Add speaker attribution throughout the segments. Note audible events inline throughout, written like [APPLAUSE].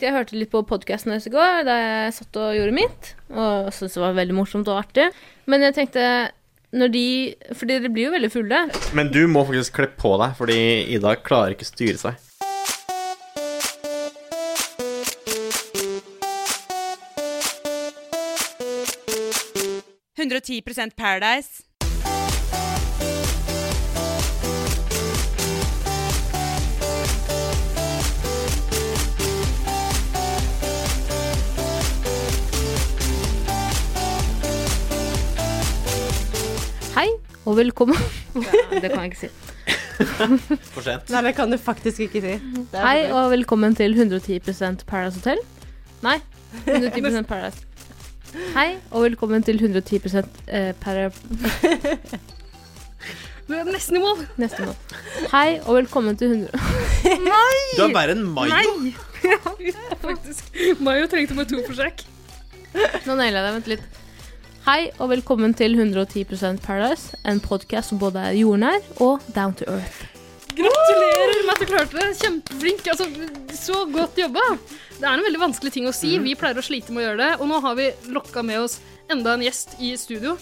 Speaker 1: Jeg hørte litt på podkasten deres i går da jeg satt og gjorde mitt, og syntes det var veldig morsomt og artig. Men jeg tenkte når de For dere blir jo veldig fulle.
Speaker 2: Men du må faktisk kle på deg, fordi Ida klarer ikke styre seg.
Speaker 3: Paradise.
Speaker 1: Hei og [LAUGHS] velkommen. det kan jeg ikke si.
Speaker 2: For sent.
Speaker 4: Nei, det kan du faktisk ikke si. Det
Speaker 1: [LAUGHS]
Speaker 4: er
Speaker 1: Hei
Speaker 4: for
Speaker 1: og velkommen til 110 Paradise Hotel. Nei, 110 Paradise. Hei og velkommen til 110 eh, para...
Speaker 5: Du er nesten i mål.
Speaker 1: Neste måned. Hei og velkommen til 100...
Speaker 2: Du er verre enn Mayo.
Speaker 5: Faktisk. Mayo trengte bare to forsøk.
Speaker 1: [LAUGHS] Nå naila jeg det, vent litt. Hei og velkommen til 110 Paradise, en podkast som både er jordnær og down to earth.
Speaker 5: Gratulerer med at du klarte det. Kjempeflink. Altså, så godt jobba. Det er en veldig vanskelig ting å si. Vi pleier å slite med å gjøre det, og nå har vi lokka med oss enda en gjest i studio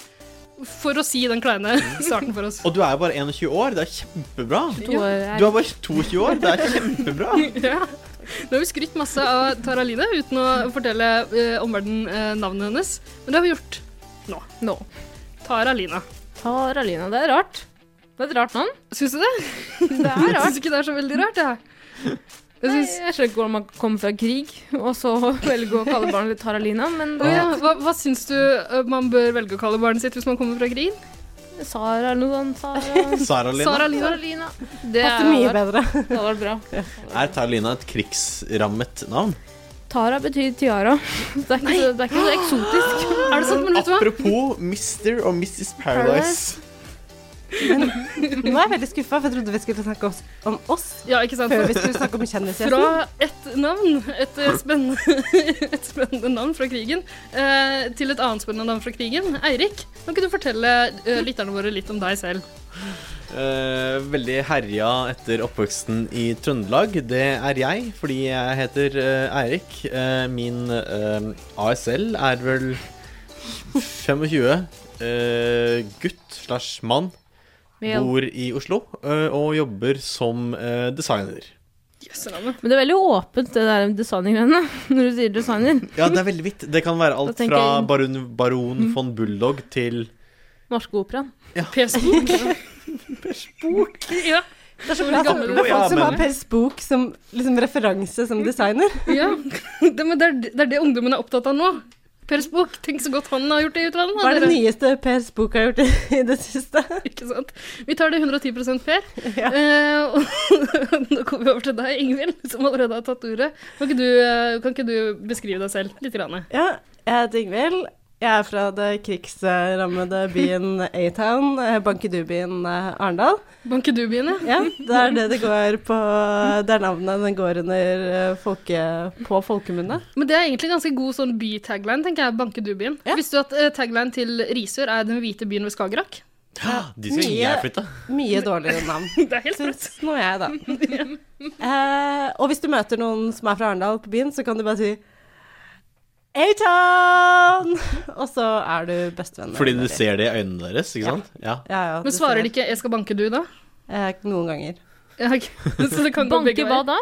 Speaker 5: for å si den kleine starten for
Speaker 2: [LAUGHS]
Speaker 5: oss.
Speaker 2: Og du er jo bare 21 år. Det er kjempebra.
Speaker 1: To år
Speaker 2: Du
Speaker 1: er
Speaker 2: er bare 22 år. Det er kjempebra.
Speaker 5: Ja. Nå har vi skrytt masse av Tara Line uten å fortelle eh, omverdenen eh, navnet hennes, men det har vi gjort.
Speaker 1: nå.
Speaker 5: Tara Lina.
Speaker 1: Tar Alina, det er rart. Det er et rart navn.
Speaker 5: Syns du det?
Speaker 1: Det er
Speaker 5: Jeg
Speaker 1: rart.
Speaker 5: syns ikke det er så veldig rart, jeg. Jeg
Speaker 1: Nei,
Speaker 5: synes,
Speaker 1: jeg skjønner ikke hvordan man kommer fra krig og så [LAUGHS] velge å kalle barnet litt Taralina, men
Speaker 5: Å
Speaker 1: det
Speaker 5: ja. hva, hva syns du eh, man bør velge å kalle barnet sitt hvis man kommer fra krigen?
Speaker 1: Sara eller noe sånt. Sara
Speaker 2: Sara Lina.
Speaker 5: Sara
Speaker 1: [LAUGHS]
Speaker 5: Lina.
Speaker 1: Taralina. Det
Speaker 4: Passer mye bedre.
Speaker 1: Det hadde vært bra.
Speaker 2: Er Tara Lina et krigsrammet navn?
Speaker 1: Tara betyr tiara. [LAUGHS] Det er ikke, så, det er ikke så [GASPS] eksotisk.
Speaker 5: Er det sant, men vet du hva?
Speaker 2: Apropos Mr. og Mrs. Paradise.
Speaker 4: Nå er jeg veldig skuffa, for jeg trodde vi skulle snakke oss- om oss
Speaker 5: Ja, ikke sant?
Speaker 4: før vi skulle snakke om kjendisgjesten.
Speaker 5: Fra et navn,
Speaker 4: [LAUGHS]
Speaker 5: et eh, spennende, et spennende navn fra krigen, eh, til et annet spennende navn fra krigen. Eirik, nå kan du fortelle eh, lytterne våre litt om deg selv.
Speaker 2: Eh, veldig herja etter oppveksten i Trøndelag. Det er jeg, fordi jeg heter eh, Eirik. Eh, min eh, ASL er vel 25. eh, gutt slash mann.
Speaker 1: Men
Speaker 2: Bor i Oslo eh, og jobber som eh, designer.
Speaker 5: Jøssenavnet.
Speaker 1: det er veldig åpent, det der designergreiene. [LAUGHS] Når du sier designer.
Speaker 2: Ja, det er veldig vidt. Det kan være alt
Speaker 1: Da tenker
Speaker 2: fra
Speaker 1: jeg-
Speaker 2: baron, baron von Bulldog til
Speaker 1: Norske Operaen.
Speaker 5: P-spok.
Speaker 4: [LAUGHS]
Speaker 5: Ja.
Speaker 4: Det er så
Speaker 5: Hvor
Speaker 4: bra
Speaker 5: gammel
Speaker 4: sånn-
Speaker 2: du er,
Speaker 4: folk som
Speaker 2: men-
Speaker 4: har Per Spook som liksom, referanse som designer.
Speaker 5: ja. Det, men det er, det er det ungdommen er opptatt av nå. Per Spok, tenk så godt han har gjort det i utlandet. da,
Speaker 4: Hva er det
Speaker 5: dere.
Speaker 4: nyeste Per Spook har gjort i- i det siste?
Speaker 5: Ikke sant? Vi tar det 110 Per.
Speaker 4: Ja.
Speaker 5: Eh, og [LAUGHS] nå kommer vi over til deg, Ingvild, som allerede har tatt ordet. Kan ikke du, eh, kan ikke du beskrive deg selv litt? Grann?
Speaker 4: Ja, jeg heter Ingvild. Jeg er fra det krigsrammede byen A-Town, eh, Bankedubyen eh, Arendal.
Speaker 5: Banker du byen, ja?
Speaker 4: Ja, det er det det går på Det er navnet den går under eh, folke, på folkemunne.
Speaker 5: Men det er egentlig en ganske god sånn by-tagline, tenker jeg. Banker du byen?
Speaker 4: Ja.
Speaker 5: Visste du at eh, tagline til Risør er den hvite byen ved Skagerrak?
Speaker 2: [GASPS] De skal
Speaker 4: Mye-
Speaker 2: jeg flytte.
Speaker 4: Mye dårligere navn,
Speaker 5: Det er helt sprøtt.
Speaker 4: syns nå
Speaker 5: [LAUGHS]
Speaker 4: jeg, da. Eh, og hvis du møter noen som er fra Arendal på byen, så kan du bare si A-Town! Og så er du bestevenn.
Speaker 2: Fordi du ser det i øynene deres, ikke sant? Ja.
Speaker 4: Ja, ja,
Speaker 5: Men svarer de ikke 'jeg skal banke du', da? [LAUGHS]
Speaker 4: Eh, noen ganger.
Speaker 5: Ja, ok. [LAUGHS] Så det kan gå
Speaker 1: Banke
Speaker 5: begge
Speaker 1: hva
Speaker 5: veier.
Speaker 1: da?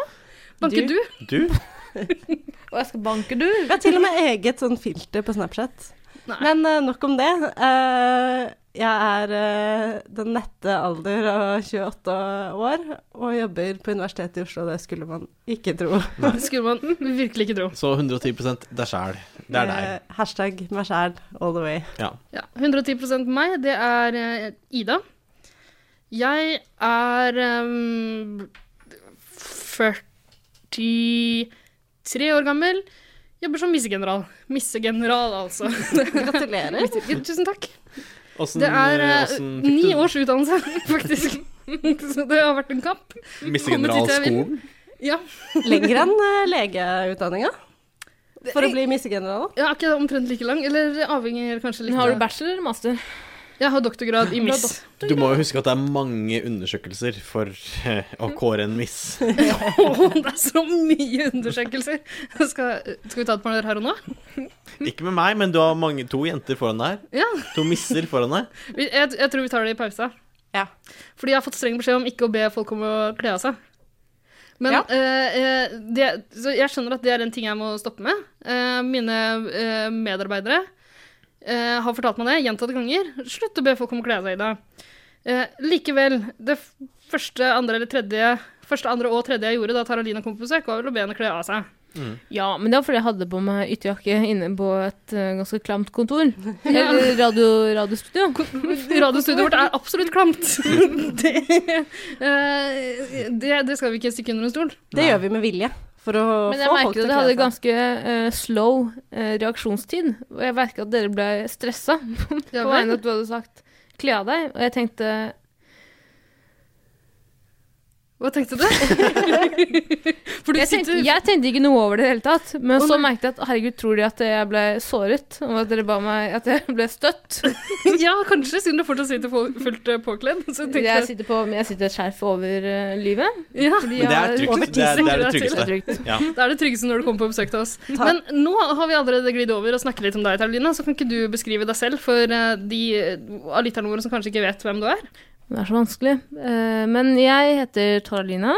Speaker 5: Banker du? [LAUGHS]
Speaker 2: Du?
Speaker 1: Og jeg skal banke du.
Speaker 4: Vi har til og med eget sånn filter på Snapchat.
Speaker 5: Nei.
Speaker 4: Men eh, nok om det. Eh, jeg er eh, den nette alder av 28 år og jobber på Universitetet i Oslo. Det skulle man ikke tro.
Speaker 5: Det skulle man virkelig ikke tro.
Speaker 2: Så 110 deg sjæl. Det er deg.
Speaker 4: Eh, hashtag meg sjæl all the way.
Speaker 2: Ja.
Speaker 5: Ja, 110 meg, det er eh, Ida. Jeg er ehm, 43 år gammel. Jobber som missegeneral. Missegeneral, altså.
Speaker 4: Gratulerer.
Speaker 5: Tusen takk.
Speaker 2: Åssen-
Speaker 5: Det er eh,
Speaker 2: åssen fikk
Speaker 5: ni
Speaker 2: du-
Speaker 5: års utdannelse, [LAUGHS] faktisk. Så det har vært en kamp.
Speaker 2: Missegeneralskolen?
Speaker 5: Ja,
Speaker 4: [LAUGHS] Lenger enn eh, legeutdanninga for å bli missegeneral.
Speaker 5: jeg er ikke omtrent like lang. Eller avhenger kanskje litt
Speaker 1: Har du bachelor eller master?
Speaker 5: Jeg har doktorgrad i MIS.
Speaker 2: Du må jo huske at det er mange undersøkelser for eh, å kåre en
Speaker 1: [LAUGHS]
Speaker 2: miss.
Speaker 5: [LAUGHS] Åh, det er så mye undersøkelser! Skal, skal vi ta et par her og nå?
Speaker 2: Ikke med meg, men du har mange, to jenter foran deg her.
Speaker 5: Ja.
Speaker 2: To misser foran deg.
Speaker 5: Vi- Jeg, jeg tror vi tar det i pausa.
Speaker 4: Ja.
Speaker 5: Fordi jeg har fått streng beskjed om ikke å be folk om å kle av seg. Men
Speaker 4: Ja.
Speaker 5: eh, eh, det, så jeg skjønner at det er en ting jeg må stoppe med. Eh, mine eh, medarbeidere eh, har fortalt meg det gjentatte ganger. Slutt å be folk om å kle av seg, Ida. Eh, likevel, det f- første, andre eller tredje Første, andre og tredje jeg gjorde da Taralina kom på besøk, var vel å be henne kle av
Speaker 4: [LAUGHS]
Speaker 5: seg.
Speaker 2: Mm.
Speaker 1: Ja, men det var fordi jeg hadde på meg ytterjakke inne på et eh, ganske klamt kontor. Eller radio, radiostudio.
Speaker 5: Radiostudioet vårt er absolutt klamt. [LAUGHS] det, eh, det, det skal vi ikke stikke under en stol.
Speaker 4: Det gjør vi med vilje. For å
Speaker 1: Men jeg
Speaker 4: få folk
Speaker 1: merket at
Speaker 4: til å
Speaker 1: jeg
Speaker 4: kle
Speaker 1: hadde
Speaker 4: seg.
Speaker 1: ganske eh, slow eh, reaksjonstid. Og jeg merket at dere ble stressa
Speaker 5: Ja,
Speaker 1: på
Speaker 5: vel.
Speaker 1: vegne av at du hadde sagt 'kle av deg'. Og jeg tenkte
Speaker 5: Hva tenkte
Speaker 1: [LAUGHS]
Speaker 5: du? For du
Speaker 1: jeg, tenkte
Speaker 5: sitter
Speaker 1: jeg tenkte ikke noe over det i det hele tatt. Men
Speaker 5: Å,
Speaker 1: så
Speaker 5: nei.
Speaker 1: merket jeg at herregud, tror de at jeg ble såret? Og at dere ba meg at jeg ble støtt?
Speaker 5: Ja, kanskje, siden du fortsatt sitter på, fullt eh, påkledd. Så tenkte
Speaker 1: Jeg
Speaker 5: jeg
Speaker 1: sitter, på, jeg sitter et skjerf over eh, livet.
Speaker 5: ja,
Speaker 1: Fordi
Speaker 2: Men det er
Speaker 1: jeg-
Speaker 5: over
Speaker 2: trygt. Det er, det er det
Speaker 5: tidsrett
Speaker 1: Det er
Speaker 2: tryggeste.
Speaker 1: trygt.
Speaker 2: Ja.
Speaker 5: Det er det tryggeste når du kommer på besøk til oss. Men nå har vi allerede glidd over og snakker litt om deg, Taralina. Så kan ikke du beskrive deg selv for eh, de eh, av lytterne våre som kanskje ikke vet hvem du er?
Speaker 1: Det er så vanskelig. Eh, men jeg heter Taralina.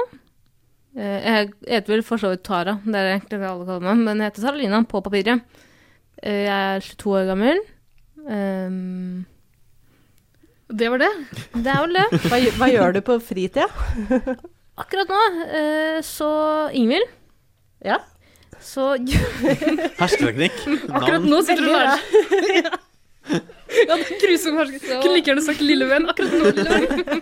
Speaker 1: Eh, jeg heter vel for så vidt Tara, det er egentlig det alle kaller meg, men jeg heter Taralina på papiret. Eh, jeg er 22 år gammel. Ehm,
Speaker 5: Det var det.
Speaker 1: det er vel det.
Speaker 4: Hva, hva gjør du på fritida?
Speaker 1: Akkurat nå, eh, så Ingvild,
Speaker 4: Ja.
Speaker 1: så
Speaker 2: Hersketeknikk.
Speaker 5: Akkurat
Speaker 2: Navn.
Speaker 5: nå sitter du og lærer. [LAUGHS] Ja, det er grusom hersket.
Speaker 1: Så-
Speaker 5: Kunne like gjerne sagt lille venn. Akkurat
Speaker 1: [LAUGHS]
Speaker 5: nå, lille venn.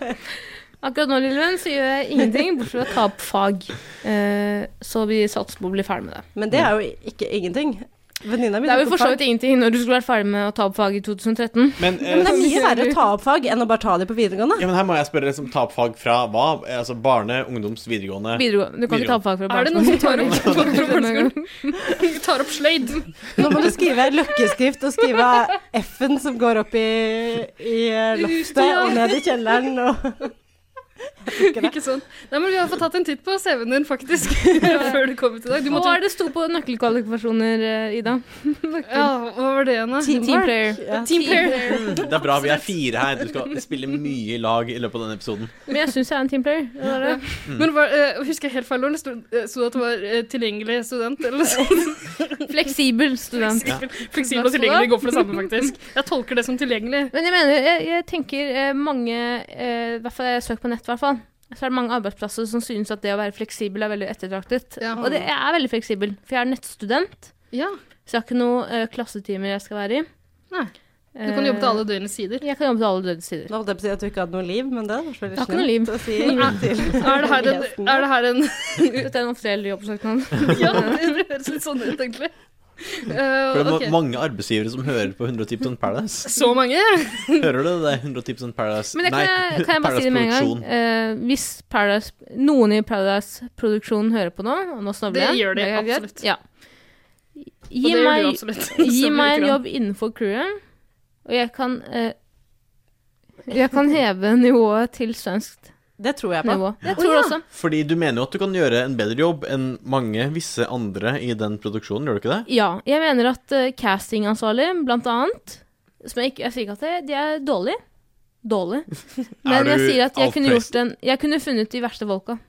Speaker 1: Akkurat nå, lille venn, så gjør jeg ingenting bortsett fra å ta opp fag. Eh, så vi satser på å bli ferdig med det.
Speaker 4: Men det er jo ikke ingenting. Venninna mi
Speaker 1: Det er
Speaker 4: tok
Speaker 1: vel for så
Speaker 4: opp
Speaker 1: vidt ingenting når du skulle vært ferdig med å ta opp fag i 2013.
Speaker 2: Men,
Speaker 4: fag. Men det
Speaker 2: eh,
Speaker 4: er mye verre å ta opp fag enn å bare ta det på videregående.
Speaker 2: ja, men her må jeg spørre, liksom, ta opp fag fra hva? Eh, Altså barne-, ungdoms-, videregående?
Speaker 1: Videregående. Du kan ikke ta opp fag fra
Speaker 5: Er det noen som
Speaker 1: [LAUGHS]
Speaker 5: tar opp
Speaker 1: barneskolen.
Speaker 5: folk fra barneskolen? Tar opp sløyd.
Speaker 4: Nå må du skrive løkkeskrift og skrive F-en som går opp i, i eh, loftet
Speaker 5: Ja.
Speaker 4: og ned i kjelleren og
Speaker 5: Ikke sånn. Nei, men vi har fått tatt en titt på CV-en din,
Speaker 1: [LAUGHS]
Speaker 5: faktisk, [LAUGHS] før du kom hit i dag. Du
Speaker 1: Hva
Speaker 5: måtte,
Speaker 1: er det sto på nøkkelkvalifikasjoner, eh, Ida? [LAUGHS]
Speaker 5: ja, hva var det igjen, da?
Speaker 1: Team player.
Speaker 4: Ja.
Speaker 5: Team player.
Speaker 2: Det er bra vi er fire her. Du skal spille mye i lag i løpet av denne episoden.
Speaker 1: Men jeg syns jeg er en teamplayer. Det var det.
Speaker 5: Men var, eh, husker jeg helt feil når det sto eh, sto det at du var eh, tilgjengelig student? Eller noe sånt?
Speaker 1: Fleksibel [LAUGHS] student.
Speaker 5: Fleksibel, fleksibel og tilgjengelig går for det samme, faktisk. Jeg tolker det som tilgjengelig.
Speaker 1: Men jeg mener, jeg, jeg tenker eh, mange eh, I hvert fall jeg søker på nett, i hvert fall. Så er det mange arbeidsplasser som synes at det å være fleksibel er veldig ettertraktet.
Speaker 5: Ja.
Speaker 1: Og det, jeg er veldig fleksibel, for jeg er nettstudent.
Speaker 5: Ja,
Speaker 1: Så jeg har ikke noen eh, klassetimer jeg skal være i. Eh,
Speaker 5: Nei. Du kan jobbe til alle døgnets sider.
Speaker 1: Jeg kan jobbe til alle dødets
Speaker 5: [LAUGHS]
Speaker 1: sider.
Speaker 4: Nå holdt jeg på å si at du ikke hadde noe liv, men det var så
Speaker 1: Jeg har ikke noe liv.
Speaker 4: å si til
Speaker 1: Eh,
Speaker 5: Er det her en, er det her en [LAUGHS]
Speaker 1: Dette er en offisiell jobbsøknad.
Speaker 5: Ja, det høres litt sånn ut, egentlig. Eh,
Speaker 2: For det er
Speaker 5: ok.
Speaker 2: ma- mange arbeidsgivere som hører på 110
Speaker 1: [LAUGHS]
Speaker 2: Paradise.
Speaker 5: Så mange?
Speaker 2: Hører du det? 110 Paradise
Speaker 1: Men det kan, jeg, kan jeg bare si det med en gang.
Speaker 2: Produksjon.
Speaker 1: Eh, hvis Paradise, noen i Paradise-produksjonen hører på nå, og nå snavler
Speaker 5: Det
Speaker 1: jeg
Speaker 5: gjør de,
Speaker 1: er greit.
Speaker 5: absolutt.
Speaker 1: Ja.
Speaker 5: Og
Speaker 1: Gi
Speaker 5: det gjør du
Speaker 1: meg,
Speaker 5: absolutt. [LAUGHS]
Speaker 1: gi meg
Speaker 5: Så bruker
Speaker 1: en
Speaker 5: han.
Speaker 1: jobb innenfor crewet, og jeg kan eh, Jeg kan heve nivået til svensk
Speaker 4: Det tror jeg på.
Speaker 1: nivå. Jeg
Speaker 5: Å,
Speaker 1: tror
Speaker 5: ja.
Speaker 1: også.
Speaker 2: Fordi du mener jo at du kan gjøre en bedre jobb enn mange visse andre i den produksjonen, gjør du ikke det?
Speaker 1: Ja. Jeg mener at eh, castingansvarlig, blant annet som jeg, ikke, jeg sier ikke at det, de er dårlig. Dårlig. Men
Speaker 2: du
Speaker 1: jeg sier at jeg kunne,
Speaker 2: outplaced?
Speaker 1: gjort en, jeg kunne funnet de verste folka.
Speaker 5: [LAUGHS]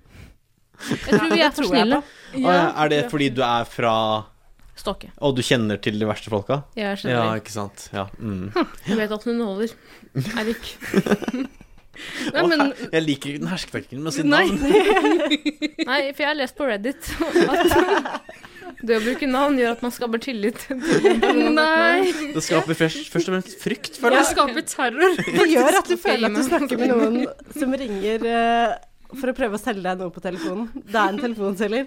Speaker 1: Jeg tror vi
Speaker 4: det
Speaker 1: er for
Speaker 4: tror jeg
Speaker 1: snille.
Speaker 4: på.
Speaker 2: Å, ja, er det fordi du er fra
Speaker 1: Stokke.
Speaker 2: Og du kjenner til de verste folka?
Speaker 1: Jeg er
Speaker 2: Ja,
Speaker 1: generell.
Speaker 2: ikke sant. Ja. Mm.
Speaker 1: Jeg vet at hun
Speaker 2: [LAUGHS]
Speaker 1: holder. Eirik.
Speaker 5: Nei,
Speaker 2: Å,
Speaker 5: men
Speaker 2: her- jeg liker ikke den hersketeknikken med å si
Speaker 5: Nei.
Speaker 2: navn.
Speaker 1: Nei, for jeg har lest på Reddit [LAUGHS] at [LAUGHS] det å bruke navn gjør at man skaper tillit.
Speaker 5: Nei.
Speaker 2: Det skaper først, først og fremst frykt, føler
Speaker 5: Jeg
Speaker 2: jeg.
Speaker 5: skaper terror.
Speaker 4: Det gjør at du
Speaker 1: Ok,
Speaker 4: føler at du
Speaker 1: men-
Speaker 4: snakker med noen som ringer eh, for å prøve å selge deg noe på telefonen. Det er en telefonselger.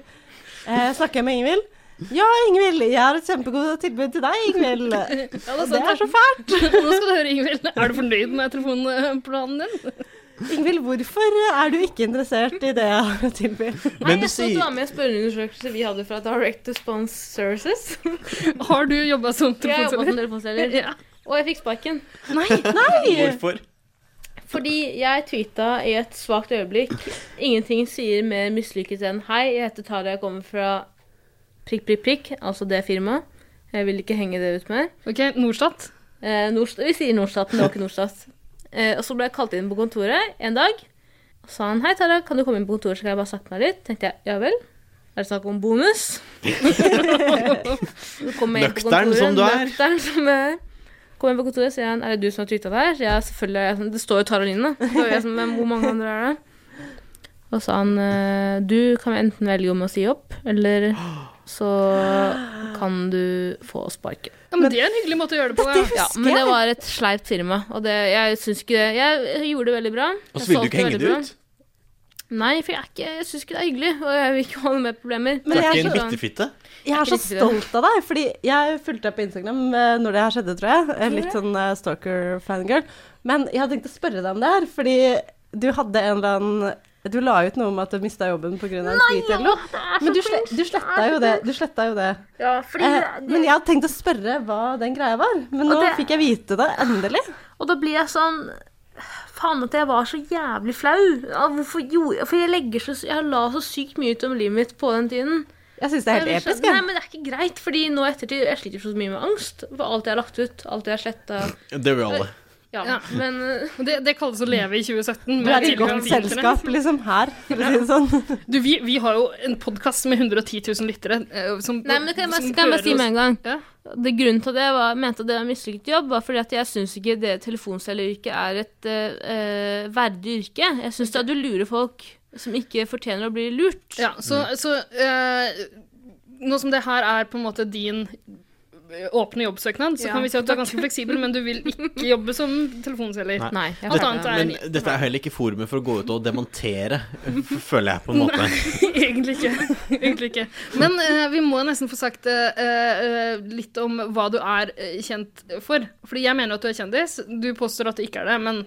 Speaker 4: Eh, snakker jeg med Ingvild? Ja, Ingvild, jeg har et kjempegodt tilbud til deg, Ingvild.
Speaker 5: Ja, det er
Speaker 4: Det
Speaker 5: sant.
Speaker 4: er så fælt.
Speaker 5: [LAUGHS] Nå skal du høre, Ingvild. Er du fornøyd med telefonplanen din?
Speaker 4: Ingvild, hvorfor er du ikke interessert i det jeg har å tilby?
Speaker 1: Nei,
Speaker 2: Men du
Speaker 1: jeg skal
Speaker 2: sier-
Speaker 1: ta med en spørreundersøkelse vi hadde fra Direct Response Services.
Speaker 5: Har du jobba som
Speaker 1: Jeg jobba som
Speaker 5: telefonselger?
Speaker 1: [LAUGHS] telefonselger.
Speaker 5: Ja.
Speaker 1: Og jeg fikk sparken.
Speaker 5: Nei!
Speaker 2: Hvorfor?
Speaker 1: Fordi jeg tweeta i et svakt øyeblikk Ingenting sier mer mislykket enn Hei, jeg heter Tara, jeg kommer fra prikk, prikk, prikk, altså det firmaet. Jeg vil ikke henge det ut mer.
Speaker 5: Ok,
Speaker 1: [LAUGHS]
Speaker 5: Norstat.
Speaker 1: Eh, Nordst vi sier Nordstaten, det var ikke Nordstat. Eh, og så ble jeg kalt inn på kontoret en dag. Og sa han hei, Tara, kan du komme inn på kontoret, så kan jeg bare snakke med deg litt? Tenkte jeg ja vel. Er det snakk om bonus? Så kom jeg inn på
Speaker 2: Nøktern
Speaker 1: kontoret,
Speaker 2: som du er.
Speaker 1: Nøktern som jeg er. Kom inn på kontoret, sier han er det du som har tweeta det her? Så jeg selvfølgelig er jeg sånn, Det står jo Tara Line. Det var jeg sånn, Men hvor mange andre er det? Og sa han eh, du kan enten velge om å si opp, eller så kan du få sparken.
Speaker 5: Ja, men Det er en hyggelig måte å gjøre det på. Ja.
Speaker 1: Ja, men [LAUGHS] det var et sleipt firma, og det, jeg syns ikke det Jeg gjorde det veldig bra.
Speaker 2: Og så
Speaker 1: Jeg
Speaker 2: ville du
Speaker 1: solgte
Speaker 2: ikke henge
Speaker 1: veldig
Speaker 2: det
Speaker 1: bra.
Speaker 2: ut?
Speaker 1: Nei, for jeg, er ikke, jeg syns ikke det er hyggelig, og jeg vil ikke ha noe mer problemer.
Speaker 2: Du
Speaker 4: Men
Speaker 2: er
Speaker 4: jeg
Speaker 2: ikke en
Speaker 1: skjønner.
Speaker 2: bittefitte?
Speaker 4: Jeg er
Speaker 1: Ikke
Speaker 4: så
Speaker 1: riktig,
Speaker 4: stolt av deg, fordi jeg fulgte deg på Instagram eh, når det her skjedde, tror jeg. Eh, Litt sånn eh, stalker-fangirl. Men jeg hadde tenkt å spørre deg om det her, fordi du hadde en eller annen Du la ut noe om at du mista jobben pga. en tweet eller noe. Men du, sle du sletta jo det. Du sletta jo det.
Speaker 1: Ja,
Speaker 4: Eh, men jeg hadde tenkt å spørre hva den greia var, men nå
Speaker 1: det-
Speaker 4: fikk jeg vite det endelig.
Speaker 1: Og da blir jeg sånn Faen at jeg var så jævlig flau. Ja, Hvorfor gjorde jeg For jeg legger så sy- Jeg la så sykt mye ut om livet mitt på den tiden.
Speaker 4: Jeg syns det er helt
Speaker 1: Jeg vil skjønne-
Speaker 4: episk.
Speaker 1: Nei,
Speaker 4: Jeg.
Speaker 1: men det er ikke greit, fordi nå i ettertid Jeg sliter så mye med angst for alt jeg har lagt ut. Alt jeg har sletta.
Speaker 2: Det gjør alle.
Speaker 1: Ja,
Speaker 5: Ja.
Speaker 1: men eh,
Speaker 5: Og Det, det kalles å leve i 2017.
Speaker 4: Du
Speaker 5: med
Speaker 4: er i
Speaker 5: tilgang
Speaker 4: godt
Speaker 5: til internett.
Speaker 4: selskap liksom her, for å si det sånn.
Speaker 5: Du, vi, vi har jo en podkast med 110 000 lyttere. eh, Som,
Speaker 1: Nei, men det kan jeg bare,
Speaker 5: som
Speaker 1: kan jeg bare
Speaker 5: hører
Speaker 1: si med
Speaker 5: oss.
Speaker 1: en gang.
Speaker 5: Ja.
Speaker 1: Det Grunnen til at jeg var, mente at det var mislykket jobb, var fordi at jeg syns ikke det telefonselgeryrket er et eh, eh, verdig yrke. Jeg syns det er at du lurer folk som ikke fortjener å bli lurt.
Speaker 5: Ja, så, så eh, nå som det her er på en måte din eh, åpne jobbsøknad, så
Speaker 1: Ja,
Speaker 5: kan vi si at du er ganske fleksibel, men du vil
Speaker 1: [LAUGHS]
Speaker 5: ikke jobbe som telefonselger.
Speaker 2: Nei.
Speaker 1: Nei. Jeg
Speaker 5: Alt
Speaker 1: kan
Speaker 5: annet
Speaker 1: ikke.
Speaker 5: er-
Speaker 2: Men dette er heller ikke forumet for å gå ut og demontere, f- føler jeg på en måte.
Speaker 5: [LAUGHS] Egentlig ikke. Egentlig ikke. Men eh, vi må nesten få sagt eh, eh, litt om hva du er eh, kjent for. Fordi jeg mener at du er kjendis. Du påstår at du ikke er det, men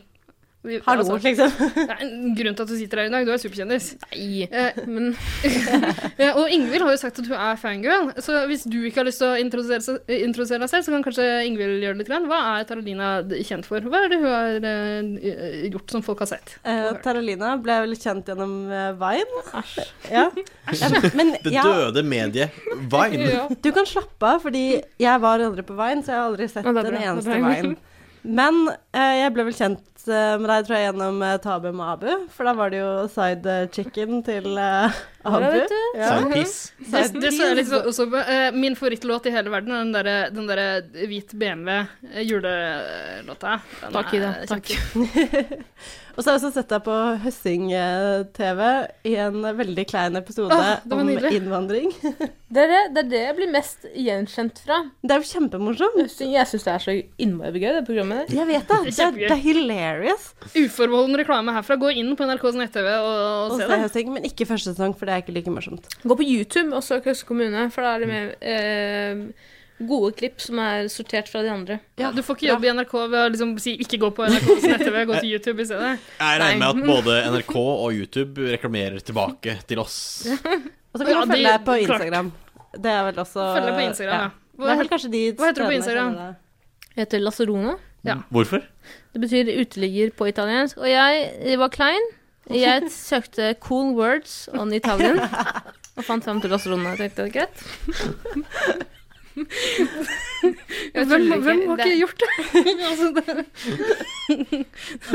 Speaker 5: vi,
Speaker 4: Hallo,
Speaker 5: altså,
Speaker 4: liksom.
Speaker 5: det er en grunn til at du sitter her i dag. Du er superkjendis.
Speaker 1: Nei.
Speaker 5: Eh,
Speaker 1: Men
Speaker 5: [LAUGHS] Ja, og Ingvild har jo sagt at hun er fangirl, så hvis du ikke har lyst til å introdusere, seg- eh, introdusere deg selv, så kan kanskje Ingvild gjøre det litt. Grann. Hva er Taralina kjent for? Hva er det hun har eh, gjort som folk har sett?
Speaker 4: [LAUGHS] Eh,
Speaker 5: Og hørt?
Speaker 4: Taralina ble vel kjent gjennom eh, Vine.
Speaker 1: æsj.
Speaker 4: Ja. Ja, [LAUGHS] Men
Speaker 2: Det
Speaker 4: jeg
Speaker 2: døde mediet Vine.
Speaker 5: Ja.
Speaker 4: Du kan slappe av, fordi jeg var aldri på veien, så jeg har aldri sett
Speaker 1: Ja, det er
Speaker 4: den
Speaker 1: bra, det er
Speaker 4: eneste
Speaker 1: bra.
Speaker 4: veien. Men eh, jeg ble vel kjent eh, med deg, tror jeg, gjennom eh, Tabu med Abu, for da var det jo side chicken til eh,
Speaker 1: Ja,
Speaker 4: Abu.
Speaker 1: vet du.
Speaker 4: Ja,
Speaker 2: Soundpiece.
Speaker 5: Det, det så jeg litt så, også, på. Eh, min favorittlåt i hele verden er den derre den derre hvit BMW eh, julelåta. Den
Speaker 1: Takk,
Speaker 5: er
Speaker 1: Ida.
Speaker 5: kjempe-
Speaker 1: Takk.
Speaker 4: Og så har jeg også sett deg på Høssing-TV i en veldig klein episode
Speaker 5: Åh, det var
Speaker 4: om
Speaker 5: nydelig.
Speaker 4: innvandring.
Speaker 1: Det er det, det er det jeg blir mest gjenkjent fra.
Speaker 4: Det er jo kjempemorsomt.
Speaker 1: Jeg syns det er så innmari gøy, det programmet der.
Speaker 4: Jeg vet det. Det er,
Speaker 5: Kjempegøy.
Speaker 4: det er hilarious
Speaker 5: [LAUGHS] Uforbeholden reklame herfra. Gå inn på NRKs nett-TV og, og
Speaker 4: å
Speaker 5: se
Speaker 4: se
Speaker 5: det.
Speaker 4: Høssing, men ikke første sesong, for det er ikke like morsomt.
Speaker 1: Gå på YouTube og søk Høgskolen kommune, for da er det med eh, gode klipp som er sortert fra de andre.
Speaker 5: Ja, du får ikke jobbe i NRK ved å liksom si 'ikke gå på NRKs nett-TV', gå til YouTube i stedet.
Speaker 2: Jeg regner med at både NRK og YouTube reklamerer tilbake til oss.
Speaker 4: Og så kan du
Speaker 5: Ja, de-
Speaker 4: følge deg på
Speaker 5: klart.
Speaker 4: Instagram. Det er vel også
Speaker 5: Følg deg på Instagram, ja.
Speaker 4: Det er vel kanskje de
Speaker 5: hva heter du på
Speaker 4: stedene jeg
Speaker 5: Instagram?
Speaker 4: kjenner deg.
Speaker 1: Jeg heter Lacerona.
Speaker 2: Hvorfor?
Speaker 1: Det betyr uteligger på italiensk. Og jeg var klein. [LAUGHS] Jeg søkte 'cool words on Italian' og fant fram til Barcelona. Jeg tenkte det er [LAUGHS] greit. Jeg
Speaker 5: Hvem,
Speaker 1: tuller
Speaker 5: hvem har
Speaker 1: Det-
Speaker 5: ikke gjort det? [LAUGHS] altså, det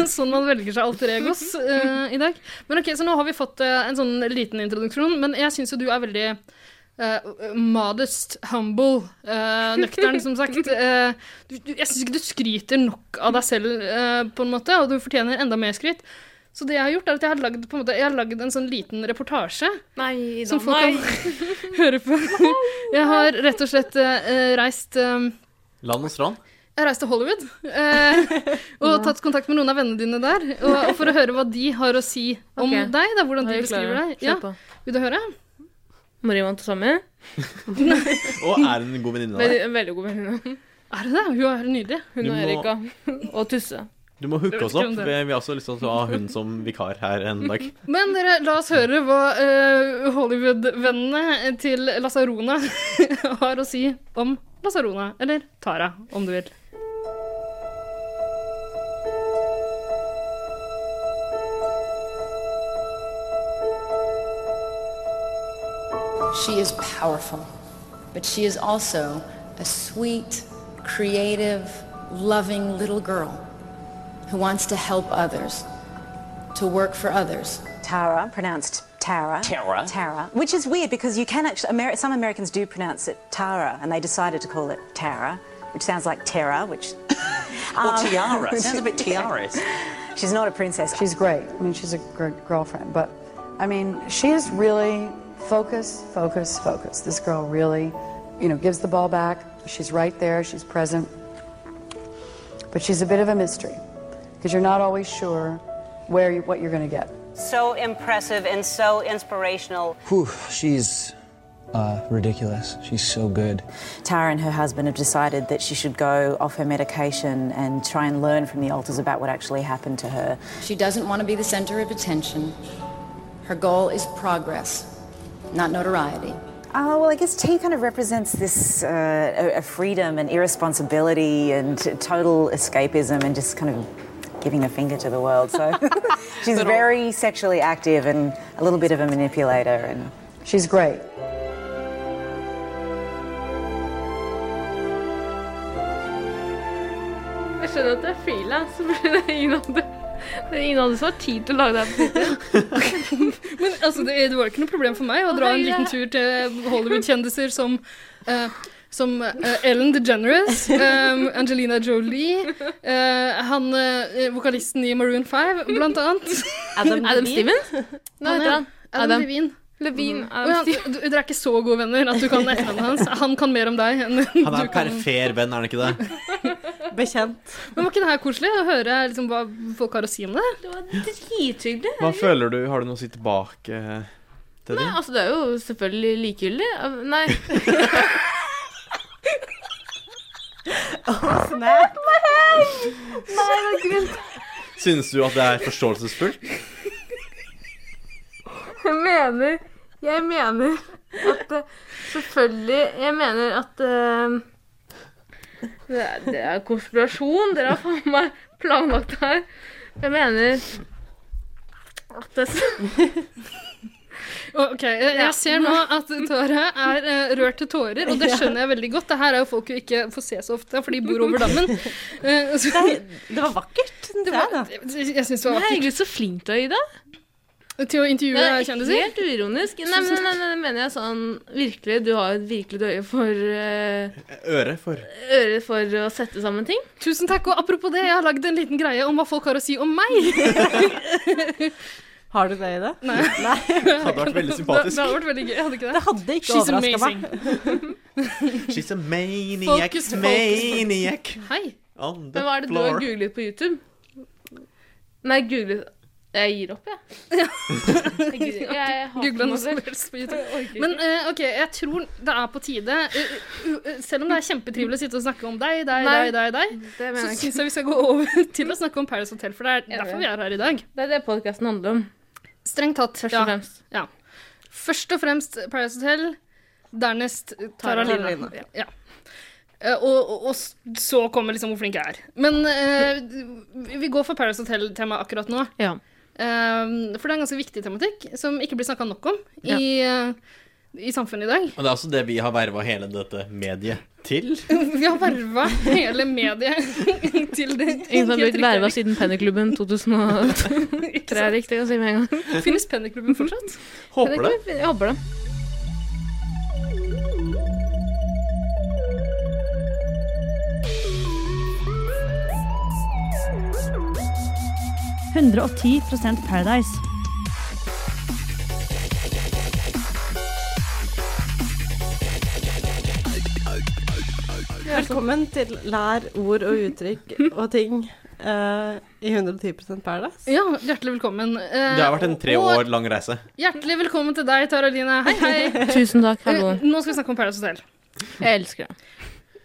Speaker 5: [LAUGHS] sånn man velger seg alter egos eh, i dag. Men ok, Så nå har vi fått eh, en sånn liten introduksjon, men jeg syns jo du er veldig eh, modest, humble, eh, nøktern, som
Speaker 1: [LAUGHS]
Speaker 5: sagt. Eh, du, du, jeg syns ikke du skryter nok av deg selv, eh, på en måte, og du fortjener enda mer skryt. Så det jeg har gjort, er at jeg har lagd, på en, måte, jeg har lagd en sånn liten reportasje
Speaker 1: Nei, da,
Speaker 5: som folk kan [LAUGHS] høre på. Jeg har rett og slett eh, reist eh,
Speaker 2: Land og strand.
Speaker 5: jeg reiste til Hollywood eh,
Speaker 1: [LAUGHS]
Speaker 5: og tatt kontakt med noen av vennene dine der. Og, og for å høre hva de har å si om
Speaker 1: Ok.
Speaker 5: deg. Da, hvordan
Speaker 1: Nå er
Speaker 5: de
Speaker 1: vi
Speaker 5: beskriver
Speaker 1: klare.
Speaker 5: deg.
Speaker 1: Kjør
Speaker 5: Ja,
Speaker 1: på.
Speaker 5: vil du høre?
Speaker 1: Marie Montessami.
Speaker 2: Og er hun en god venninne av deg?
Speaker 1: Veldig, en veldig god venninne.
Speaker 5: Er det det? Hun er nydelig.
Speaker 1: Hun
Speaker 2: Du
Speaker 1: og
Speaker 2: må-
Speaker 1: Erika. Og Tusse.
Speaker 2: Du må hooke
Speaker 5: Jeg vet
Speaker 2: oss
Speaker 5: ikke
Speaker 2: opp.
Speaker 5: om det-
Speaker 2: Vi har også lyst til å ha hun som vikar her en dag.
Speaker 5: Men dere, la oss høre hva eh, Hollywood-vennene til [LAUGHS] Lasarona har å si om Lasarona. Eller Tara, om du vil.
Speaker 3: She is powerful, but she is also a sweet, creative, loving little girl who wants to help others, to work for others.
Speaker 6: Tara, pronounced Tara.
Speaker 7: Tara.
Speaker 6: Tara. Which is weird because you can actually, Ameri- some Americans do pronounce it Tara, and they decided to call it Tara, which sounds like Terra, which.
Speaker 7: [LAUGHS] Or
Speaker 6: Um, [LAUGHS]
Speaker 7: tiara. Sounds a bit tiara-esque.
Speaker 6: She's not a princess.
Speaker 8: She's great. I mean, she's a great girlfriend. But, I mean, she is really focus, focus, focus. This girl really, you know, gives the ball back. She's right there. She's present. But she's a bit of a mystery because you're not always sure where you, what you're going to get.
Speaker 9: So impressive and so inspirational.
Speaker 10: Whew, she's uh, ridiculous. She's so good.
Speaker 6: Tara and her husband have decided that she should go off her medication and try and learn from the altars about what actually happened to her.
Speaker 3: She doesn't want to be the center of attention. Her goal is progress, not notoriety.
Speaker 6: Oh, well, I guess tea kind of represents this uh, a, a freedom and irresponsibility and total escapism and just kind of giving a finger to the world. So [LAUGHS] she's very sexually active and a little bit of a manipulator. And
Speaker 8: She's great.
Speaker 1: Jeg skjønner at det er frilans, men det er ingen andre det er ingen andre som har tid til å lage det her. på sitt.
Speaker 5: Men altså, det, det var ikke noe problem for meg å dra en liten tur til Hollywood-kjendiser som, eh, som eh, Ellen DeGeneres, eh, Angelina Jolie, eh, han eh, vokalisten i Maroon 5, blant annet.
Speaker 4: Adam,
Speaker 1: Adam
Speaker 4: Levine.
Speaker 1: Stevens? Hva heter han?
Speaker 5: Adam
Speaker 1: Adam.
Speaker 5: Levine.
Speaker 1: Levine.
Speaker 5: Og
Speaker 1: Adam
Speaker 5: han,
Speaker 1: Stevens.
Speaker 5: du- dere er ikke så gode venner at du kan etternavnet hans. Han kan mer om deg enn
Speaker 2: Han
Speaker 5: du
Speaker 2: er
Speaker 5: kan.
Speaker 2: perfer venn, er han ikke det?
Speaker 5: [LAUGHS]
Speaker 4: Bekjent.
Speaker 5: Men var ikke det her koselig å høre liksom, hva folk har å si om det?
Speaker 1: Det var drithyggelig.
Speaker 2: Hva føler du? Har du noe å si tilbake til
Speaker 1: Nei,
Speaker 2: dem?
Speaker 1: altså, det er jo selvfølgelig likegyldig. [LAUGHS] Nei.
Speaker 4: Snap.
Speaker 2: Synes du at det er forståelsesfullt?
Speaker 1: Jeg mener Jeg mener at eh, Selvfølgelig Jeg mener at eh, det, er, det er konspirasjon. Dere har faen meg planlagt det her. Jeg mener at det,
Speaker 5: Å, Ok, jeg, jeg ser nå at Tara er eh, rørt til tårer, og det skjønner jeg veldig godt. Det her er jo folk jo ikke får se så ofte, for de bor over dammen. Eh, så,
Speaker 4: Det var vakkert. synes
Speaker 5: det
Speaker 4: jeg,
Speaker 5: var,
Speaker 4: da.
Speaker 5: jeg syns det var vakkert.
Speaker 1: Herregud, så flink du er, Ida.
Speaker 5: Til å intervjue
Speaker 1: Nei,
Speaker 5: kjendiser?
Speaker 1: Helt uironisk. Nei, men nei, nei, det mener jeg sånn virkelig. Du har et virkelig et øye for eh,
Speaker 2: Øre for
Speaker 1: Øre for å sette sammen ting.
Speaker 5: Tusen takk. Og apropos det, jeg har lagd en liten greie om hva folk har å si om meg.
Speaker 4: Har du det i det?
Speaker 5: Nei.
Speaker 2: Hadde vært
Speaker 5: [LAUGHS]
Speaker 2: veldig
Speaker 5: Det, det
Speaker 2: sympatisk.
Speaker 5: hadde vært veldig gøy, hadde ikke
Speaker 4: Det
Speaker 5: det?
Speaker 4: hadde ikke
Speaker 5: She's
Speaker 4: overraska meg.
Speaker 5: amazing.
Speaker 2: She's a maniac,
Speaker 5: Focus, focus,
Speaker 2: maniac
Speaker 5: Hei.
Speaker 2: on the
Speaker 1: Men hva er det du har
Speaker 2: floor.
Speaker 1: googlet på YouTube? Nei, googlet Jeg gir opp, jeg. Jeg, gidder ikke. jeg hater
Speaker 5: Googla
Speaker 1: meg
Speaker 5: noe som
Speaker 1: selv.
Speaker 5: helst på YouTube.
Speaker 1: Jeg orker ikke.
Speaker 5: Men eh, OK, jeg tror det er på tide. eh, u- u- selv om det er kjempetrivelig å sitte og snakke om deg, deg,
Speaker 1: Nei.
Speaker 5: deg, deg, deg
Speaker 1: det
Speaker 5: så
Speaker 1: mener jeg ikke.
Speaker 5: syns jeg vi skal gå over [LAUGHS] til å snakke om Paris Hotel, for det er
Speaker 1: Enig.
Speaker 5: derfor vi er her i dag.
Speaker 1: Det er det podkasten handler om,
Speaker 5: Strengt tatt.
Speaker 1: først
Speaker 5: ja.
Speaker 1: og fremst.
Speaker 5: Først og fremst Paradise Hotel, dernest Tara
Speaker 4: Taralina.
Speaker 5: Lina. Ja. Eh, Og, og, og s- så kommer liksom hvor flink jeg er. Men eh, vi går for Paradise Hotel-tema akkurat nå.
Speaker 1: Ja.
Speaker 5: Eh, for det er en ganske viktig tematikk som ikke blir snakka nok om
Speaker 1: Ja.
Speaker 5: i, eh, i samfunnet i dag. [LAUGHS]
Speaker 2: Og det er også det vi har verva hele dette mediet
Speaker 1: [LAUGHS]
Speaker 2: til.
Speaker 5: Vi har verva hele mediet [LAUGHS] til det.
Speaker 1: Ingen som har
Speaker 5: Helt
Speaker 1: blitt
Speaker 5: riktig.
Speaker 1: verva siden [LAUGHS] Pennyklubben 2003,
Speaker 5: [LAUGHS] Ikke sant?
Speaker 1: riktig å si med en gang.
Speaker 5: Finnes Pennyklubben fortsatt?
Speaker 2: Håper det.
Speaker 1: Jeg håper det.
Speaker 4: [LAUGHS] Velkommen til Lær ord og uttrykk og ting eh, i 110 Paradise.
Speaker 5: Ja, hjertelig velkommen. Eh,
Speaker 2: Det har vært en tre
Speaker 5: og
Speaker 2: år lang reise.
Speaker 5: Hjertelig velkommen til deg, Taralina. Hei, hei.
Speaker 1: Tusen takk.
Speaker 5: Eh,
Speaker 1: Hallo.
Speaker 5: Nå skal vi snakke om Paradise Hotel.
Speaker 1: Jeg elsker det.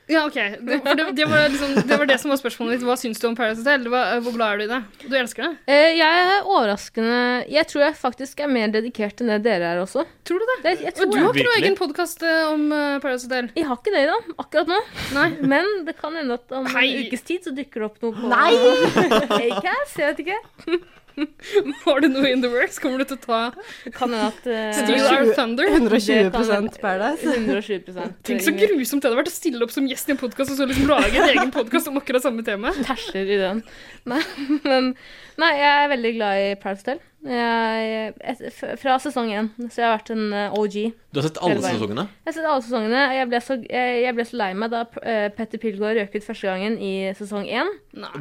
Speaker 5: Ja, ok. Det, for det, det, var liksom, det var det som var spørsmålet ditt. Hva syns du om Paradise Hotel? Det var, eh, hvor glad er du i det? Du elsker det?
Speaker 1: Eh, Jeg er overraskende Jeg tror jeg faktisk er mer dedikert enn det dere er også.
Speaker 5: Tror du det?
Speaker 1: Det, jeg,
Speaker 5: Og
Speaker 1: tror
Speaker 5: du har ikke noen
Speaker 2: Virkelig.
Speaker 5: egen podkast om eh, Paradise Hotel? [LAUGHS]
Speaker 1: jeg har ikke det i dag, akkurat nå.
Speaker 5: Nei?
Speaker 1: Men det kan hende at om
Speaker 5: Hei.
Speaker 1: en ukes tid så dukker det opp noe på Nei! Acast, jeg vet ikke.
Speaker 5: Har du noe in the works? Kommer du til å ta
Speaker 1: Kan hende at eh,
Speaker 5: Steal our thunder?
Speaker 4: 120 Paradise.
Speaker 1: 120
Speaker 5: [LAUGHS] Tenk så grusomt det hadde vært å stille opp som gjest i en podkast og så liksom lage en egen podkast om akkurat samme tema.
Speaker 1: Tersler i den. Nei, [LAUGHS] men Nei, jeg er veldig glad i Paradise Hotel. Jeg, et, f- fra sesong én, så jeg har vært en eh, OG.
Speaker 2: Du har sett alle
Speaker 1: Hele veien.
Speaker 2: sesongene?
Speaker 1: Jeg har sett alle sesongene. og Jeg ble så, jeg, jeg ble så lei meg da eh, Petter Pilgaard røk ut første gangen i sesong én.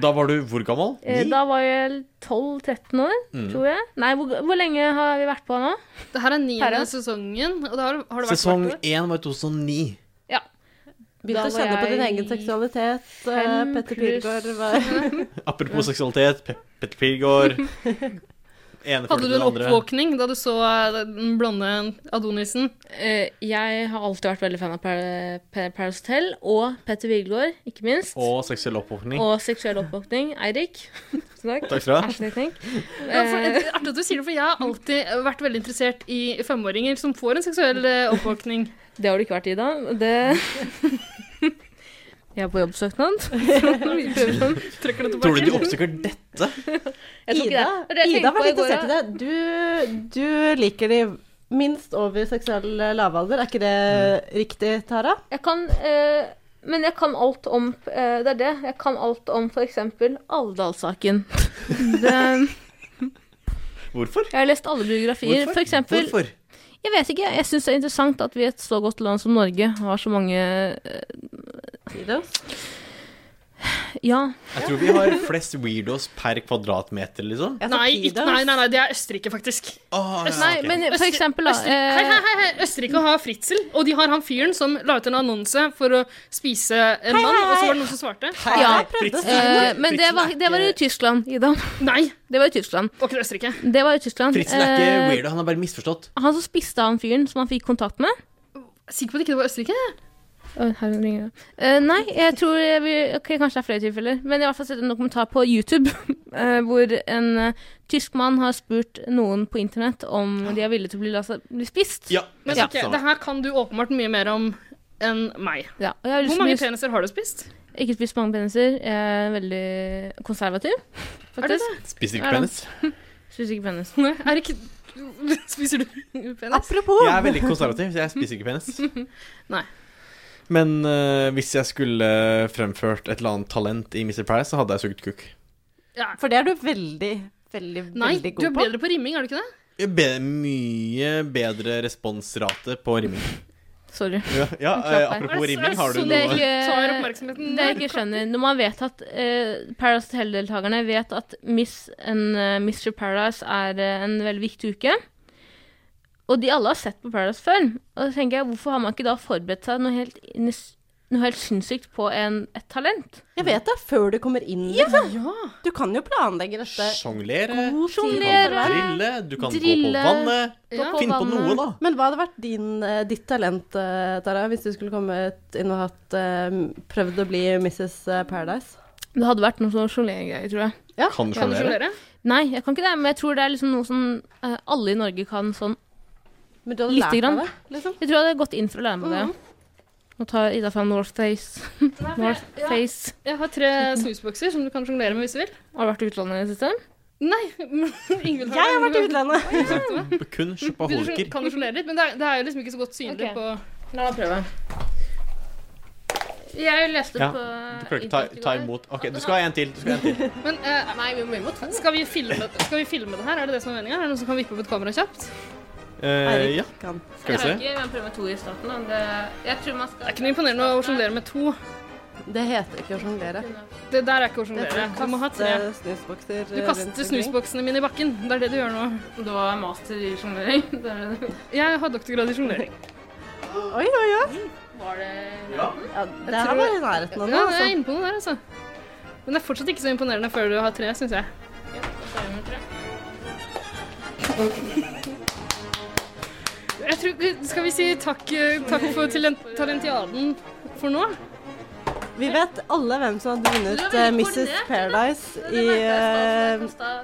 Speaker 2: Da var du hvor gammel?
Speaker 1: Eh,
Speaker 2: Ni?
Speaker 1: Da var jeg 12-13 år,
Speaker 2: Mm.
Speaker 1: tror jeg. Nei, hvor, hvor lenge har vi vært på nå?
Speaker 5: Det her er niende
Speaker 1: Paradise.
Speaker 5: sesongen, og det har, har det vært
Speaker 2: Sesong
Speaker 5: hvert år.
Speaker 2: én var i 2009.
Speaker 1: Da
Speaker 4: Begynte å
Speaker 1: var
Speaker 4: kjenne på din
Speaker 1: jeg
Speaker 4: egen seksualitet. eh,
Speaker 1: fem
Speaker 4: Petter
Speaker 1: pluss.
Speaker 4: Pilgaard var
Speaker 2: Apropos seksualitet, Pe- Petter Pilgaard Ene
Speaker 5: Hadde
Speaker 2: følte
Speaker 5: du
Speaker 2: den
Speaker 5: en
Speaker 2: andre.
Speaker 5: oppvåkning da du så eh, den blonde Adonisen?
Speaker 1: Eh, jeg har alltid vært veldig fan av Par Pa- Paradise Hotel og Petter Pilgaard, ikke minst.
Speaker 2: Og seksuell oppvåkning.
Speaker 1: Og seksuell oppvåkning. Eirik. [LAUGHS] Tusen takk. Eh,
Speaker 2: Takk skal du ha.
Speaker 1: Hashtag tenk.
Speaker 5: Ja, for, det er artig at du sier det, for jeg har alltid vært veldig interessert i femåringer som får en seksuell eh, oppvåkning. [LAUGHS]
Speaker 1: Det har du ikke vært, Ida. Det [LAUGHS] Jeg er på jobbsøknad. Vi prøver sånn.
Speaker 5: Trekker det tilbake.
Speaker 2: Tror du de oppsøker dette?
Speaker 1: Jeg tror ikke
Speaker 4: Ida,
Speaker 1: det. Det var det jeg
Speaker 4: Ida
Speaker 1: tenkte
Speaker 4: var
Speaker 1: på i
Speaker 4: litt
Speaker 1: går,
Speaker 4: interessert i det. Du, du liker de minst over seksuell eh, lavalder. Er ikke det
Speaker 2: Mm.
Speaker 4: riktig, Tara?
Speaker 1: Jeg kan eh, Men jeg kan alt om eh, Det er det. Jeg kan alt om f.eks. Alvdal-saken. [LAUGHS] Det-
Speaker 2: Hvorfor?
Speaker 1: Jeg har lest alle biografier. For eksempel,
Speaker 2: Hvorfor?
Speaker 1: jeg vet ikke. Jeg syns det er interessant at vi i et så godt land som Norge har så mange eh,
Speaker 4: Sidos?
Speaker 1: Ja.
Speaker 2: Jeg tror vi har flest weirdos per kvadratmeter, liksom.
Speaker 4: Jeg sa
Speaker 5: Nei, ikke,
Speaker 4: Tidos.
Speaker 5: nei, nei, nei, det er Østerrike, faktisk.
Speaker 2: Ah, ja,
Speaker 1: Nei,
Speaker 2: ok.
Speaker 1: men for
Speaker 5: Østri-
Speaker 1: eksempel, da
Speaker 5: Østri- Hei,
Speaker 1: eh,
Speaker 5: hei, hei, hei, Østerrike har Fritzel, og de har han fyren som la ut en annonse for å spise en mann, og så var det noen som svarte.
Speaker 1: Ja,
Speaker 2: Fritz-
Speaker 1: eh, men det
Speaker 2: Fritzel
Speaker 1: var,
Speaker 2: er
Speaker 1: det var i
Speaker 2: ikke-
Speaker 1: Tyskland, Ida.
Speaker 5: Nei,
Speaker 1: Det var i Tyskland.
Speaker 5: var ikke det Østerrike?
Speaker 1: Det var i Tyskland.
Speaker 2: Fritzel er ikke
Speaker 1: Eh,
Speaker 2: weirdo, han er bare misforstått.
Speaker 1: Han som spiste han fyren som han fikk kontakt med?
Speaker 5: Sikker på at det ikke var Østerrike?
Speaker 1: Oi, her ringer det. Eh, nei, jeg tror jeg vil, ok, Kanskje det er flere tilfeller. Men jeg har i hvert fall sett en dokumentar på YouTube [LAUGHS] eh, hvor en eh, tysk mann har spurt noen på internett om de er villige til å bli, la seg bli spist.
Speaker 2: Ja,
Speaker 5: Men ok, det her kan du åpenbart mye mer om enn meg.
Speaker 1: Ja, og jeg har
Speaker 5: Hvor
Speaker 1: liksom
Speaker 5: mange
Speaker 1: lyst-
Speaker 5: peniser har du spist?
Speaker 1: ikke spist mange peniser. Jeg er veldig konservativ,
Speaker 5: [LAUGHS] Er du
Speaker 1: faktisk. Ja,
Speaker 2: Spiser ikke
Speaker 1: da.
Speaker 2: penis.
Speaker 1: Spiser ikke penis.
Speaker 5: [LAUGHS] Nei, er ikke... [LAUGHS] Spiser du [LAUGHS] penis?
Speaker 4: Apropos
Speaker 2: Jeg er veldig konservativ, så jeg spiser ikke penis.
Speaker 5: Nei.
Speaker 2: Men eh, hvis jeg skulle fremført et eller annet talent i Mr. Price, så hadde jeg sugd kuk.
Speaker 5: Ja.
Speaker 4: For det er du veldig, veldig,
Speaker 5: Nei,
Speaker 4: veldig
Speaker 5: du
Speaker 4: god
Speaker 5: er
Speaker 4: på.
Speaker 5: bedre på rimming, er du ikke det?
Speaker 2: Jeg be- Mye bedre responsrate på rimming.
Speaker 1: Sorry.
Speaker 2: Ja, ja
Speaker 1: Klapp
Speaker 2: eh,
Speaker 1: her.
Speaker 5: Er
Speaker 2: apropos
Speaker 5: det- er
Speaker 2: rimming,
Speaker 5: det
Speaker 2: har du
Speaker 5: sånn
Speaker 1: Det er
Speaker 2: noe
Speaker 1: ikke,
Speaker 5: Tar oppmerksomheten
Speaker 1: det jeg
Speaker 5: der.
Speaker 1: ikke skjønner Når man vet at eh, Paradise Hotel-deltakerne vet at Miss and eh, Mr. Paradise er eh, en veldig viktig uke, og de alle har sett på Paradise før, og da tenker jeg, hvorfor har man ikke da forberedt seg noe helt, inn i s- noe helt sinnssykt på en, et talent?
Speaker 4: Jeg vet det før du kommer inn. liksom. Du kan jo planlegge dette.
Speaker 2: Sjonglere,
Speaker 4: god tid
Speaker 1: sjonglere.
Speaker 4: forveien.
Speaker 2: drille, du kan gå
Speaker 1: Drille.
Speaker 2: på vannet.
Speaker 1: Gå
Speaker 2: Finn på noe,
Speaker 1: vannet.
Speaker 2: da.
Speaker 4: Men hva hadde vært din, eh, ditt talent, eh, Tara, hvis du skulle kommet inn og hatt, eh, prøvd å bli Mrs. Paradise?
Speaker 1: Det hadde vært noe sånn sjonglering-greier, tror jeg.
Speaker 2: Kan
Speaker 5: Kan du
Speaker 2: sjonglere.
Speaker 5: sjonglere?
Speaker 1: Nei, jeg kan ikke det, men jeg tror det er liksom noe som eh, alle i Norge kan sånn.
Speaker 4: Men du hadde
Speaker 1: Lite
Speaker 4: lært
Speaker 1: grann.
Speaker 4: deg det? Liksom.
Speaker 1: Jeg tror jeg hadde gått inn for å lære meg det. Nå tar Ida fram Northface. Northface.
Speaker 5: Jeg har tre snusbokser som du kan sjonglere med hvis du vil.
Speaker 1: Har du vært i utlandet i det siste?
Speaker 5: Nei, men [LAUGHS] Ingvild
Speaker 4: Jeg har vært i
Speaker 5: det.
Speaker 4: utlandet!
Speaker 5: Oi, sagt det.
Speaker 2: Kun
Speaker 5: Vil du sjon-
Speaker 2: sjopaholiker.
Speaker 5: Kan du sjonglere litt? Men det er, det er jo liksom ikke så godt synlig
Speaker 1: Ok.
Speaker 5: på
Speaker 1: La meg prøve. Jeg leste
Speaker 2: Ja,
Speaker 1: på
Speaker 2: Du klarer ikke ta, ta imot Ok, du skal ha en til. Du skal ha en til.
Speaker 5: Men eh,
Speaker 1: Nei, vi må imot.
Speaker 5: skal, vi filme, skal vi filme det her? Er det det som er meninga? Er det noen som kan vippe opp et kamera kjapt?
Speaker 2: Eh,
Speaker 4: Eirik
Speaker 2: ja,
Speaker 4: kan.
Speaker 2: skal vi se.
Speaker 1: Man prøver med to i starten. men Det, jeg tror man
Speaker 5: Det er
Speaker 1: skal
Speaker 5: ikke noe imponerende å sjonglere med to.
Speaker 4: Det heter ikke å sjonglere.
Speaker 5: Det der er ikke
Speaker 4: Det
Speaker 5: å sjonglere.
Speaker 4: heter å
Speaker 5: Du må ha tre.
Speaker 4: kaste snusbokser
Speaker 5: Du
Speaker 4: rundt
Speaker 5: kaster
Speaker 4: omkring.
Speaker 5: snusboksene mine i bakken. Det er det du gjør nå.
Speaker 1: Det var master i sjonglering. [LAUGHS] Det er det.
Speaker 5: Jeg har doktorgrad i sjonglering.
Speaker 4: Oi, oi, oi.
Speaker 1: Var det
Speaker 4: Ja, det her
Speaker 5: tror-
Speaker 4: var i nærheten av
Speaker 5: Ja,
Speaker 4: noe,
Speaker 5: jeg er
Speaker 4: altså.
Speaker 5: inne på noe der, altså. Men det er fortsatt ikke så imponerende før du har tre, syns jeg. [LAUGHS] jeg tror, skal vi si takk, eh, takk for talent talentiaden for nå?
Speaker 4: Vi vet alle hvem som hadde
Speaker 1: Du
Speaker 4: vunnet
Speaker 1: var
Speaker 4: eh,
Speaker 1: veldig
Speaker 4: Mrs.
Speaker 1: koordinert,
Speaker 4: Paradise i eh,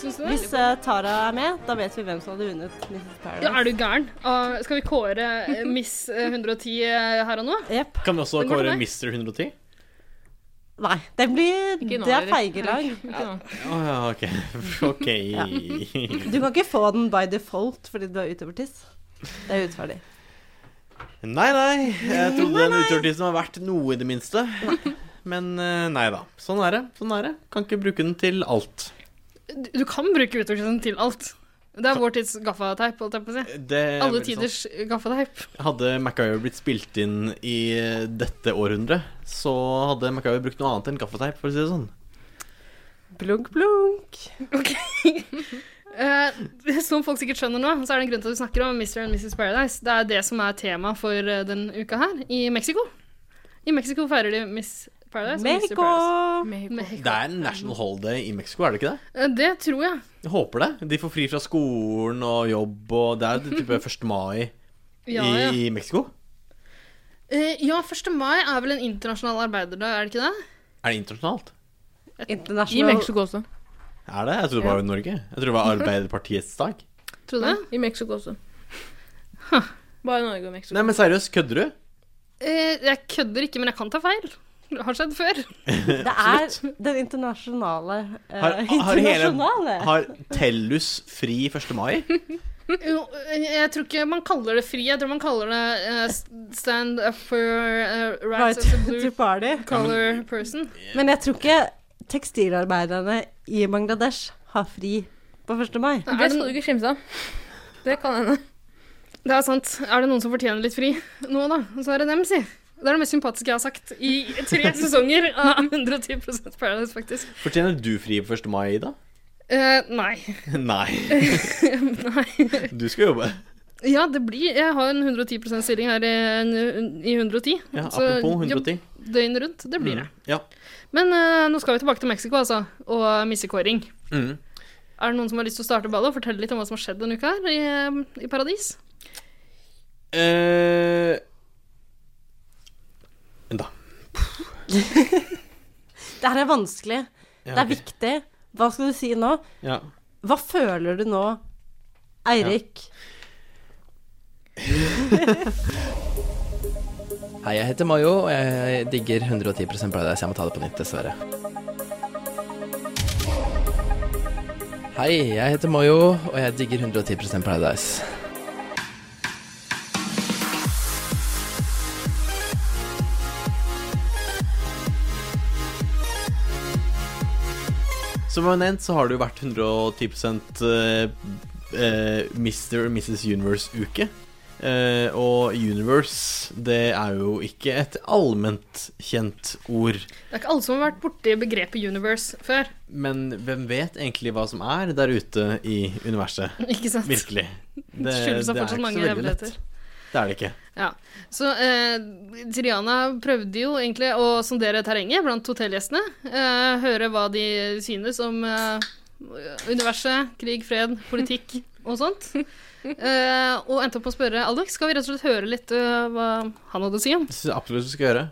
Speaker 5: Syns du det?
Speaker 4: Hvis eh, Tara er med, da vet vi hvem som hadde vunnet Mrs.
Speaker 5: Ja,
Speaker 4: Paradise.
Speaker 5: er du gæren? Ah, skal vi kåre eh, Miss eh, 110 her og nå?
Speaker 4: Jepp.
Speaker 2: Kan vi også
Speaker 5: Den går til
Speaker 2: kåre
Speaker 5: meg.
Speaker 2: Mr. 110?
Speaker 4: Nei, det blir
Speaker 1: Ikke nå,
Speaker 4: Det er
Speaker 1: eller?
Speaker 4: feige lag.
Speaker 1: Herregud, ikke nå.
Speaker 2: Å ja, OK. [LAUGHS] OK.
Speaker 4: Du kan ikke få den by default fordi du er utøvertiss. Det er urettferdig.
Speaker 2: Nei, nei. Jeg trodde den utgjørtissen var verdt noe, i det minste. Men eh, nei da. Sånn er det. Sånn er det. Kan ikke bruke den til alt.
Speaker 5: Du, du kan bruke uttrykkelsen til alt. Det er vår tids gaffateip, holdt jeg på å si.
Speaker 2: Det er
Speaker 5: Alle
Speaker 2: veldig
Speaker 5: tiders gaffateip.
Speaker 2: sant. Hadde MacGyver blitt spilt inn i eh, dette århundret, så hadde MacGyver brukt noe annet enn gaffateip, for å si det sånn.
Speaker 4: Blunk, blunk.
Speaker 5: Eh, [LAUGHS] som folk sikkert skjønner nå, så er det en grunn til at vi snakker om Mr. and Mrs. Paradise. Det er det som er tema for eh, den uka her, i Mexico. I Mexico feirer de Miss Paradise. og Mr.
Speaker 4: Mexico!
Speaker 5: Paradise.
Speaker 2: Det
Speaker 5: Mexico.
Speaker 2: er en national holiday i Mexico, er det ikke det?
Speaker 5: Eh, Det tror jeg.
Speaker 2: Jeg håper det. De får fri fra skolen og jobb, og det er det
Speaker 5: [LAUGHS]
Speaker 2: type 1. mai
Speaker 5: Ja,
Speaker 2: i,
Speaker 5: ja.
Speaker 2: i Mexico.
Speaker 5: Eh, ja, 1. mai er vel en internasjonal arbeiderdag, er det ikke det?
Speaker 2: Er det internasjonalt?
Speaker 1: I
Speaker 4: International
Speaker 1: Mexico også.
Speaker 2: Er det? Jeg trodde det var i Norge. Jeg trodde det
Speaker 5: [LAUGHS]
Speaker 2: var Arbeiderpartiets dag.
Speaker 5: Tror du
Speaker 1: Nei,
Speaker 5: det?
Speaker 1: I Mexico også. Bare Norge og Mexico.
Speaker 2: Nei, men seriøst, kødder du?
Speaker 5: Eh, jeg kødder ikke, men jeg kan ta feil. Det har skjedd før.
Speaker 4: Det er den internasjonale eh,
Speaker 2: Har, har, hele,
Speaker 4: Internasjonale!
Speaker 2: har Tellus fri 1. mai?
Speaker 5: [LAUGHS] Jo, eh, Jeg tror ikke man kaller det fri. Jeg tror man kaller det eh, stand up for eh,
Speaker 4: Right
Speaker 5: rights of the
Speaker 4: [LAUGHS] to
Speaker 5: blue
Speaker 4: party.
Speaker 5: color person.
Speaker 4: Men jeg tror ikke tekstilarbeiderne i Bangladesh har fri på 1. mai.
Speaker 1: Det skal du ikke skimse av. Det kan hende.
Speaker 5: Det er sant. Er det noen som fortjener litt fri nå, da, så er det dem, si. Det er det mest sympatiske jeg har sagt i
Speaker 2: [LAUGHS]
Speaker 5: tre sesonger av 110 Paradise, faktisk.
Speaker 2: Fortjener du fri på 1. mai, Ida? [LAUGHS]
Speaker 5: Eh, nei. [LAUGHS]
Speaker 2: Nei,
Speaker 5: nei.
Speaker 2: du skal jobbe.
Speaker 5: Ja, det blir Jeg har en 110 %-stilling her i, i 110.
Speaker 2: Ja,
Speaker 5: så
Speaker 2: apropos
Speaker 5: jobb
Speaker 2: 110.
Speaker 5: døgnet rundt. Det blir det.
Speaker 2: Mm, ja.
Speaker 5: Men eh, nå skal vi tilbake til Mexico, altså. Og missekåring.
Speaker 2: Mm.
Speaker 5: Er det noen som har lyst til å starte ballet og fortelle litt om hva som har skjedd denne uka her i, eh, i Paradis?
Speaker 2: Eh, da.
Speaker 4: Det her er vanskelig. Det er viktig. Hva skal du si nå?
Speaker 2: Ja.
Speaker 4: Hva føler du nå, Eirik?
Speaker 11: Hei, jeg heter Mayo, og jeg digger 110 Paradise. Jeg må ta det på nytt, dessverre. Hei, jeg heter Mayo, og jeg digger 110 Paradise.
Speaker 2: Som jeg nevnt, så har det jo vært 110 eh, eh, Mr. og Mrs. Universe-uke. Eh, og universe, det er jo ikke et allment kjent ord.
Speaker 5: Det er ikke alle som har vært borti begrepet universe før. [LAUGHS]
Speaker 2: Men hvem vet egentlig hva som er der ute i
Speaker 5: [LAUGHS]
Speaker 2: universet?
Speaker 5: Ikke sant?
Speaker 2: Virkelig. Det, det
Speaker 5: skyldes da fortsatt mange hemmeligheter.
Speaker 2: Det er det ikke.
Speaker 5: Ja. Så eh, Triana prøvde jo egentlig å sondere terrenget blant hotellgjestene. Eh, høre hva de synes om eh, universet, krig, fred, politikk og sånt. Eh, og endte opp med å spørre Alex, skal vi rett og slett høre litt eh, hva han hadde å si om?
Speaker 2: Det synes jeg absolutt du skal gjøre.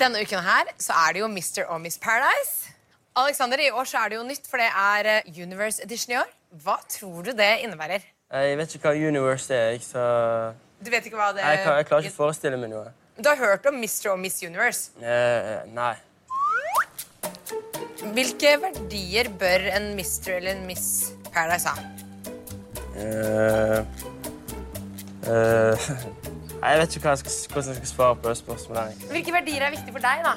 Speaker 12: Denne uken her så er det jo Mr. og Miss Paradise. Alexander, i år så er det jo nytt, for det er eh, Universe Edition i år. Hva tror du det innebærer?
Speaker 6: Jeg vet ikke hva universe er, jeg, så
Speaker 12: Du vet ikke hva det
Speaker 6: jeg, kan- jeg klarer ikke å forestille meg noe.
Speaker 12: Du har hørt om Mr. og Miss Universe.
Speaker 6: Eh, nei. [LAUGHS]
Speaker 12: Hvilke verdier bør en Mr. eller en Miss Paradise ha?
Speaker 6: Eh, eh, nei, jeg vet ikke hva jeg skal, hvordan jeg skal svare på det spørsmålet. her, egentlig.
Speaker 12: Hvilke verdier er viktig for deg, da?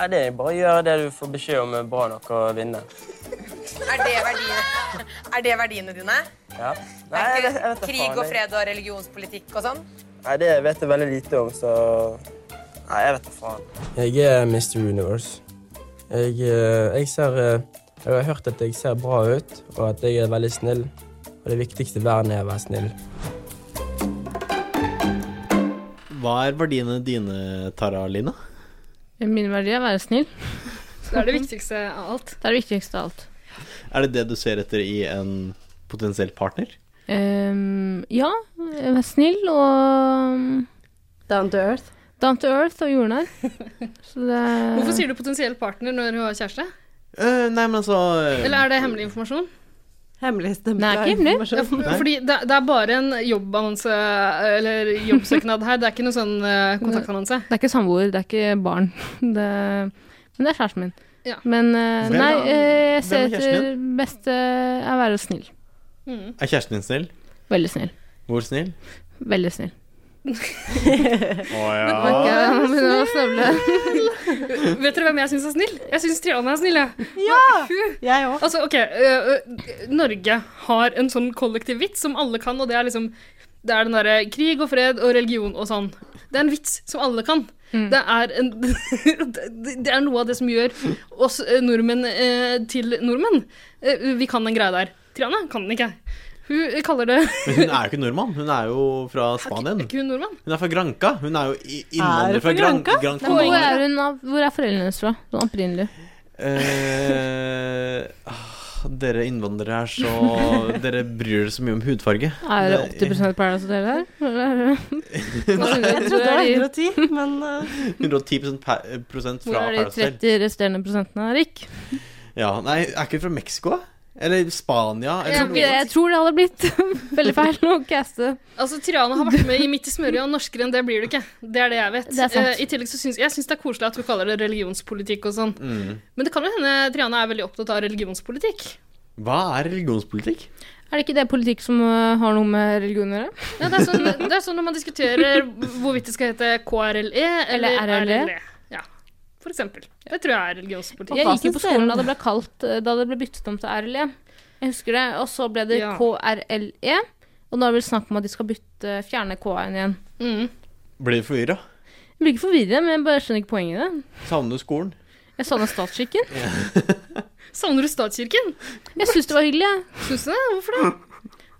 Speaker 6: Nei, det er bare å gjøre det du får beskjed om er bra nok å vinne.
Speaker 12: Er det verdiene, [LAUGHS] er det verdiene dine?
Speaker 6: Ja.
Speaker 12: Nei,
Speaker 6: Nei,
Speaker 12: ikke
Speaker 6: jeg vet, jeg vet da
Speaker 12: krig
Speaker 6: faen,
Speaker 12: og
Speaker 6: jeg-
Speaker 12: fred og religionspolitikk og sånn?
Speaker 6: Nei, det vet jeg veldig lite om, så Nei, jeg vet da faen. Jeg er Mr. Universe. Jeg, eh, jeg ser eh, Jeg har hørt at jeg ser bra ut, og at jeg er veldig snill. Og det viktigste i verden er å være snill.
Speaker 2: Hva er verdiene dine, Tara Lina?
Speaker 1: Min verdi er å være snill.
Speaker 5: Det er det viktigste av alt.
Speaker 1: Det er det viktigste av alt.
Speaker 2: Er det det du ser etter i en potensiell partner?
Speaker 1: Ehm, ja, vær snill og um,
Speaker 4: Down to earth?
Speaker 1: Down to earth og jordnær. Så det
Speaker 5: [LAUGHS] Hvorfor sier du potensiell partner når hun har kjæreste?
Speaker 2: Eh, nei, men altså eh,
Speaker 5: Eller er det hemmelig informasjon?
Speaker 4: Hemmeligstempla
Speaker 1: Nei, ikke hemmelig.
Speaker 5: Ja, for- fordi det, det er bare en jobbannonse eller jobbsøknad her. Det er ikke noen sånn eh, kontaktannonse.
Speaker 1: Det er ikke samboer, det er ikke barn. [LAUGHS] Det, men det er kjæresten min.
Speaker 5: Ja.
Speaker 1: Men eh,
Speaker 2: Hvem er-
Speaker 1: nei, eh, jeg ser
Speaker 2: hvem er kjæresten
Speaker 1: etter beste er å være snill.
Speaker 2: Er kjæresten din snill?
Speaker 1: Veldig snill.
Speaker 2: Hvor snill?
Speaker 1: Veldig snill.
Speaker 2: Å
Speaker 1: Ok,
Speaker 2: ja.
Speaker 1: nå begynner jeg å snøvle.
Speaker 5: Vet dere hvem jeg syns er snill? Jeg syns Triana er snill, jeg.
Speaker 4: Ja! Jeg òg.
Speaker 5: Altså, ok, øh, øh, Norge har en sånn kollektiv vits som alle kan, og det er liksom Det er den derre krig og fred og religion og sånn. Det er en vits som alle kan.
Speaker 1: Mm.
Speaker 5: Det, er en, [LAUGHS] det det er noe av det som gjør oss øh, nordmenn øh, til nordmenn. Eh, vi kan den greia der. Triana kan den ikke. Hun kaller det
Speaker 2: Men hun er jo ikke nordmann. Hun er jo fra Spanien.
Speaker 5: [LAUGHS] Er ikke hun nordmann?
Speaker 2: Hun er fra Granca. Hun er jo i- innvandrer
Speaker 1: Er
Speaker 2: fra
Speaker 1: hun fra
Speaker 2: Gran
Speaker 1: Granca?
Speaker 2: Gran
Speaker 1: Nei, hvor,
Speaker 2: Canaria.
Speaker 1: er hun, av- hvor er foreldrene hennes fra? Sånn opprinnelig.
Speaker 2: Eh, ah, dere innvandrere er så Dere bryr dere så mye om hudfarge.
Speaker 1: Er det 80 Paradise Hotel her? Eller er det-
Speaker 4: Jeg trodde det var 110, men eh,
Speaker 2: 110 pa- prosent
Speaker 1: Hvor
Speaker 2: fra
Speaker 1: er de
Speaker 2: Paradise
Speaker 1: 30
Speaker 2: Hotel.
Speaker 1: resterende prosentene, Rik?
Speaker 2: Ja, nei, er ikke hun fra Mexico? da? Eller Spania?
Speaker 1: Jeg,
Speaker 2: Eller
Speaker 1: tror- jeg tror det hadde blitt [LAUGHS] veldig feil å caste.
Speaker 5: Altså, Triana har vært med i Midt i smørøyet, og norskere enn det blir du ikke. Det er det jeg vet.
Speaker 1: Det er sant.
Speaker 5: Eh, I tillegg så syns jeg syns det er koselig at hun kaller det religionspolitikk og sånn.
Speaker 2: Mm.
Speaker 5: Men det kan jo hende Triana er veldig opptatt av religionspolitikk.
Speaker 2: Hva er religionspolitikk?
Speaker 1: Er det ikke det politikk som øh, har noe med religion å gjøre?
Speaker 5: Ja, det, er sånn, det er sånn når man diskuterer hvorvidt det skal hete KRLE E eller
Speaker 1: Eller
Speaker 4: E.
Speaker 1: RLE.
Speaker 5: RLE. Ja, for eksempel. Det tror jeg er religionspolitikk.
Speaker 1: Jeg gikk jo på skolen da det ble kalt eh, Da det ble byttet om til RLE. Jeg husker det. Og så ble det
Speaker 5: Ja.
Speaker 1: KRLE. E, Og nå er det vel snakk om at de skal bytte, fjerne K-en igjen.
Speaker 5: Mm.
Speaker 2: Blir du forvirra?
Speaker 1: Jeg blir ikke forvirret, men jeg bare skjønner ikke poenget i det.
Speaker 2: Savner du skolen?
Speaker 1: Jeg savner statsskikken.
Speaker 5: Savner du statskirken?
Speaker 1: Jeg syns det var hyggelig, jeg.
Speaker 5: Syns du det? Hvorfor det?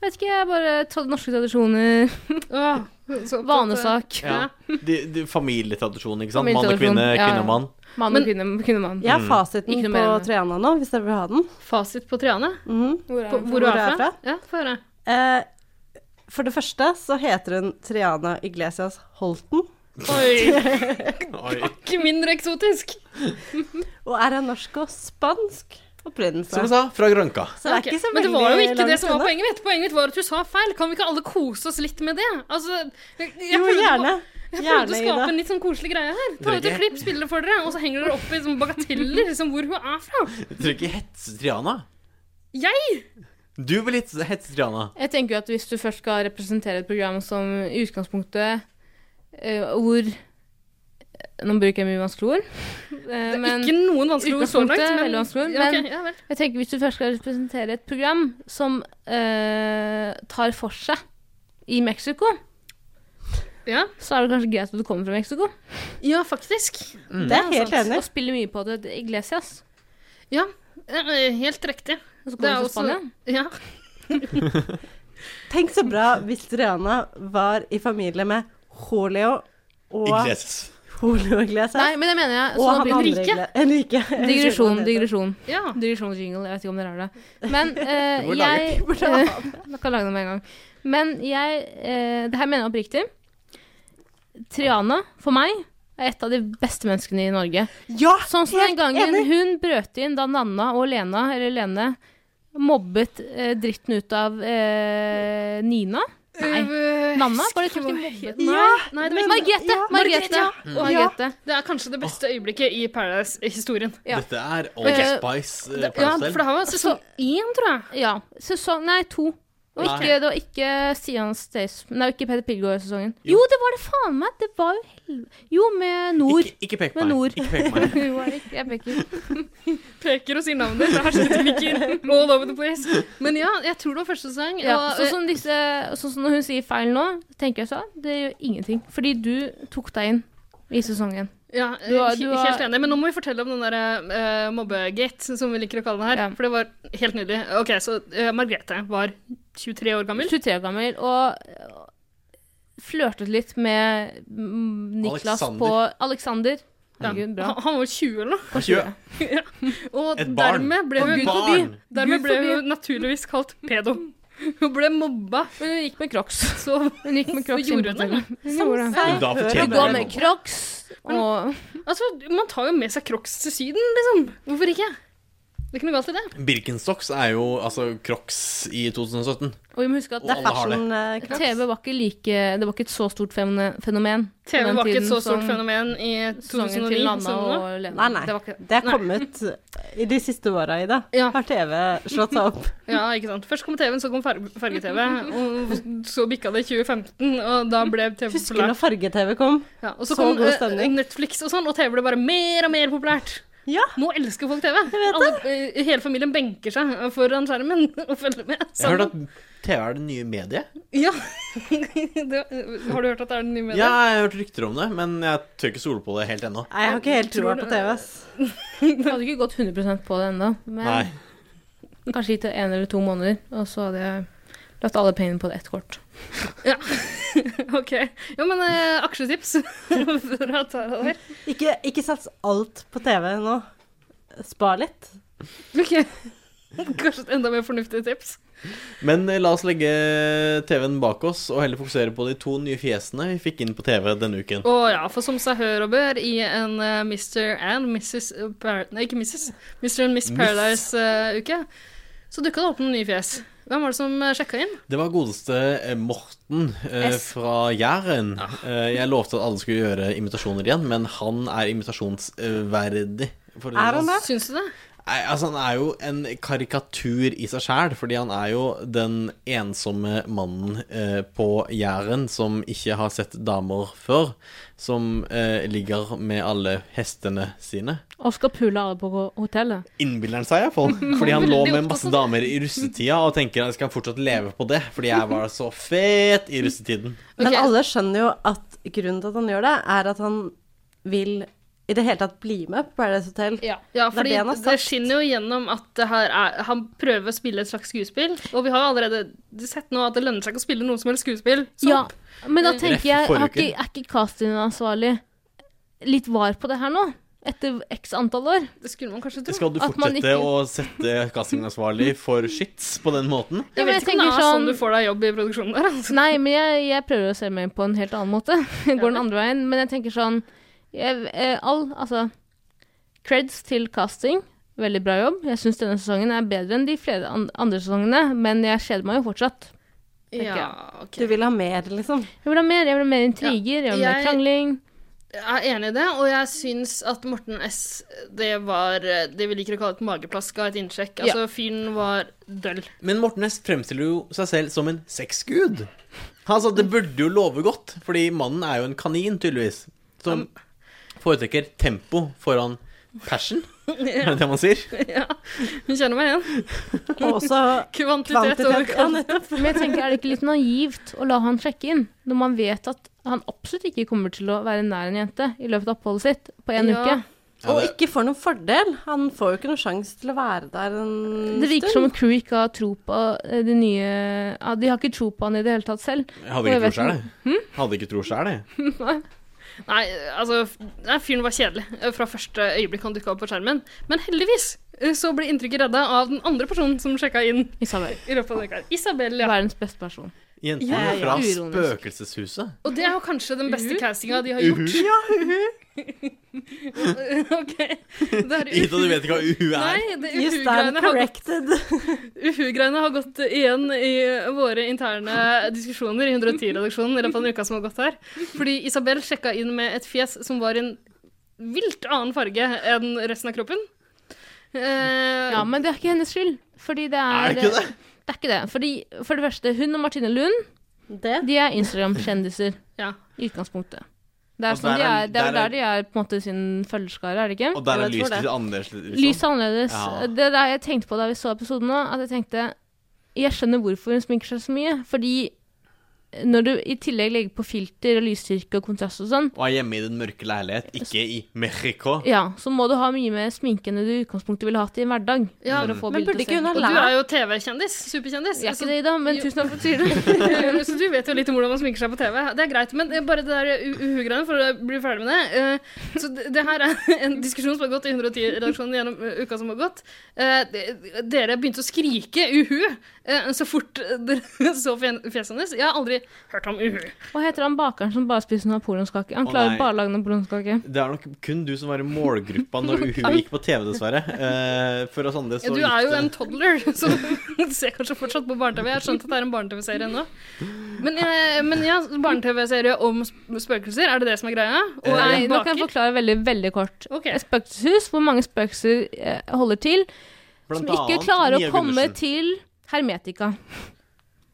Speaker 1: Vet ikke, jeg bare ta norske tradisjoner.
Speaker 5: Åh, så opptatt-
Speaker 1: Vanesak.
Speaker 2: Ja. De, de, familietradisjonen, ikke sant? Mann og
Speaker 1: Familietradisjon,
Speaker 2: kvinne,
Speaker 1: ja.
Speaker 2: kvinne og mann.
Speaker 1: Mann og kvinne, kvinne og mann.
Speaker 4: jeg har
Speaker 2: Mm.
Speaker 4: fasiten
Speaker 1: Ikke noe
Speaker 4: på
Speaker 1: mer enn det.
Speaker 4: Triana nå, hvis dere vil ha den.
Speaker 5: Fasit på Triana?
Speaker 4: Mhm.
Speaker 1: Hvor er
Speaker 5: På,
Speaker 1: hun
Speaker 5: hvor, hun er fra? Ja, få høre.
Speaker 4: Eh, for det første så heter hun Triana Iglesias Holten.
Speaker 5: Oi.
Speaker 2: Oi.
Speaker 5: Ikke mindre eksotisk.
Speaker 4: Og er av norsk og spansk opprinnelse.
Speaker 2: Som jeg sa, fra Granca.
Speaker 4: Så det er
Speaker 5: Ok,
Speaker 4: ikke så
Speaker 5: Men det var jo
Speaker 4: veldig
Speaker 5: ikke det
Speaker 4: langt
Speaker 5: som var
Speaker 4: unna.
Speaker 5: poenget mitt. Poenget mitt var at du sa feil. Kan vi ikke alle kose oss litt med det? Altså, jeg, jeg
Speaker 4: Jo,
Speaker 5: prøvde å-
Speaker 4: gjerne.
Speaker 5: Jeg prøvde
Speaker 4: Gjerne,
Speaker 5: å
Speaker 4: Ida.
Speaker 5: skape en litt sånn koselig greie her. Ta ut et
Speaker 2: Dere-
Speaker 5: klipp, spille det for dere, og så henger dere opp i sånn bagateller liksom, hvor hun er fra.
Speaker 2: Du trenger ikke hetse Triana.
Speaker 5: Jeg!
Speaker 2: Du vil hetse hetse Triana.
Speaker 1: Jeg tenker jo at hvis du først skal representere et program som i utgangspunktet eh, hvor eh, Nå bruker jeg mye vanskelige ord. eh,
Speaker 5: Det
Speaker 1: men
Speaker 5: er ikke noen vanskelige ord så langt.
Speaker 1: utgangspunktet,
Speaker 5: men-
Speaker 1: veldig vanskelige ord,
Speaker 5: Ja, ok,
Speaker 1: men-
Speaker 5: ja vel.
Speaker 1: jeg tenker hvis du først skal representere et program som eh, tar for seg i Mexico,
Speaker 5: ja.
Speaker 1: så er det kanskje greit at du kommer fra Mexico.
Speaker 5: ja, faktisk.
Speaker 4: Det er helt
Speaker 1: sant.
Speaker 4: enig.
Speaker 1: Og spiller mye på det. det er Iglesias.
Speaker 5: Ja, eh, helt riktig.
Speaker 1: Og så
Speaker 5: Det er
Speaker 1: kommer du til
Speaker 5: også-
Speaker 1: Spania.
Speaker 5: Ja.
Speaker 4: Tenk så bra hvis Triana var i familie med Julio og
Speaker 2: Iglesias.
Speaker 4: Julio Iglesias.
Speaker 1: Nei, men det mener jeg.
Speaker 4: og
Speaker 1: Så nå
Speaker 4: han
Speaker 1: blir
Speaker 4: andre
Speaker 1: det
Speaker 4: Igle- Enrique.
Speaker 1: Digresjon, digresjon.
Speaker 5: Ja.
Speaker 1: Digresjonsjingle. Jeg vet ikke om dere har det. Men eh,
Speaker 4: Du må lage-
Speaker 1: jeg
Speaker 4: du må lage
Speaker 1: eh, [LAUGHS] Dere kan lage den med en gang. Men jeg eh, Det her mener jeg oppriktig. Triana, for meg, er et av de beste menneskene i Norge.
Speaker 4: Ja,
Speaker 1: Sånn som den
Speaker 4: helt
Speaker 1: gangen
Speaker 4: enig.
Speaker 1: hun brøt inn da Nanna og Lena, eller Lene, mobbet eh, dritten ut av eh, Nina. Nei.
Speaker 5: Eh,
Speaker 1: Nanna? Var det ikke hun som mobbet?
Speaker 5: Nei,
Speaker 1: Nei.
Speaker 5: nei, det var
Speaker 1: Men- Margrethe,
Speaker 5: Ja,
Speaker 1: Margrethe,
Speaker 5: ja.
Speaker 1: Mm.
Speaker 5: Å,
Speaker 1: Margrethe.
Speaker 5: ja. Det er kanskje det beste øyeblikket i Paradise-historien.
Speaker 2: Dette er Old
Speaker 1: Eh,
Speaker 2: Spice eh,
Speaker 5: Det- Ja,
Speaker 2: Paradise
Speaker 5: for
Speaker 2: Hotel.
Speaker 5: det her var sesong én, tror jeg.
Speaker 1: Ja. Sesong Nei, to. Og
Speaker 2: Nei.
Speaker 1: ikke, det var ikke Stian Stays... Nei, ikke Peter Pilgaard-sesongen. Jo. det var det faen meg! Det var jo helv... Jo, med Nord. [LAUGHS]
Speaker 2: Ikke, ikke pek på
Speaker 1: med
Speaker 2: meg.
Speaker 1: Nord.
Speaker 2: Ikke pek
Speaker 1: [LAUGHS]
Speaker 2: på meg.
Speaker 1: Jo, Erik, jeg peker.
Speaker 5: Peker og sier navnet ditt. Her sitter Mikkel [LAUGHS] all over the place. Men ja, jeg tror det var første sesong.
Speaker 1: Ja,
Speaker 5: og-
Speaker 1: sånn som disse, sånn som når hun sier feil nå, tenker jeg så, det gjør ingenting. Fordi du tok deg inn i sesongen.
Speaker 5: Ja,
Speaker 1: Du har-
Speaker 5: he-
Speaker 1: du har-
Speaker 5: helt enig. Men nå må vi fortelle om den der eh, mobbegate, som vi liker å kalle det her.
Speaker 1: Ja.
Speaker 5: For det var helt nydelig. Ok, så eh, Margrethe var 23 år gammel.
Speaker 1: 23 år gammel, og flørtet litt med mm, Niklas
Speaker 2: Alexander.
Speaker 1: på Alexander. Herregud, bra.
Speaker 5: Han han var 20 eller noe.
Speaker 2: Hva gjør jeg?
Speaker 5: Og
Speaker 2: Et barn.
Speaker 5: dermed ble
Speaker 1: Og
Speaker 5: hun,
Speaker 1: Gud forby.
Speaker 5: dermed
Speaker 1: Gud
Speaker 5: ble
Speaker 1: forby.
Speaker 5: hun naturligvis kalt pedo.
Speaker 1: [LAUGHS]
Speaker 5: Hun ble mobba.
Speaker 1: Men hun gikk med crocs.
Speaker 5: Så
Speaker 1: Hun gikk med crocs inn
Speaker 5: gjorde
Speaker 1: på
Speaker 5: hun
Speaker 1: hotellet. Hun gjorde det.
Speaker 2: Men Da
Speaker 1: Hun
Speaker 2: fortjener
Speaker 1: går
Speaker 2: du
Speaker 1: med
Speaker 2: det.
Speaker 1: crocs og
Speaker 5: altså, man tar jo med seg crocs til Syden, liksom. Hvorfor ikke? Det er ikke noe galt i det.
Speaker 2: Birkenstocks er jo altså Crocs i 2017.
Speaker 1: Og vi må huske at
Speaker 2: Og alle har det.
Speaker 1: TV var ikke like Det var ikke et så stort femone- fenomen. på
Speaker 5: TV
Speaker 1: den
Speaker 5: var ikke et
Speaker 1: tiden
Speaker 5: så stort
Speaker 1: som-
Speaker 5: fenomen i
Speaker 1: sesongen til
Speaker 5: 2009.
Speaker 1: Nanna
Speaker 5: sånn nå.
Speaker 1: og Lena.
Speaker 4: Nei, nei. Det,
Speaker 5: var ikke-
Speaker 4: er
Speaker 5: Nei.
Speaker 4: kommet i de siste åra, Ida. Har TV slått seg opp?
Speaker 5: Ja, ikke sant. Først kom TV-en, så kom farg- farge-TV. Og så bikka det 2015, og da ble TV
Speaker 4: Husker
Speaker 5: populært.
Speaker 4: når farge-TV kom?
Speaker 5: Ja, og
Speaker 4: Så
Speaker 5: så, kom
Speaker 4: god
Speaker 5: eh,
Speaker 4: stemning.
Speaker 5: Netflix og sånn, og TV ble bare mer og mer populært. Nå elsker folk TV. Alle- eh, hele familien benker seg foran skjermen og følger med.
Speaker 2: Jeg har hørt at TV er det nye mediet.
Speaker 5: Ja. [LAUGHS] det, har du hørt at det er den
Speaker 2: Ja,
Speaker 5: nye medien?
Speaker 2: jeg har hørt rykter om det, men jeg tør ikke stole på det helt ennå.
Speaker 4: Nei, jeg har ikke helt troa på TV, ass.
Speaker 1: Jeg hadde ikke gått 100 på det ennå. Men
Speaker 2: Nei.
Speaker 1: kanskje gitt det en eller to måneder, og så hadde jeg lagt alle pengene på ett kort.
Speaker 5: [LAUGHS] Ok. Jo, men eh, aksjetips [LAUGHS] fra Tara der.
Speaker 4: Ikke, ikke sats alt på TV nå. Spar litt.
Speaker 5: Ok. Kanskje et enda mer fornuftig tips.
Speaker 2: Men eh, la oss legge TV-en bak oss og heller fokusere på de to nye fjesene vi fikk inn på TV denne uken.
Speaker 5: Å ja, for som seg hør og bør i en eh, Mr. and Mrs. Par nei, ikke Mrs. Mr. and Miss
Speaker 2: Miss.
Speaker 5: Paradise-uke, så dukka det opp noen nye fjes. Hvem var det som sjekka inn?
Speaker 2: Det var godeste eh, Morten eh,
Speaker 5: S.
Speaker 2: fra Jæren. Eh, jeg lovte at alle skulle gjøre imitasjoner igjen, men han er imitasjonsverdig. for å si
Speaker 5: Er han
Speaker 2: sånn.
Speaker 5: det? Syns du det?
Speaker 2: Nei, altså Han er jo en karikatur i seg sjæl, fordi han er jo den ensomme mannen eh, på Jæren som ikke har sett damer før, som eh, ligger med alle hestene sine.
Speaker 1: Og skal pule alle på hotellet.
Speaker 2: Innbiller han seg iallfall, fordi han lå med masse damer i russetida og tenker at jeg skal fortsatt leve på det, fordi jeg var så fet i russetiden.
Speaker 4: Men alle skjønner jo at grunnen til at han gjør det, er at han vil i det hele tatt bli med på Paradise Hotel.
Speaker 5: Ja,
Speaker 4: Det er
Speaker 5: fordi
Speaker 4: det han har
Speaker 5: det, skinner jo gjennom at det her er, han prøver å spille et slags skuespill. Og vi har jo allerede sett nå at det lønner seg ikke å spille noe som helst skuespill. Så
Speaker 1: Ja, men da
Speaker 5: Eh,
Speaker 1: tenker
Speaker 5: Ref
Speaker 1: jeg,
Speaker 5: forrige
Speaker 1: har
Speaker 5: uke.
Speaker 1: ikke, er ikke castingansvarlig litt var på det her nå? Etter x antall år?
Speaker 5: Det skulle man kanskje
Speaker 2: Skal du fortsette å sette castingansvarlig for shits på den måten?
Speaker 1: Ja,
Speaker 5: Jeg
Speaker 1: men
Speaker 5: vet
Speaker 1: jeg
Speaker 5: ikke om
Speaker 1: tenker
Speaker 5: det er sånn
Speaker 1: sånn-
Speaker 5: du får deg jobb i produksjonen der. Altså.
Speaker 1: [LAUGHS] Nei, men jeg, jeg prøver å se mer på en helt annen måte. [LAUGHS] Jeg går den andre veien. Men jeg tenker sånn jeg, eh, all, Altså Creds til casting. Veldig bra jobb. Jeg syns denne sesongen er bedre enn de flere an andre sesongene, men jeg kjeder meg jo fortsatt. tenker
Speaker 5: Ja,
Speaker 1: jeg.
Speaker 5: ok.
Speaker 4: Du vil ha mer,
Speaker 5: [LAUGHS]
Speaker 4: liksom?
Speaker 1: Jeg vil ha mer. Jeg vil ha mer intriger. Jeg vil ha mer
Speaker 5: jeg-
Speaker 1: krangling.
Speaker 5: Jeg er enig i det, og jeg syns at Morten S, det var eh, det vi liker å kalle et mageplask av et innsjekk. Altså,
Speaker 2: Ja.
Speaker 5: fyren var døll.
Speaker 2: Men Morten Næss fremstiller jo seg selv som en sexgud. Altså, det burde jo love godt, fordi mannen er jo en kanin, tydeligvis. Som foretrekker tempo foran
Speaker 5: [LAUGHS]
Speaker 2: passion, er det det man sier?
Speaker 5: Ja, hun kjenner meg igjen.
Speaker 4: Og også
Speaker 5: Kvantitet over
Speaker 4: kvantitet,
Speaker 1: [LAUGHS]
Speaker 4: ja,
Speaker 5: kvalitet.
Speaker 1: Men jeg tenker, er det ikke litt naivt å la han sjekke inn, når man vet at han absolutt ikke kommer til å være nær en jente i løpet av oppholdet sitt på en
Speaker 4: Ja.
Speaker 1: uke?
Speaker 4: Og ikke får noen fordel. Han får jo ikke noen sjanse til å være der en stund.
Speaker 1: Det virker som om crew ikke har tro på eh, de nye ja, De har ikke tro på han i det hele tatt selv.
Speaker 2: Jeg hadde
Speaker 1: Og
Speaker 2: ikke
Speaker 1: jeg
Speaker 2: tro sjæl, jeg.
Speaker 1: vet
Speaker 5: Hm?
Speaker 2: Jeg Hadde ikke tro sjæl, jeg.
Speaker 5: Nei, altså f- nei, Fyren var kjedelig eh, fra første øyeblikk han dukka opp på skjermen. Men heldigvis eh, så ble inntrykket redda av den andre personen som sjekka inn.
Speaker 1: Isabel.
Speaker 5: I løpet av den kvelden. Isabel, ja.
Speaker 1: Verdens beste person.
Speaker 2: Jentene
Speaker 5: Ja, ja.
Speaker 2: fra
Speaker 5: Uironisk.
Speaker 2: Spøkelseshuset.
Speaker 5: Og det er jo kanskje den beste castinga de har
Speaker 2: Uhu.
Speaker 5: gjort.
Speaker 2: Ja,
Speaker 5: [LAUGHS] ok. Det er
Speaker 2: Ida, du vet ikke hva uhu er?
Speaker 5: Nei, det
Speaker 4: You stand
Speaker 5: uhu-greiene har gått Uhu-greiene har gått igjen i våre interne diskusjoner i 110-redaksjonen i løpet av den uka som har gått her. Fordi Isabel sjekka inn med et fjes som var i en vilt annen farge enn resten av kroppen. Eh,
Speaker 1: Ja, men det er ikke hennes skyld. Fordi det er eh,
Speaker 5: Er det ikke det?
Speaker 1: Det er ikke det. Fordi, for det første, hun og Martine Lund, de er Instagram-kjendiser.
Speaker 5: Ja.
Speaker 1: I utgangspunktet. Det er,
Speaker 2: Og
Speaker 1: sånn
Speaker 2: der
Speaker 1: de
Speaker 2: er-
Speaker 1: er, det er jo
Speaker 2: der
Speaker 1: der
Speaker 2: er-
Speaker 1: de er på en måte sin følgerskare, er det ikke?
Speaker 2: Og der er
Speaker 1: Jeg tror
Speaker 2: lyset
Speaker 1: det.
Speaker 2: litt annerledes. liksom.
Speaker 1: Lyset er annerledes.
Speaker 2: Ja.
Speaker 1: Det er det jeg tenkte på da vi så episoden nå, at jeg tenkte Jeg skjønner hvorfor hun sminker seg så mye. Fordi når du i tillegg legger på filter og lysstyrke og kontrast og sånn,
Speaker 2: Og er hjemme i den mørke leilighet, ikke i Mexico.
Speaker 1: ja, så må du ha mye mer sminke enn du i utgangspunktet ville hatt i en hverdag.
Speaker 5: Ja,
Speaker 1: for å få
Speaker 5: men
Speaker 1: bildet til å
Speaker 5: burde
Speaker 1: se
Speaker 5: ikke hun
Speaker 1: ut.
Speaker 5: ha lært? Og du er jo TV-kjendis. Superkjendis. Altså,
Speaker 1: Jeg er ikke det, Ida, men tusen takk for at du sier
Speaker 5: det. [LAUGHS] så du vet jo litt om hvordan man sminker seg på TV. Det er greit, men eh, bare det der u- uhu-greiene, for å bli ferdig med det. eh, Så det, det her er [LAUGHS] en diskusjon som har gått i 110-redaksjonen gjennom eh, uka som har gått. Eh, [LAUGHS] de- Dere begynte å skrike uhu eh, så fort dere så fjen- fjeset hennes. Jeg har aldri hørt om uhu.
Speaker 1: Hva heter han bakeren som bare spiser napoleonskake? Han
Speaker 2: Å,
Speaker 1: klarer
Speaker 2: nei.
Speaker 1: bare å lage napoleonskake.
Speaker 2: Det er nok kun du som var i målgruppa når Uhu gikk på TV, dessverre. Eh, for oss andre
Speaker 5: Ja,
Speaker 2: så
Speaker 5: du
Speaker 2: gikk
Speaker 5: er jo
Speaker 2: det-
Speaker 5: en toddler, [LAUGHS] så du ser kanskje fortsatt på barne-TV. Jeg har skjønt at det er en barne-TV-serie ennå. Men, eh, men ja, barne-TV-serie om sp- spøkelser, er det det som er greia?
Speaker 2: Eh,
Speaker 5: Og
Speaker 1: Nei,
Speaker 5: Eh, en
Speaker 1: nå kan
Speaker 5: baker?
Speaker 1: jeg forklare veldig, veldig kort. Et spøkelseshus hvor mange spøkelser eh, holder til,
Speaker 5: Blant
Speaker 1: som ikke
Speaker 5: annet
Speaker 1: klarer å
Speaker 5: Mia
Speaker 1: komme
Speaker 5: Gundersen.
Speaker 1: til Hermetika.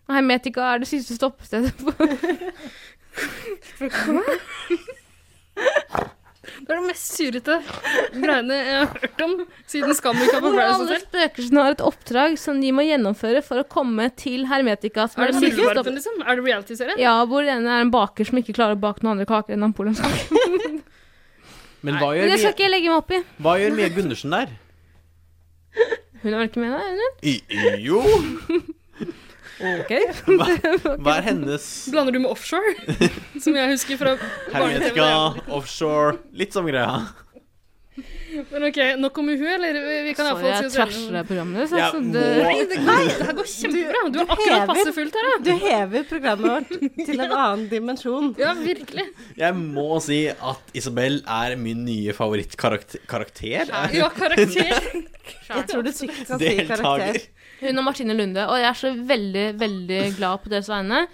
Speaker 1: Og Hermetika er det siste [LAUGHS] stoppestedet på
Speaker 5: Det er det mest surrete greiene jeg har hørt om siden Skam ikke har på
Speaker 1: Hvor
Speaker 5: Paradise
Speaker 1: alle
Speaker 5: Hotel.
Speaker 1: spøkelsene har et oppdrag som de må gjennomføre for å komme til Hermetika. Som
Speaker 5: Er det
Speaker 1: den siste
Speaker 5: Muldvarpen,
Speaker 1: stopp-
Speaker 5: liksom? Er det reality-serie?
Speaker 1: Ja, hvor den ene er en baker som ikke klarer å bake noen andre kaker enn napoleonskake.
Speaker 2: Men hva
Speaker 1: Men
Speaker 2: gjør,
Speaker 1: det skal
Speaker 2: Mia,
Speaker 1: ikke jeg legge meg opp i.
Speaker 2: hva gjør Mia Gundersen der?
Speaker 1: Hun er vel ikke med der, er hun?
Speaker 2: I, jo! Hva, hva er hennes
Speaker 5: Blander du med
Speaker 1: [LAUGHS]
Speaker 5: offshore? Som jeg husker fra barne-TV.
Speaker 2: hermetika, offshore, litt samme greia?
Speaker 5: Men ok, nok om uhu, eller? Vi- Vi kan
Speaker 1: Sorry,
Speaker 5: iallfall
Speaker 1: jeg trasher deg programmet ditt.
Speaker 2: Ja,
Speaker 1: altså.
Speaker 2: må-
Speaker 1: Det-
Speaker 5: Nei, det her går kjempebra. Du er akkurat passe fullt her,
Speaker 4: Du hever programmet vårt til
Speaker 5: [LAUGHS]
Speaker 4: en annen dimensjon.
Speaker 5: Ja, virkelig.
Speaker 2: Jeg må si at Isabel er min nye favorittkarakter.
Speaker 5: Ja, karakter.
Speaker 4: Jeg tror du trygt kan si karakter.
Speaker 2: Deltaker.
Speaker 1: Hun og Martine Lunde. Og jeg er så veldig, veldig glad på deres vegne.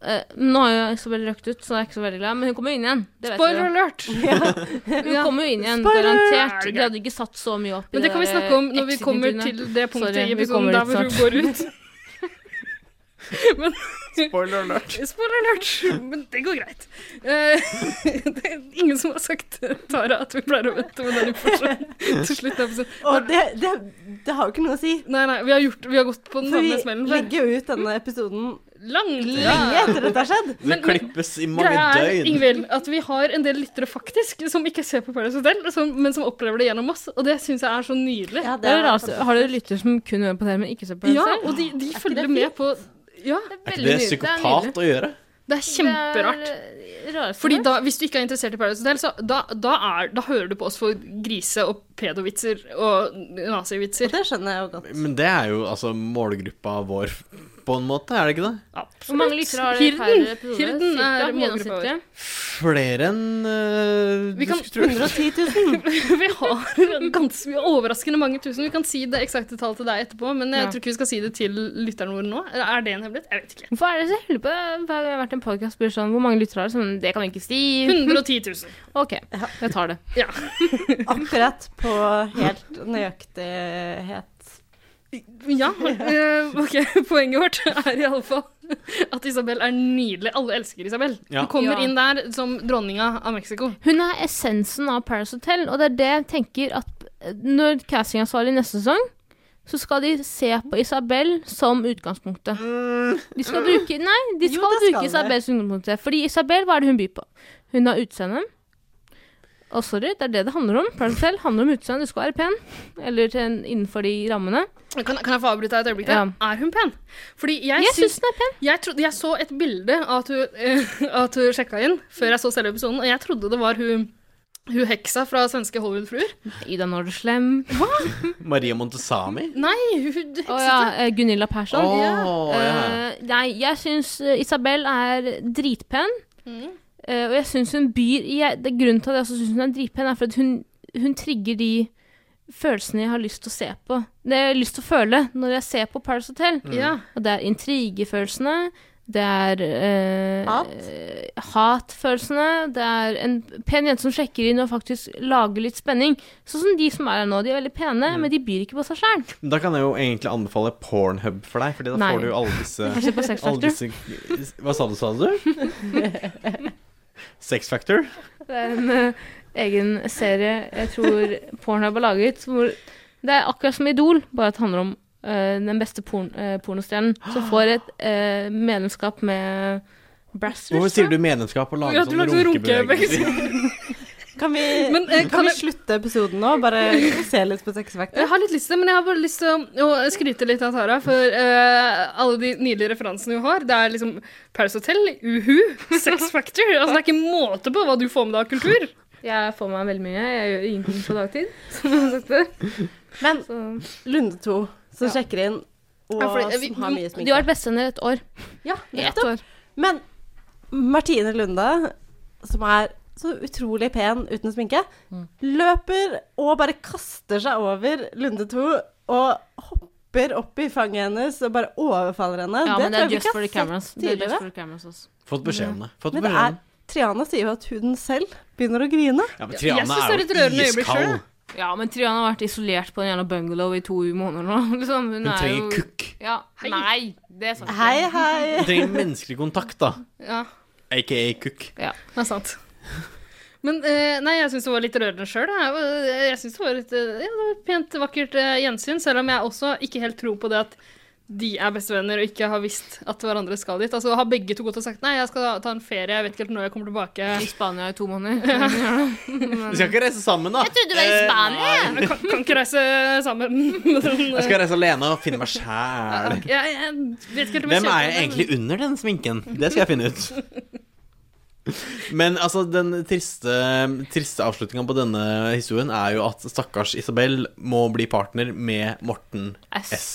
Speaker 1: Eh, nå har jo Isabel røkt ut, så jeg er ikke så veldig glad, men hun kommer jo inn igjen. [LAUGHS] Det vet
Speaker 5: Spoiler
Speaker 1: dere.
Speaker 5: alert!
Speaker 1: Hun kommer jo inn igjen,
Speaker 5: Spoiler!
Speaker 1: garantert.
Speaker 5: Er det
Speaker 1: De hadde ikke satt så mye opp i
Speaker 5: Men det kan vi
Speaker 1: der
Speaker 5: snakke om når vi kommer
Speaker 1: exit-intervjuene.
Speaker 5: til det punktet
Speaker 1: Sorry,
Speaker 5: i
Speaker 1: vi
Speaker 5: episoden
Speaker 1: kommer
Speaker 5: der
Speaker 1: dit
Speaker 5: hvor hun
Speaker 1: snart.
Speaker 5: går ut.
Speaker 1: [LAUGHS]
Speaker 5: [LAUGHS] Men,
Speaker 2: Spoiler alert.
Speaker 5: Spoiler alert. Men det går greit. Eh, [LAUGHS] det er ingen som har sagt Tara at vi pleier å vente med den informasjonen til slutt. av episoden.
Speaker 4: Og det, det, det har jo ikke noe å si.
Speaker 5: Nei, nei, vi har, gjort, vi har gått på den
Speaker 4: For vi
Speaker 5: samme smellen før.
Speaker 4: legger jo ut denne episoden
Speaker 5: Langt.
Speaker 4: lenge etter dette har skjedd.
Speaker 2: Det klippes i mange
Speaker 5: Greia er,
Speaker 2: døgn.
Speaker 5: Ingvild, at vi har en del lyttere faktisk som ikke ser på Paradise Hotel, som, men som opplever det gjennom oss, og det syns jeg er så nydelig.
Speaker 1: Det er det rareste. Har dere lytter som kun hører på dere, men ikke ser på dere
Speaker 5: Ja,
Speaker 1: selv?
Speaker 5: og de, de følger med på Ja.
Speaker 2: Er ikke det psykopat å gjøre?
Speaker 5: Det er kjemperart. Fordi da, hvis du ikke er interessert i Paradise Hotel, så da, da, er, da hører du på oss for grise- og pedovitser og nazivitser.
Speaker 4: Det skjønner jeg jo godt.
Speaker 2: Men det er jo altså målgruppa vår, på en måte, er det ikke det?
Speaker 1: Hvor mange lyttere har dere per
Speaker 5: Hirden,
Speaker 1: episode?
Speaker 5: Hirden
Speaker 1: Cirka,
Speaker 5: er målgruppa vår.
Speaker 1: gjennomsnittlig.
Speaker 2: Flere enn eh,
Speaker 5: Vi
Speaker 2: du
Speaker 5: kan-
Speaker 2: skulle tro.
Speaker 4: 110 [LAUGHS] 000.
Speaker 5: [LAUGHS] vi har ganske mye overraskende mange tusen. Vi kan si det eksakte tallet til deg etterpå, men jeg
Speaker 1: Ja.
Speaker 5: tror ikke vi skal si det til lytterne våre nå. Eller Er det en hemmelighet? Jeg vet ikke.
Speaker 1: Hvorfor er det så hyggelig på hver gang jeg har vært i en podcast, blir det sånn Hvor mange lyttere har dere? Sånn, det kan vi ikke si.
Speaker 5: 110
Speaker 1: [LAUGHS]
Speaker 5: 000.
Speaker 1: OK, jeg tar det.
Speaker 5: Ja.
Speaker 4: Akkurat på helt nøyaktighet.
Speaker 5: [LAUGHS] Ja, eh, ok. [LAUGHS] Poenget vårt er iallfall at Isabel er nydelig. Alle elsker Isabel.
Speaker 1: Ja.
Speaker 5: Hun kommer
Speaker 1: Ja.
Speaker 5: inn der som dronninga av Mexico.
Speaker 1: Hun er essensen av Paris Hotel, og det er det jeg tenker at eh, når castingansvarlig neste sesong, så skal de se på Isabel som utgangspunktet. De skal bruke Nei, de
Speaker 4: Mm.
Speaker 1: skal
Speaker 4: Jo, det skal
Speaker 1: bruke
Speaker 4: de.
Speaker 1: Isabel som utgangspunktet. Fordi Isabel, hva er det hun byr på? Hun har utseende. Og sorry, det er det det handler om. Paris Hotel handler om utseende. Du skal være pen. Eller til en, innenfor de rammene.
Speaker 5: Kan, kan jeg få avbryte deg et øyeblikk?
Speaker 1: Ja.
Speaker 5: der? Er hun pen? Fordi jeg,
Speaker 1: Jeg syns hun er
Speaker 5: pen. Jeg, trodde, jeg så et bilde av at hun, eh, at hun sjekka inn før jeg så selve episoden, og jeg trodde det var hun, hun heksa fra svenske Hollywood-fruer.
Speaker 1: Ida Nordeslem.
Speaker 2: [LAUGHS] Maria Montesami?
Speaker 5: Nei, hun hun hekset
Speaker 1: Å ja, eh, Gunilla Persson.
Speaker 2: Å,
Speaker 1: Eh, nei, jeg syns eh, Isabel er dritpen. Eh, og jeg syns hun byr jeg, det, er Grunnen til at jeg også syns hun er dritpen, er for at hun, hun trigger de følelsene jeg har lyst til å se på. Det jeg har lyst til å føle når jeg ser på Paris Hotel.
Speaker 5: Mm. Ja.
Speaker 1: Og det er intrigefølelsene. Det er eh,
Speaker 5: Hat.
Speaker 1: eh, hatfølelsene. Det er en pen jente som sjekker inn og faktisk lager litt spenning. Sånn som de som er her nå. De er veldig pene, men de byr ikke på seg sjæl.
Speaker 2: Da kan jeg jo egentlig anbefale Pornhub for deg, Fordi da
Speaker 1: Nei.
Speaker 2: får du jo alle disse,
Speaker 1: Jeg ser på [LAUGHS] Sex
Speaker 2: alle disse Hva sa du, sa du? Sex Factor?
Speaker 1: Det er en eh, egen serie jeg tror Pornhub har laget. Hvor det er akkurat som Idol, bare at det handler om eh, den beste porn eh, pornostjernen som får et eh, medlemskap med Brassers.
Speaker 2: Hvorfor sier du medlemskap og lager sånne runkebevegelser?
Speaker 4: Kan vi,
Speaker 5: Men, eh,
Speaker 4: kan
Speaker 5: kan
Speaker 4: vi
Speaker 5: jeg-
Speaker 4: slutte episoden nå? Bare se litt på Sex Factor?
Speaker 5: Jeg har litt lyst til det, men jeg har bare lyst til å, å skryte litt av Tara for eh, alle de nydelige referansene hun har. Det er liksom Paris Hotel, Uhu, Sex Factor. Altså, det er ikke måte på hva du får med deg av kultur.
Speaker 1: Jeg får meg veldig mye. Jeg gjør ingenting på dagtid. Som jeg har sagt før.
Speaker 4: Men
Speaker 1: Så,
Speaker 4: Lunde 2, som sjekker inn, og
Speaker 1: Ja, fordi, eh, vi-
Speaker 4: som har mye
Speaker 1: De har
Speaker 4: sminke.
Speaker 1: vært bestevenner et år.
Speaker 4: Ja,
Speaker 1: I ett
Speaker 4: nettopp.
Speaker 1: år.
Speaker 4: Men Martine Lunde, som er så utrolig pen uten sminke, løper og bare kaster seg over Lunde 2 og hopper opp i fanget hennes og bare overfaller henne.
Speaker 1: Ja, men det
Speaker 4: tror
Speaker 1: er
Speaker 4: jeg vi
Speaker 1: just
Speaker 4: ikke
Speaker 1: for
Speaker 4: har
Speaker 1: the
Speaker 4: sett
Speaker 1: cameras. Det er just
Speaker 4: tidligere.
Speaker 1: for the cameras altså. også.
Speaker 2: Fått beskjed om det. Fått
Speaker 4: Men det
Speaker 2: beskjed om
Speaker 4: er Triana sier jo at hun selv begynner å grine.
Speaker 2: Ja, men Triana
Speaker 1: synes
Speaker 2: er jo iskald.
Speaker 1: Ja, men Triana har vært isolert på en jævla bungalow i to måneder nå. [LAUGHS] Liksom. Hun,
Speaker 2: Hun
Speaker 1: er
Speaker 2: trenger
Speaker 1: jo-
Speaker 2: kukk.
Speaker 1: Ja. Nei, det sa jeg ikke.
Speaker 4: Hei, [LAUGHS] hei.
Speaker 2: Hun trenger menneskelig kontakt, da.
Speaker 5: Ja,
Speaker 2: Aka kukk.
Speaker 1: Ja,
Speaker 5: det er sant. Men eh, nei, jeg syns det var litt rørende sjøl. Jeg, jeg synes det var litt eh, ja, det var et pent, vakkert eh, gjensyn, selv om jeg også ikke helt tror på det at de er bestevenner og ikke har visst at hverandre skal dit. Altså, Har begge to gått og sagt nei, jeg skal ta en ferie, jeg vet ikke helt når jeg kommer tilbake. I
Speaker 1: Spania i to måneder.
Speaker 2: Vi skal ikke reise sammen, da. Eh, nei.
Speaker 5: Kan, kan ikke reise sammen. [LAUGHS]
Speaker 2: Jeg skal reise alene og finne meg sjæl.
Speaker 5: Jeg, jeg vet ikke helt om
Speaker 2: Hvem er
Speaker 5: kjøper
Speaker 2: jeg
Speaker 5: det,
Speaker 2: egentlig under den sminken? Det skal jeg finne
Speaker 5: [LAUGHS]
Speaker 2: ut. Men altså, den triste, triste avslutninga på denne historien er jo at stakkars Isabel må bli partner med Morten
Speaker 5: S.
Speaker 2: S.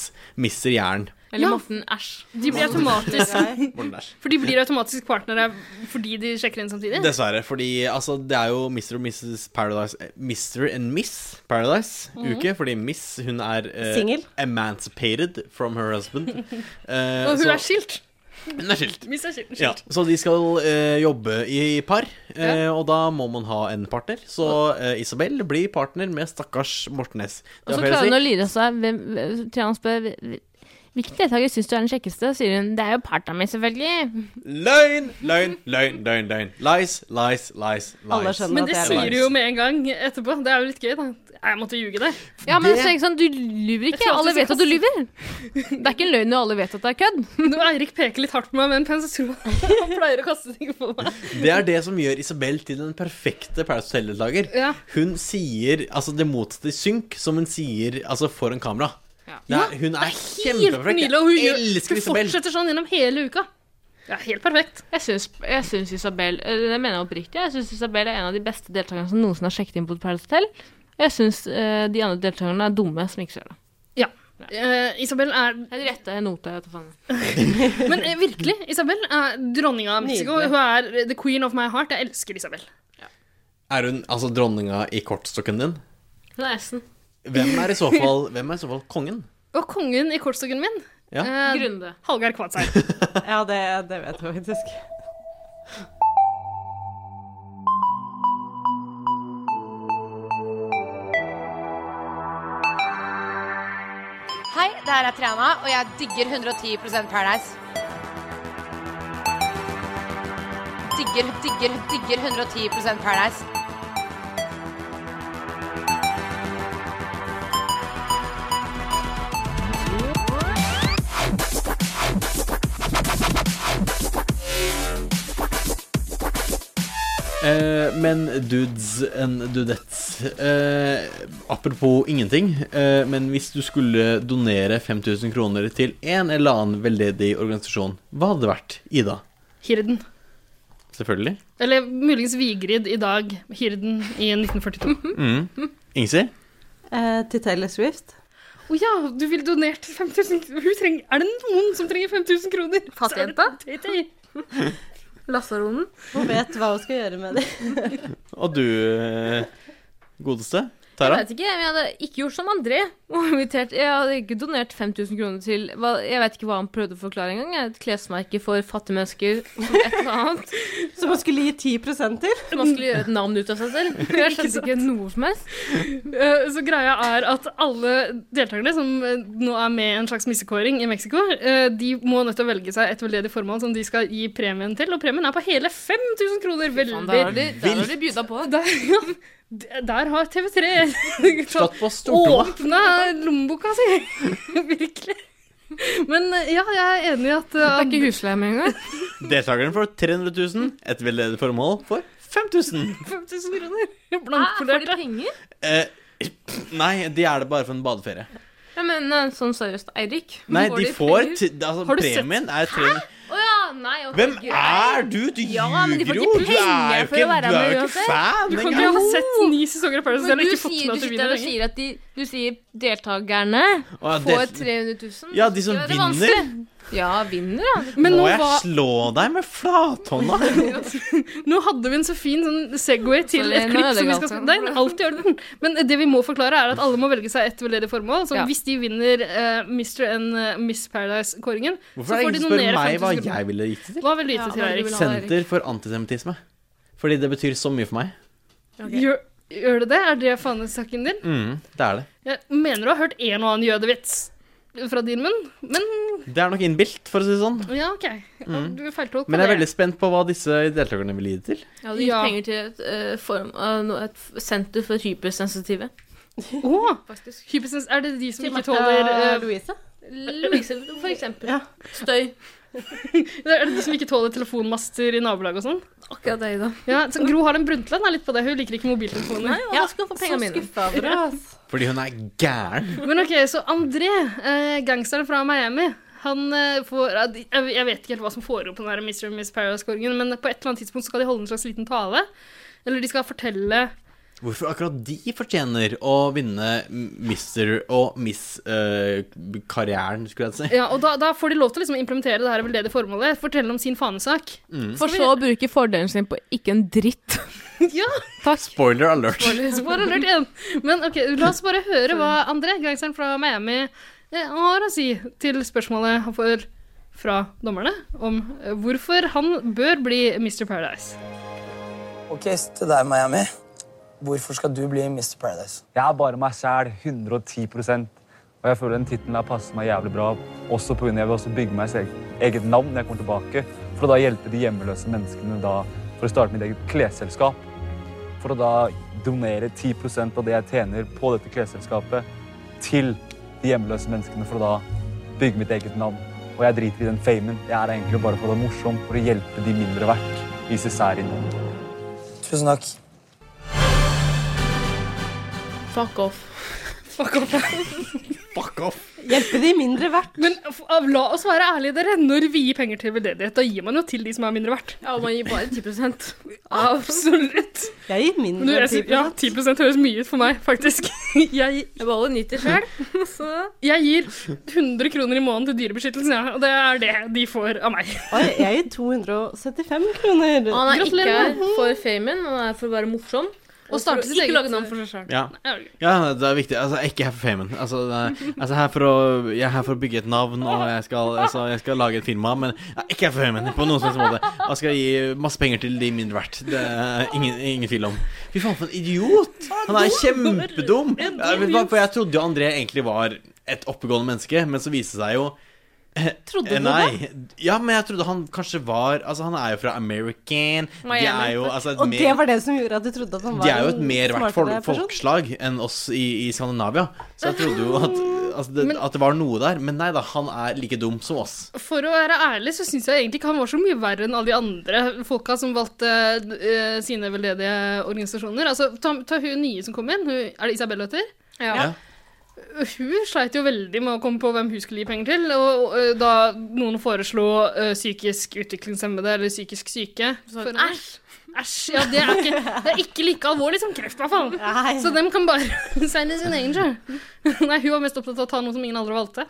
Speaker 2: Mister jern.
Speaker 1: Eller Morten Æsj.
Speaker 5: De blir automatisk
Speaker 2: Morten Æsj.
Speaker 5: For de blir automatisk partnere fordi de sjekker inn samtidig?
Speaker 2: Dessverre, fordi altså, det er jo Mr. og Mrs. Paradise eh, Mr. and Miss
Speaker 5: Mhm.
Speaker 2: Paradise-uke, fordi Miss hun er eh,
Speaker 5: Single.
Speaker 2: emancipated from her
Speaker 5: [LAUGHS]
Speaker 2: husband. Eh,
Speaker 5: Og hun
Speaker 2: så-
Speaker 5: er skilt.
Speaker 2: Hun er skilt.
Speaker 5: Miss er skilt.
Speaker 2: Ja, så de skal eh, jobbe i par, eh, og da må man ha en partner. Så eh, Isabel blir partner med stakkars Morten S.
Speaker 1: Og så
Speaker 2: Det er
Speaker 1: klarer
Speaker 2: feil
Speaker 1: hun å
Speaker 2: å si.
Speaker 1: lire seg. Hvem, hvem- Triana spør hvem- Hvilken deltaker syns du er den kjekkeste? sier hun. Det er jo parta mi, selvfølgelig.
Speaker 2: Løgn, løgn, løgn, løgn. løgn Lies, lies, lies. lies.
Speaker 5: Men det sier du jo med en gang etterpå. Det er jo litt gøy, da. Jeg måtte ljuge der.
Speaker 1: Ja, men så er det ikke sånn, Du lyver
Speaker 5: Jeg
Speaker 1: ikke.
Speaker 5: tror
Speaker 1: Alle
Speaker 5: alltid
Speaker 1: vet at du
Speaker 5: jeg
Speaker 1: lyver. Det er ikke en løgn når alle vet at det er kødd.
Speaker 5: Når Eirik peker litt hardt på meg med en penn, så tror jeg han pleier å kaste ting på meg.
Speaker 2: Det er det som gjør Isabel til den perfekte Paradise Hotel-deltaker.
Speaker 5: Ja.
Speaker 2: Hun sier altså det motsatte i synk som hun sier altså foran kamera. Det er, hun er
Speaker 5: Helt
Speaker 2: kjempefrekk.
Speaker 5: nydelig. Og hun,
Speaker 2: Jeg
Speaker 5: gjør,
Speaker 2: elsker
Speaker 5: hun
Speaker 2: Isabel.
Speaker 5: fortsetter sånn gjennom hele uka. Det er helt perfekt.
Speaker 1: Jeg syns, jeg syns Isabel eh, Det mener jeg oppriktig. Jeg syns Isabel er en av de beste deltakerne som noensinne har sjekket inn på et Paradise Hotel. Jeg syns eh, de andre deltakerne er dumme som ikke ser det.
Speaker 5: Ja. Eh, Isabel er
Speaker 1: Jeg retta en note, jeg vet da faen.
Speaker 5: Men eh, virkelig, Isabel er dronninga av Mexico.
Speaker 1: Nydelig.
Speaker 5: Hun er the queen of my heart. Jeg elsker Isabel.
Speaker 2: Er hun altså dronninga i kortstokken din?
Speaker 5: Hun er S-en.
Speaker 2: Hvem er i så fall, hvem er i så fall kongen?
Speaker 5: Og kongen i kortstokken min.
Speaker 2: Ja.
Speaker 5: eh,
Speaker 1: Grunde.
Speaker 5: Hallgeir Kvadsheim.
Speaker 4: Ja, det, det vet jeg faktisk.
Speaker 13: Hei, det her er Triana, og jeg digger 110 Paradise. Digger, digger, digger 110 Paradise.
Speaker 2: Eh, men dudes and dudettes eh, Apropos ingenting, eh, men hvis du skulle donere 5000 kroner til en eller annen veldedig organisasjon, hva hadde det vært? Ida,
Speaker 5: Hirden.
Speaker 2: selvfølgelig.
Speaker 5: Eller muligens Vigrid i dag. Hirden i
Speaker 2: [LAUGHS]
Speaker 5: 1942.
Speaker 2: Mm. [LAUGHS] Ingsi?
Speaker 4: Eh, til Taylor Swift.
Speaker 5: Å ja, du ville donert 5000 kroner. Hun trenger- Er det noen som trenger 5000 kroner? Fattigjenta?
Speaker 1: Lasaronen.
Speaker 4: Hun vet hva hun skal gjøre med det.
Speaker 2: Og du, eh, godeste?
Speaker 1: Jeg
Speaker 2: Tara?
Speaker 1: vet ikke, men jeg hadde ikke gjort som André. [LAUGHS] Og invitert, jeg hadde ikke donert 5000 kroner til hva- Jeg vet ikke hva han prøvde å forklare engang. jeg. Et klesmerke for fattige mennesker. Et eller annet.
Speaker 4: [LAUGHS] Så man skulle gi 10 til?
Speaker 1: Man skulle gjøre et navn ut av seg selv. Jeg skjønte ikke noe som helst.
Speaker 5: Eh, Så greia er at alle deltakerne som eh, nå er med i en slags missekåring i Mexico, eh, de må nødt til å velge seg et veldedig formål som de skal gi premien til, og premien er på hele 5000 kroner. Veldig
Speaker 1: Der har de, der har de bjuda på.
Speaker 5: Der, ja, d- der har TV3 [LAUGHS]
Speaker 2: Slått på stortromma.
Speaker 5: Åpna lommeboka si! [LAUGHS] Virkelig. Men eh, ja, jeg er enig i at Det er
Speaker 1: ikke husleie med engang.
Speaker 2: Deltakeren får 300 000, et veldedig formål for 5000.
Speaker 5: 5000 kroner.
Speaker 1: Blankpolert. Får de penger?
Speaker 2: Eh, nei, de er det bare for en badeferie.
Speaker 1: Jeg mener sånn seriøst, Eirik.
Speaker 2: Nei, de får
Speaker 1: penger?
Speaker 2: ti- altså,
Speaker 1: Har du sett-
Speaker 2: Premien er 300
Speaker 1: Å ja, nei. å,
Speaker 2: Hvem
Speaker 1: herregud.
Speaker 2: er du? Du
Speaker 1: Ja, men de får
Speaker 2: ljuger jo!
Speaker 1: ikke
Speaker 2: Du er
Speaker 1: penger
Speaker 2: jo
Speaker 1: for å
Speaker 2: ikke,
Speaker 1: være
Speaker 2: du er
Speaker 1: med
Speaker 2: jo ikke
Speaker 1: uansett.
Speaker 2: fan
Speaker 5: Du kan
Speaker 2: engang!
Speaker 5: ikke ha sett ni sesonger av Paradise
Speaker 1: Men
Speaker 5: Hotel
Speaker 1: du,
Speaker 5: og ikke fått
Speaker 1: sier,
Speaker 5: med
Speaker 1: du
Speaker 5: at du
Speaker 1: sitter
Speaker 5: vinner
Speaker 1: her og
Speaker 5: lenger.
Speaker 1: sier at de, du sier deltakerne
Speaker 2: Å, ja,
Speaker 1: får
Speaker 2: det-
Speaker 1: 300 000.
Speaker 2: Ja, de som
Speaker 1: Det er
Speaker 2: vinner.
Speaker 1: vanskelig. Ja, vinner, da.
Speaker 5: Men
Speaker 2: Må
Speaker 5: nå
Speaker 2: jeg
Speaker 5: var-
Speaker 2: slå deg
Speaker 1: [LAUGHS]
Speaker 2: med flathånda?
Speaker 5: Nå hadde vi en så fin sånn segway til
Speaker 1: Sorry, nå
Speaker 5: et klipp som vi
Speaker 1: ødelegger
Speaker 5: skal
Speaker 1: alt.
Speaker 5: Nei, alltid gjør den. Men det vi må forklare, er at alle må velge seg et veldedig formål. Så
Speaker 1: Ja.
Speaker 5: hvis de vinner eh, Mr. and eh, Miss Paradise-kåringen, så
Speaker 2: Hvorfor er det
Speaker 5: får de
Speaker 2: ingen som spør
Speaker 5: donere
Speaker 2: meg hva
Speaker 5: 50
Speaker 2: jeg ville gitt det til?
Speaker 5: Hva ville du gitt det til, Eirik?
Speaker 2: Senter for antisemittisme. Fordi det betyr så mye for meg.
Speaker 5: Gjør, gjør det det? Er det fanesaken din?
Speaker 2: Mm, det er det.
Speaker 5: Jeg mener du har hørt en og annen jødevits fra din munn, men
Speaker 2: Det er nok innbilt, for å si det sånn.
Speaker 5: ja, OK.
Speaker 2: Mm.
Speaker 5: Du feiltolka
Speaker 2: Men jeg er
Speaker 5: det.
Speaker 2: veldig spent på hva disse deltakerne vil gi det til.
Speaker 1: Jeg hadde gitt penger til et, eh, form, av noe- et f- senter for hypersensitive.
Speaker 5: Åh, hypersens- er det de som
Speaker 1: Til
Speaker 5: ikke
Speaker 1: Martha
Speaker 5: tåler eh,
Speaker 4: Louise?
Speaker 1: Louise, for eksempel. Støy.
Speaker 5: er det de som ikke tåler telefonmaster i nabolaget og sånn?
Speaker 1: Akkurat det, Ida.
Speaker 5: Ja, så Gro Harlem Brundtland er litt på det. Hun liker ikke mobiltelefoner.
Speaker 1: Nei, og da skal hun få pengene mine.
Speaker 2: Fordi hun er gæren.
Speaker 5: Men ok, så André, eh, gangsteren fra Miami, han eh, får eh, de- Jeg jeg vet ikke helt hva som foregår på den her Mr. and Miss Paradise-kåringen, men på et eller annet tidspunkt skal de holde en slags liten tale. Eller de skal fortelle
Speaker 2: Hvorfor akkurat de fortjener å vinne Mr. og Miss-karrieren, skulle jeg si.
Speaker 5: Ja, og da, da får de lov til å liksom implementere det her veldedige formålet. Fortelle om sin
Speaker 1: [LAUGHS]
Speaker 5: fanesak.
Speaker 2: Mm.
Speaker 1: For så å bruke fordelen sin på ikke en dritt.
Speaker 5: ja,
Speaker 2: Spoiler alert.
Speaker 5: Spoiler alert liksom igjen. Men ok, la oss bare høre hva André, gangsteren fra Miami, eh, har å si til spørsmålet han får fra dommerne om eh, hvorfor han bør bli Mr. Paradise.
Speaker 11: Ok, så til deg, Miami. Hvorfor skal du bli Mr. Paradise? Jeg er bare meg sjæl, 110 Og jeg føler den tittelen der passer meg jævlig bra. Også på grunn av jeg vil også bygge meg eget- eget navn når jeg kommer tilbake. For å da hjelpe de hjemløse menneskene da, for å starte mitt eget klesselskap. For å da donere 10 av det jeg tjener på dette klesselskapet, til de hjemløse menneskene for å da bygge mitt eget navn. Og jeg driter i den famen. Jeg er egentlig bare for å være morsom, for å hjelpe de mindre verdt i sesærien. Tusen takk.
Speaker 1: Fuck off.
Speaker 5: Fuck off.
Speaker 2: Fuck off.
Speaker 4: Hjelpe de mindre verdt.
Speaker 5: Men f- av- la oss være ærlige, dere. Når vi gir penger til veldedighet, da gir man jo til de som er mindre verdt.
Speaker 1: Ja, man gir bare 10
Speaker 5: Absolutt.
Speaker 4: Jeg gir
Speaker 5: Men du,
Speaker 4: mindre
Speaker 5: jeg,
Speaker 4: enn
Speaker 5: sy- ja,
Speaker 4: 10
Speaker 5: 10 høres mye ut for meg, faktisk. Jeg,
Speaker 1: [LAUGHS] jeg beholder 90 sjøl, [LAUGHS] så
Speaker 5: Jeg gir 100 kroner i måneden til Dyrebeskyttelsen, ja, og det er det de får av meg.
Speaker 4: Oi, jeg gir 275 kroner.
Speaker 1: Og Han er ikke
Speaker 5: Gratulerer.
Speaker 1: her for famen, han er for å være morsom.
Speaker 5: Og starte
Speaker 1: for å
Speaker 5: sitt eget-
Speaker 1: Ikke lage navn for seg sjøl.
Speaker 2: Ja. ja, det er viktig. Altså, jeg er ikke her for famen. Altså, det er, altså her for å, jeg er her for å bygge et navn, og jeg skal, altså, jeg skal lage et firma, men jeg er ikke her for famen på noen slags måte. Jeg skal gi masse penger til de mindre verdt. Det er ingen, ingen tvil om. Fy faen, for en idiot! Han er kjempedum! Jeg, vet du hva, for jeg trodde jo André egentlig var et oppegående menneske, men så viste det seg jo
Speaker 4: [LAUGHS]
Speaker 1: Trodde du
Speaker 2: Eh, Nei. Ja, men jeg trodde han kanskje var Altså, han er jo fra American. De
Speaker 4: Miami.
Speaker 2: er jo altså, et
Speaker 4: Og
Speaker 2: mer-
Speaker 4: det var det som gjorde at du trodde at han var
Speaker 2: de er jo et
Speaker 4: en
Speaker 2: mer verdt
Speaker 4: smartere
Speaker 2: folk-
Speaker 4: person?
Speaker 2: folkeslag enn oss i, i Skandinavia. Så jeg trodde jo at, altså det,
Speaker 5: Mm. Men-
Speaker 2: at det var noe der. Men nei da, han er like dum som oss.
Speaker 5: For å være ærlig så syns jeg egentlig ikke han var så mye verre enn alle de andre folka som valgte eh, sine veldedige organisasjoner. Altså, ta, ta hun nye som kom inn. Hun, er det Isabel heter?
Speaker 2: Ja.
Speaker 5: Hun sleit jo veldig med å komme på hvem hun skulle gi penger til. Og, og eh, da noen foreslo eh, psykisk utviklingshemmede eller psykisk syke
Speaker 1: Så-
Speaker 5: for- Æsj, ja, det er, ikke, det er ikke like alvorlig som kreft, i hvert fall. Så dem kan bare [LAUGHS] seile sin egen sjø. [LAUGHS] Nei, hun var mest opptatt av å ta noe som ingen andre valgte.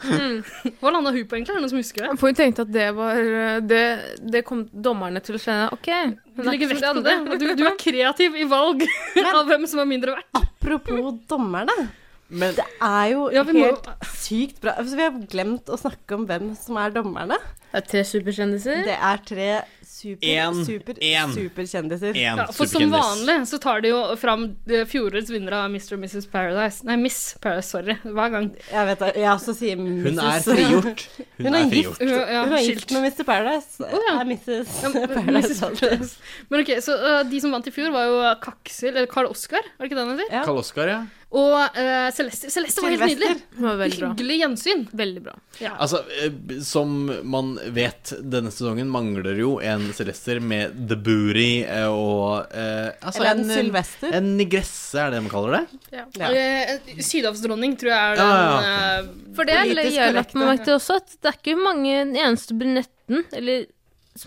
Speaker 5: Hva landa hun på, egentlig? Er det noen som husker det?
Speaker 1: For hun tenkte at det var eh, Det, det kom dommerne til å skjønne. OK.
Speaker 5: Du legger vekt på det. Du, du er kreativ i [LAUGHS] valg av hvem som er mindre verdt.
Speaker 4: Apropos dommerne.
Speaker 2: Men
Speaker 4: Det er jo
Speaker 5: Ja, vi må-
Speaker 4: helt sykt bra. Altså, vi har glemt å snakke om hvem som er dommerne.
Speaker 1: Det er tre superkjendiser.
Speaker 4: Det er tre super,
Speaker 2: En,
Speaker 4: super,
Speaker 2: en.
Speaker 4: superkjendiser.
Speaker 2: En
Speaker 5: Ja, for som vanlig så tar de jo fram eh, fjorårets vinnere av Mr. og Mrs. Paradise. Nei, Miss Paradise, sorry. Hver gang.
Speaker 4: Jeg vet det. Jeg også sier Mrs.
Speaker 2: Hun er
Speaker 5: [LAUGHS]
Speaker 2: frigjort. Hun
Speaker 4: Hun
Speaker 2: er frigjort.
Speaker 4: er gift, hun
Speaker 5: Ja, ja,
Speaker 4: er
Speaker 5: skilt.
Speaker 4: gift med Mr. Paradise. Er Mrs.
Speaker 5: [LAUGHS]
Speaker 4: Paradise
Speaker 5: Mrs. [LAUGHS]
Speaker 4: alltid.
Speaker 5: Paradise. Men ok, så eh, De som vant i fjor, var jo eh, Kaksel, eller Carl Oskar, er det ikke det han heter?
Speaker 2: Karl Oskar, ja.
Speaker 5: Og eh, Celeste, Celeste var helt
Speaker 1: Sylvester.
Speaker 5: nydelig.
Speaker 1: Hun var veldig bra.
Speaker 5: Hyggelig gjensyn.
Speaker 1: Veldig bra.
Speaker 5: Ja.
Speaker 2: Altså, eh, som man vet, denne sesongen mangler jo en Celester med the booty eh, og eh, altså,
Speaker 5: Eller en Sylvester.
Speaker 2: En nigresse, er det det man kaller det? Ja.
Speaker 5: Eh, Sydhavsdronning, tror jeg er den.
Speaker 2: Ja, ja,
Speaker 5: eh,
Speaker 1: [LAUGHS] For det er
Speaker 5: politisk
Speaker 1: jeg har lagt
Speaker 5: korrekte.
Speaker 1: meg merke til også, at det er ikke mange den eneste brunetten eller,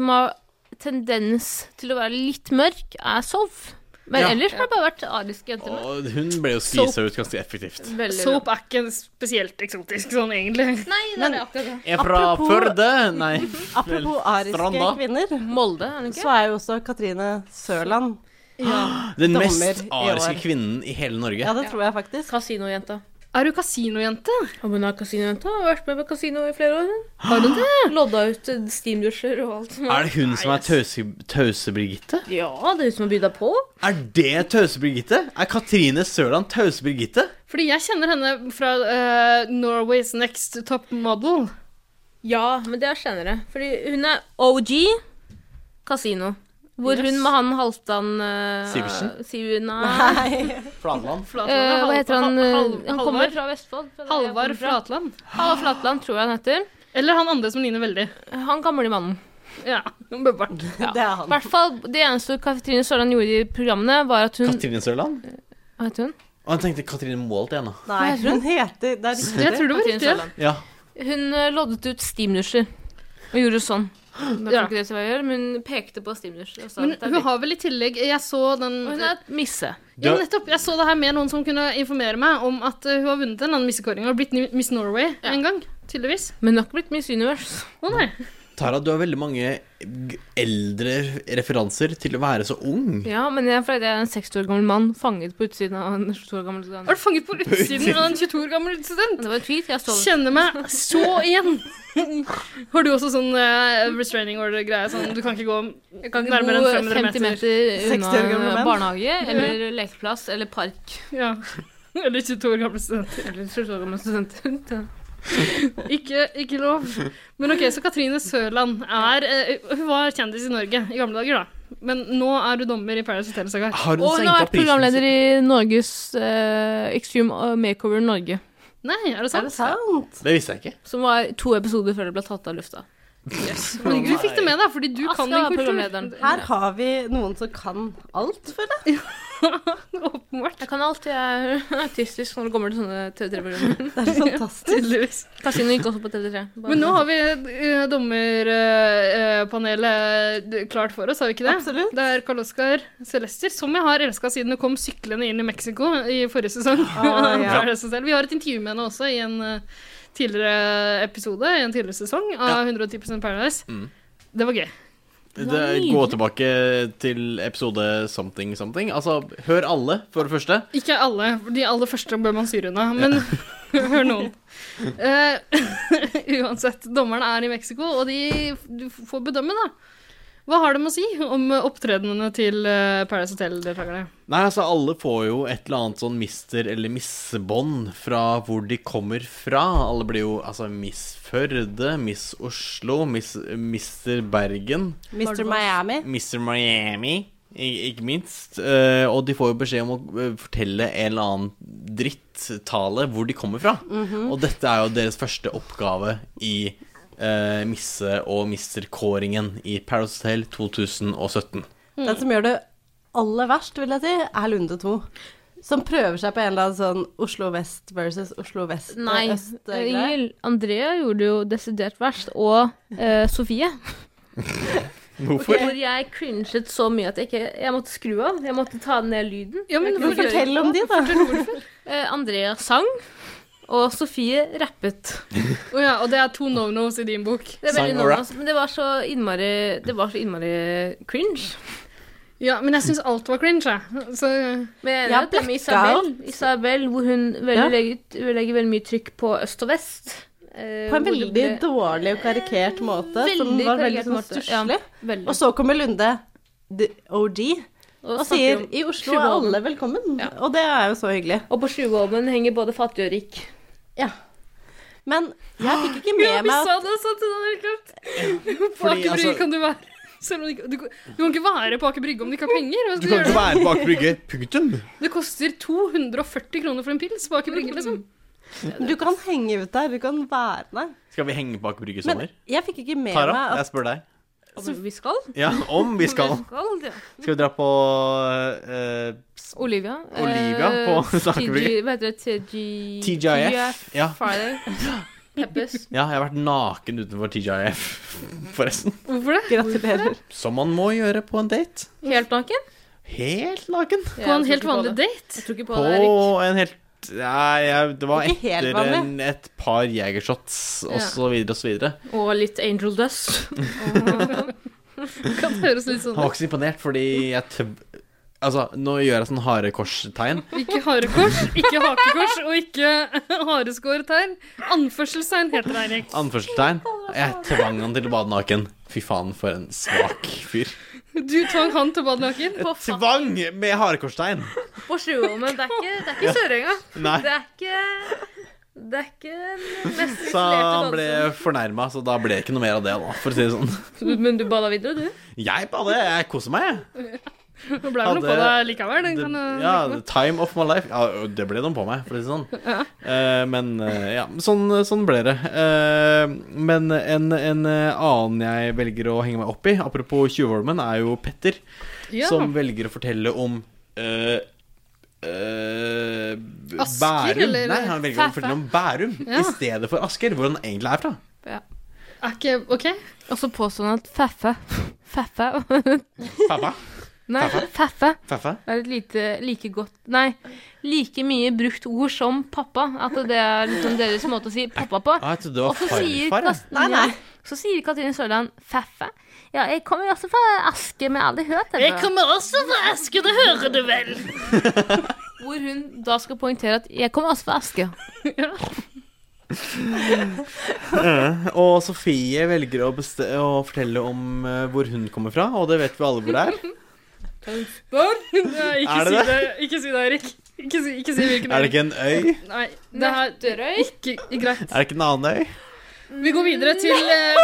Speaker 1: som har tendens til å være litt mørk, er Sov. Men
Speaker 2: Ja.
Speaker 1: ellers har det bare vært ariske jenter. men-
Speaker 2: Og hun ble jo skvisa ut ganske effektivt.
Speaker 1: Veldig bra.
Speaker 5: Soap er ikke spesielt eksotisk sånn, egentlig.
Speaker 1: Nei, det er det akkurat det.
Speaker 2: Er fra
Speaker 4: Apropos-
Speaker 2: Førde? Nei.
Speaker 5: [LAUGHS]
Speaker 4: Apropos ariske kvinner,
Speaker 1: Molde, er det
Speaker 4: så er jo også Katrine Sørland
Speaker 2: Den
Speaker 4: dommer
Speaker 2: mest
Speaker 4: i år.
Speaker 2: ariske kvinnen i hele Norge.
Speaker 4: Ja, det tror jeg faktisk.
Speaker 1: Kasinojenta.
Speaker 5: Er du kasinojente?
Speaker 1: Ja, men hun er kasinojente. Har vært med på kasino i flere år. hun.
Speaker 5: Har du det?
Speaker 1: Lodda ut eh, steamdusjer og alt. som
Speaker 2: Er det hun som er Tause- Tause-Birgitte?
Speaker 1: Ja, det er hun som har bydd deg på.
Speaker 2: Er det Tause-Birgitte? Er Katrine Sørland Tause-Birgitte?
Speaker 5: Fordi jeg kjenner henne fra eh, Norway's Next Top Model.
Speaker 1: Ja, men det er senere. Fordi hun er OG kasino. Hvor hun med han Halvdan eh,
Speaker 2: Sivertsen?
Speaker 1: Siv-
Speaker 5: Nei.
Speaker 1: nei.
Speaker 2: Flatland?
Speaker 1: [LAUGHS] Eh, hva heter han? eh,
Speaker 5: Hal-
Speaker 1: han kommer
Speaker 5: Halvard?
Speaker 1: fra Vestfold. fra der jeg
Speaker 5: Halvard
Speaker 1: kommer fra.
Speaker 5: Flatland.
Speaker 1: Halvard Flatland, tror jeg han heter. Eh,
Speaker 5: Eller han andre som ligner veldig.
Speaker 1: Han gamle mannen.
Speaker 5: Ja, bevart.
Speaker 1: Ja.
Speaker 5: Det er han.
Speaker 1: I hvert fall, det eneste Katrine Sørland gjorde i programmene, var at hun
Speaker 2: Katrine Sørland?
Speaker 1: Hva heter hun?
Speaker 2: Og jeg tenkte Katrine Moholt igjen, da.
Speaker 4: Nei,
Speaker 1: Hva heter
Speaker 4: hun heter det er
Speaker 1: Katrine
Speaker 4: riktig.
Speaker 1: Katrine Sørland.
Speaker 2: Ja.
Speaker 1: Hun eh, loddet ut steamdusjer. Og gjorde sånn. Det var ikke det som var å gjøre, men hun pekte på steamdusjer. og sa
Speaker 5: Men
Speaker 1: at det er
Speaker 5: hun
Speaker 1: ditt.
Speaker 5: har vel i tillegg Jeg så den
Speaker 1: Og hun er et misse.
Speaker 5: Ja, nettopp. Jeg så det her med noen som kunne informere meg om at eh, hun har vunnet en annen missekåring og blitt ni- Miss Norway en gang. Tydeligvis.
Speaker 1: Men hun har ikke blitt Miss Universe.
Speaker 5: Å nei.
Speaker 2: Tara, du har veldig mange g- eldre referanser til å være så ung.
Speaker 1: Ja, men jeg er fordi jeg er en 60 år gammel mann fanget på utsiden av en 22 år gammel student.
Speaker 5: Var du fanget på utsiden av en 22 år gammel student?
Speaker 1: Det var en tweet, jeg så det.
Speaker 5: Kjenner meg så [LAUGHS] igjen. Har du også sånn eh, restraining order-greie? Sånn, du kan ikke gå
Speaker 1: Kan ikke
Speaker 5: nærmere
Speaker 1: bo
Speaker 5: enn
Speaker 1: 50
Speaker 5: 500 meter.
Speaker 1: meter unna en barnehage
Speaker 5: Ja.
Speaker 1: eller lekeplass eller park.
Speaker 5: Ja. [LAUGHS] Eller 22 år gamle studenter.
Speaker 1: Eller 22 år gammel [LAUGHS] student.
Speaker 5: Ikke, ikke lov. Men ok, så Katrine Sørland er eh, Hun var kjendis i Norge i gamle dager, da. Men nå er du dommer i Paradise Hotel, Sagar.
Speaker 1: Og hun har vært programleder i Norges eh, Extreme Makeover Norge.
Speaker 5: Nei, er det sant?
Speaker 1: Er det sant?
Speaker 2: Det visste jeg ikke.
Speaker 1: Som var to episoder før det ble tatt av lufta.
Speaker 5: Men du fikk det med deg, fordi du
Speaker 1: Aska
Speaker 5: kan din
Speaker 1: var
Speaker 5: kultur.
Speaker 1: programlederen.
Speaker 4: Her har vi noen som kan alt, føler jeg.
Speaker 5: [LAUGHS]
Speaker 1: Jeg kan alltid jeg er [LAUGHS] autistisk når det kommer til sånne [LAUGHS] TV3-programmer.
Speaker 4: Det er fantastisk.
Speaker 5: Tydeligvis.
Speaker 1: Kasino gikk også på TV3. Bare-
Speaker 5: Men nå har vi eh, dommerpanelet eh, klart for oss, har vi ikke det?
Speaker 4: Absolutt.
Speaker 5: Det er Karl Oskar Celester, som jeg har elska siden hun kom syklende inn i Mexico i forrige sesong. [LAUGHS]
Speaker 4: Å, ja.
Speaker 5: Fra SSL. Vi har et intervju med henne også i en eh, tidligere episode, i en tidligere sesong av 110 Paradise.
Speaker 2: Mm.
Speaker 5: Det var gøy.
Speaker 2: Det, gå tilbake til episode something something. Altså, hør alle, for det første.
Speaker 5: Ikke alle. De aller første bør man styre unna. Men [LAUGHS] hør noen. Eh, [LAUGHS] uansett, dommerne er i Mexico, og de du får bedømme, da. Hva har de å si om opptredenene til eh, Paradise Hotel-deltakerne?
Speaker 2: Nei, altså alle får jo et eller annet sånn mister- eller missebånd fra hvor de kommer fra. Alle blir jo altså Miss Førde, Miss Oslo, Miss, Mister Bergen.
Speaker 4: Mr. Miami.
Speaker 2: Mr. Miami, i- ikke minst. Eh, og de får jo beskjed om å eh, fortelle en eller annen drittale hvor de kommer fra.
Speaker 4: Mhm.
Speaker 2: Og dette er jo deres første oppgave i eh, Misse- og Mister-kåringen i Paradise Hotel 2017.
Speaker 1: Hmm.
Speaker 4: Den som gjør det aller verst, vil jeg si, er Lunde 2. Som prøver seg på en eller annen sånn Oslo vest versus Oslo vest
Speaker 1: Nei. eh,
Speaker 4: øst-greie.
Speaker 1: Ingrid Andrea gjorde det jo desidert verst. Og eh, Sofie.
Speaker 2: [LAUGHS] Hvorfor?
Speaker 1: Hvor jeg cringet så mye at jeg ikke Jeg måtte skru av. Jeg måtte ta ned lyden.
Speaker 5: Ja, men
Speaker 1: Jeg kunne
Speaker 5: fortell
Speaker 1: gjøre det
Speaker 4: om
Speaker 1: på.
Speaker 4: de, da.
Speaker 1: Fortell hvorfor. Eh, Andrea sang, og Sofie rappet.
Speaker 5: Å ja, og det er to no-nos i din bok.
Speaker 1: Det er
Speaker 2: Sang
Speaker 1: veldig
Speaker 2: og
Speaker 1: noe, men det var så innmari Det var så innmari cringe.
Speaker 5: Ja, men jeg syns alt var cringe, jeg. Så
Speaker 1: Men jeg er
Speaker 5: Ja,
Speaker 1: enig i det med
Speaker 5: blackout.
Speaker 1: Isabel, Isabel hvor hun veldig
Speaker 4: Ja.
Speaker 1: legger, legger veldig mye trykk på øst og vest. eh,
Speaker 4: På
Speaker 1: hvor
Speaker 4: en
Speaker 1: det
Speaker 4: veldig
Speaker 1: ble-
Speaker 4: dårlig og karikert måte, som
Speaker 1: veldig
Speaker 4: var veldig
Speaker 1: karikert
Speaker 4: sånn
Speaker 1: måte.
Speaker 4: stusslig.
Speaker 1: Ja, veldig.
Speaker 4: og så kommer Lunde, the OG, og,
Speaker 1: snakker
Speaker 4: sier
Speaker 1: om
Speaker 4: i Oslo er
Speaker 1: Tjuvholmen.
Speaker 4: alle velkommen. Og det er jo så hyggelig.
Speaker 1: Og på Tjuvholmen henger både fattig og rik.
Speaker 4: Ja. Men jeg fikk ikke med
Speaker 5: Ja, vi
Speaker 4: meg
Speaker 5: sa
Speaker 4: at
Speaker 5: det sånn til den Rikard. På
Speaker 2: fordi,
Speaker 5: Aker Brygge
Speaker 2: altså-
Speaker 5: kan du være. Selv om du, ikke, du, du kan ikke være på Aker Brygge om du ikke har penger. Altså, Hva
Speaker 2: Du
Speaker 5: skal
Speaker 2: kan
Speaker 5: gjøre
Speaker 2: ikke
Speaker 5: da?
Speaker 2: være bak brygge, punktum.
Speaker 5: Det koster 240 kroner for en pils på Aker Brygge, liksom.
Speaker 4: du kan henge ut der, du kan være der.
Speaker 2: Skal vi henge bak brygge i
Speaker 4: Men
Speaker 2: sommer?
Speaker 4: jeg fikk ikke med
Speaker 2: Tara,
Speaker 4: meg
Speaker 2: jeg
Speaker 4: at
Speaker 2: spør deg.
Speaker 1: Om vi skal?
Speaker 2: Ja, om
Speaker 1: [LAUGHS]
Speaker 2: vi skal.
Speaker 1: ja.
Speaker 2: Skal vi dra på eh, s-
Speaker 1: Olivia. eh,
Speaker 2: Olivia på [LAUGHS] Aker Brygge.
Speaker 1: TG Hva heter det? TG...
Speaker 2: TGIF, ja.
Speaker 1: Friday. Peppes.
Speaker 2: Ja, jeg har vært naken utenfor TGIF, [LAUGHS] forresten.
Speaker 5: Hvorfor det?
Speaker 2: [LAUGHS]
Speaker 4: Gratulerer.
Speaker 2: Som man må gjøre på en date.
Speaker 1: Helt naken?
Speaker 2: Helt naken?
Speaker 5: På en helt vanlig date?
Speaker 1: Jeg tror ikke
Speaker 2: På en helt Nei, jeg, det var
Speaker 1: Ikke helt
Speaker 2: etter
Speaker 1: vanlig.
Speaker 2: en, et par jegershots
Speaker 1: Ja.
Speaker 2: og så videre og så videre.
Speaker 1: Og litt Angel Dust.
Speaker 5: kan høres litt
Speaker 2: Han
Speaker 5: sånn
Speaker 2: var
Speaker 5: ut.
Speaker 2: ikke så imponert fordi jeg tv... Altså, nå gjør jeg sånn harekorstegn.
Speaker 5: Ikke harekors, ikke hakekors og ikke [LAUGHS] hareskårtegn. Anførselstegn heter det, Eirik.
Speaker 2: Anførselstegn. Jeg tvang han til å bade naken. Fy faen, for en svak fyr.
Speaker 5: Du tvang han til å bade naken.
Speaker 2: Tvang med
Speaker 5: [LAUGHS]
Speaker 2: harekorstegn!
Speaker 1: På Sjuholmen. Det er ikke, det er ikke
Speaker 2: Ja.
Speaker 1: Sørenga.
Speaker 2: Nei.
Speaker 1: Det er ikke Det er ikke den mest
Speaker 2: [LAUGHS] Så han
Speaker 1: isolerte
Speaker 2: ble fornærma, så da ble det ikke noe mer av det, da, for å si det sånn.
Speaker 1: dansen. Men du bada videre, du?
Speaker 2: Jeg bader, jeg koser meg, jeg.
Speaker 5: Nå ble det noe på deg
Speaker 2: Hadde-
Speaker 5: likevel. Den
Speaker 2: Det,
Speaker 5: kan jeg
Speaker 2: ja,
Speaker 5: legge på.
Speaker 2: time of my life. Ja, det ble de på meg, for å si det sånn.
Speaker 5: [LAUGHS] Ja.
Speaker 2: Eh, men eh, ja, sånn, sånn ble det. Eh, men en, en eh, annen jeg velger å henge meg opp i, apropos Tjuvholmen, er jo Petter.
Speaker 5: Ja.
Speaker 2: Som velger å fortelle om eh, eh,
Speaker 5: Asker,
Speaker 2: Bærum.
Speaker 5: eller?
Speaker 2: Nei, han velger å
Speaker 5: Fæfæ.
Speaker 2: fortelle om Bærum
Speaker 5: Ja.
Speaker 2: i stedet for Asker, hvor han egentlig er fra.
Speaker 5: [LAUGHS]
Speaker 1: Ja.
Speaker 5: Er ikke OK?
Speaker 1: Og så påstår han at Feffe Feffe [LAUGHS]
Speaker 2: Fæfæ.
Speaker 1: Nei,
Speaker 2: Feffe.
Speaker 1: Feffe
Speaker 2: Feffe.
Speaker 1: er et lite, like godt Nei, like mye brukt ord som pappa. At det er liksom deres måte å si pappa på.
Speaker 2: Ah, jeg trodde det var
Speaker 1: Og så sier
Speaker 2: farfar, jeg.
Speaker 1: Kast- Ja, Så sier Katrine Sørland Feffe. Ja, jeg kommer også fra Aske, men jeg har aldri hørt det.
Speaker 5: Jeg kommer også fra Aske, det hører du vel?
Speaker 1: Hvor hun da skal poengtere at 'jeg kommer også fra Aske'.
Speaker 2: [LAUGHS] Eh, og Sofie velger å, beste å fortelle om eh, hvor hun kommer fra, og det vet vi alle hvor det er.
Speaker 5: Tønsberg? [LAUGHS] Nei, ikke
Speaker 2: Er det
Speaker 5: si
Speaker 2: det?
Speaker 5: det, ikke si det, Erik. Ikke si, ikke si hvilken
Speaker 2: Er det ikke en øy?
Speaker 5: Nei, det her Ikke greit.
Speaker 2: Er det ikke en annen øy?
Speaker 5: Vi går videre til eh,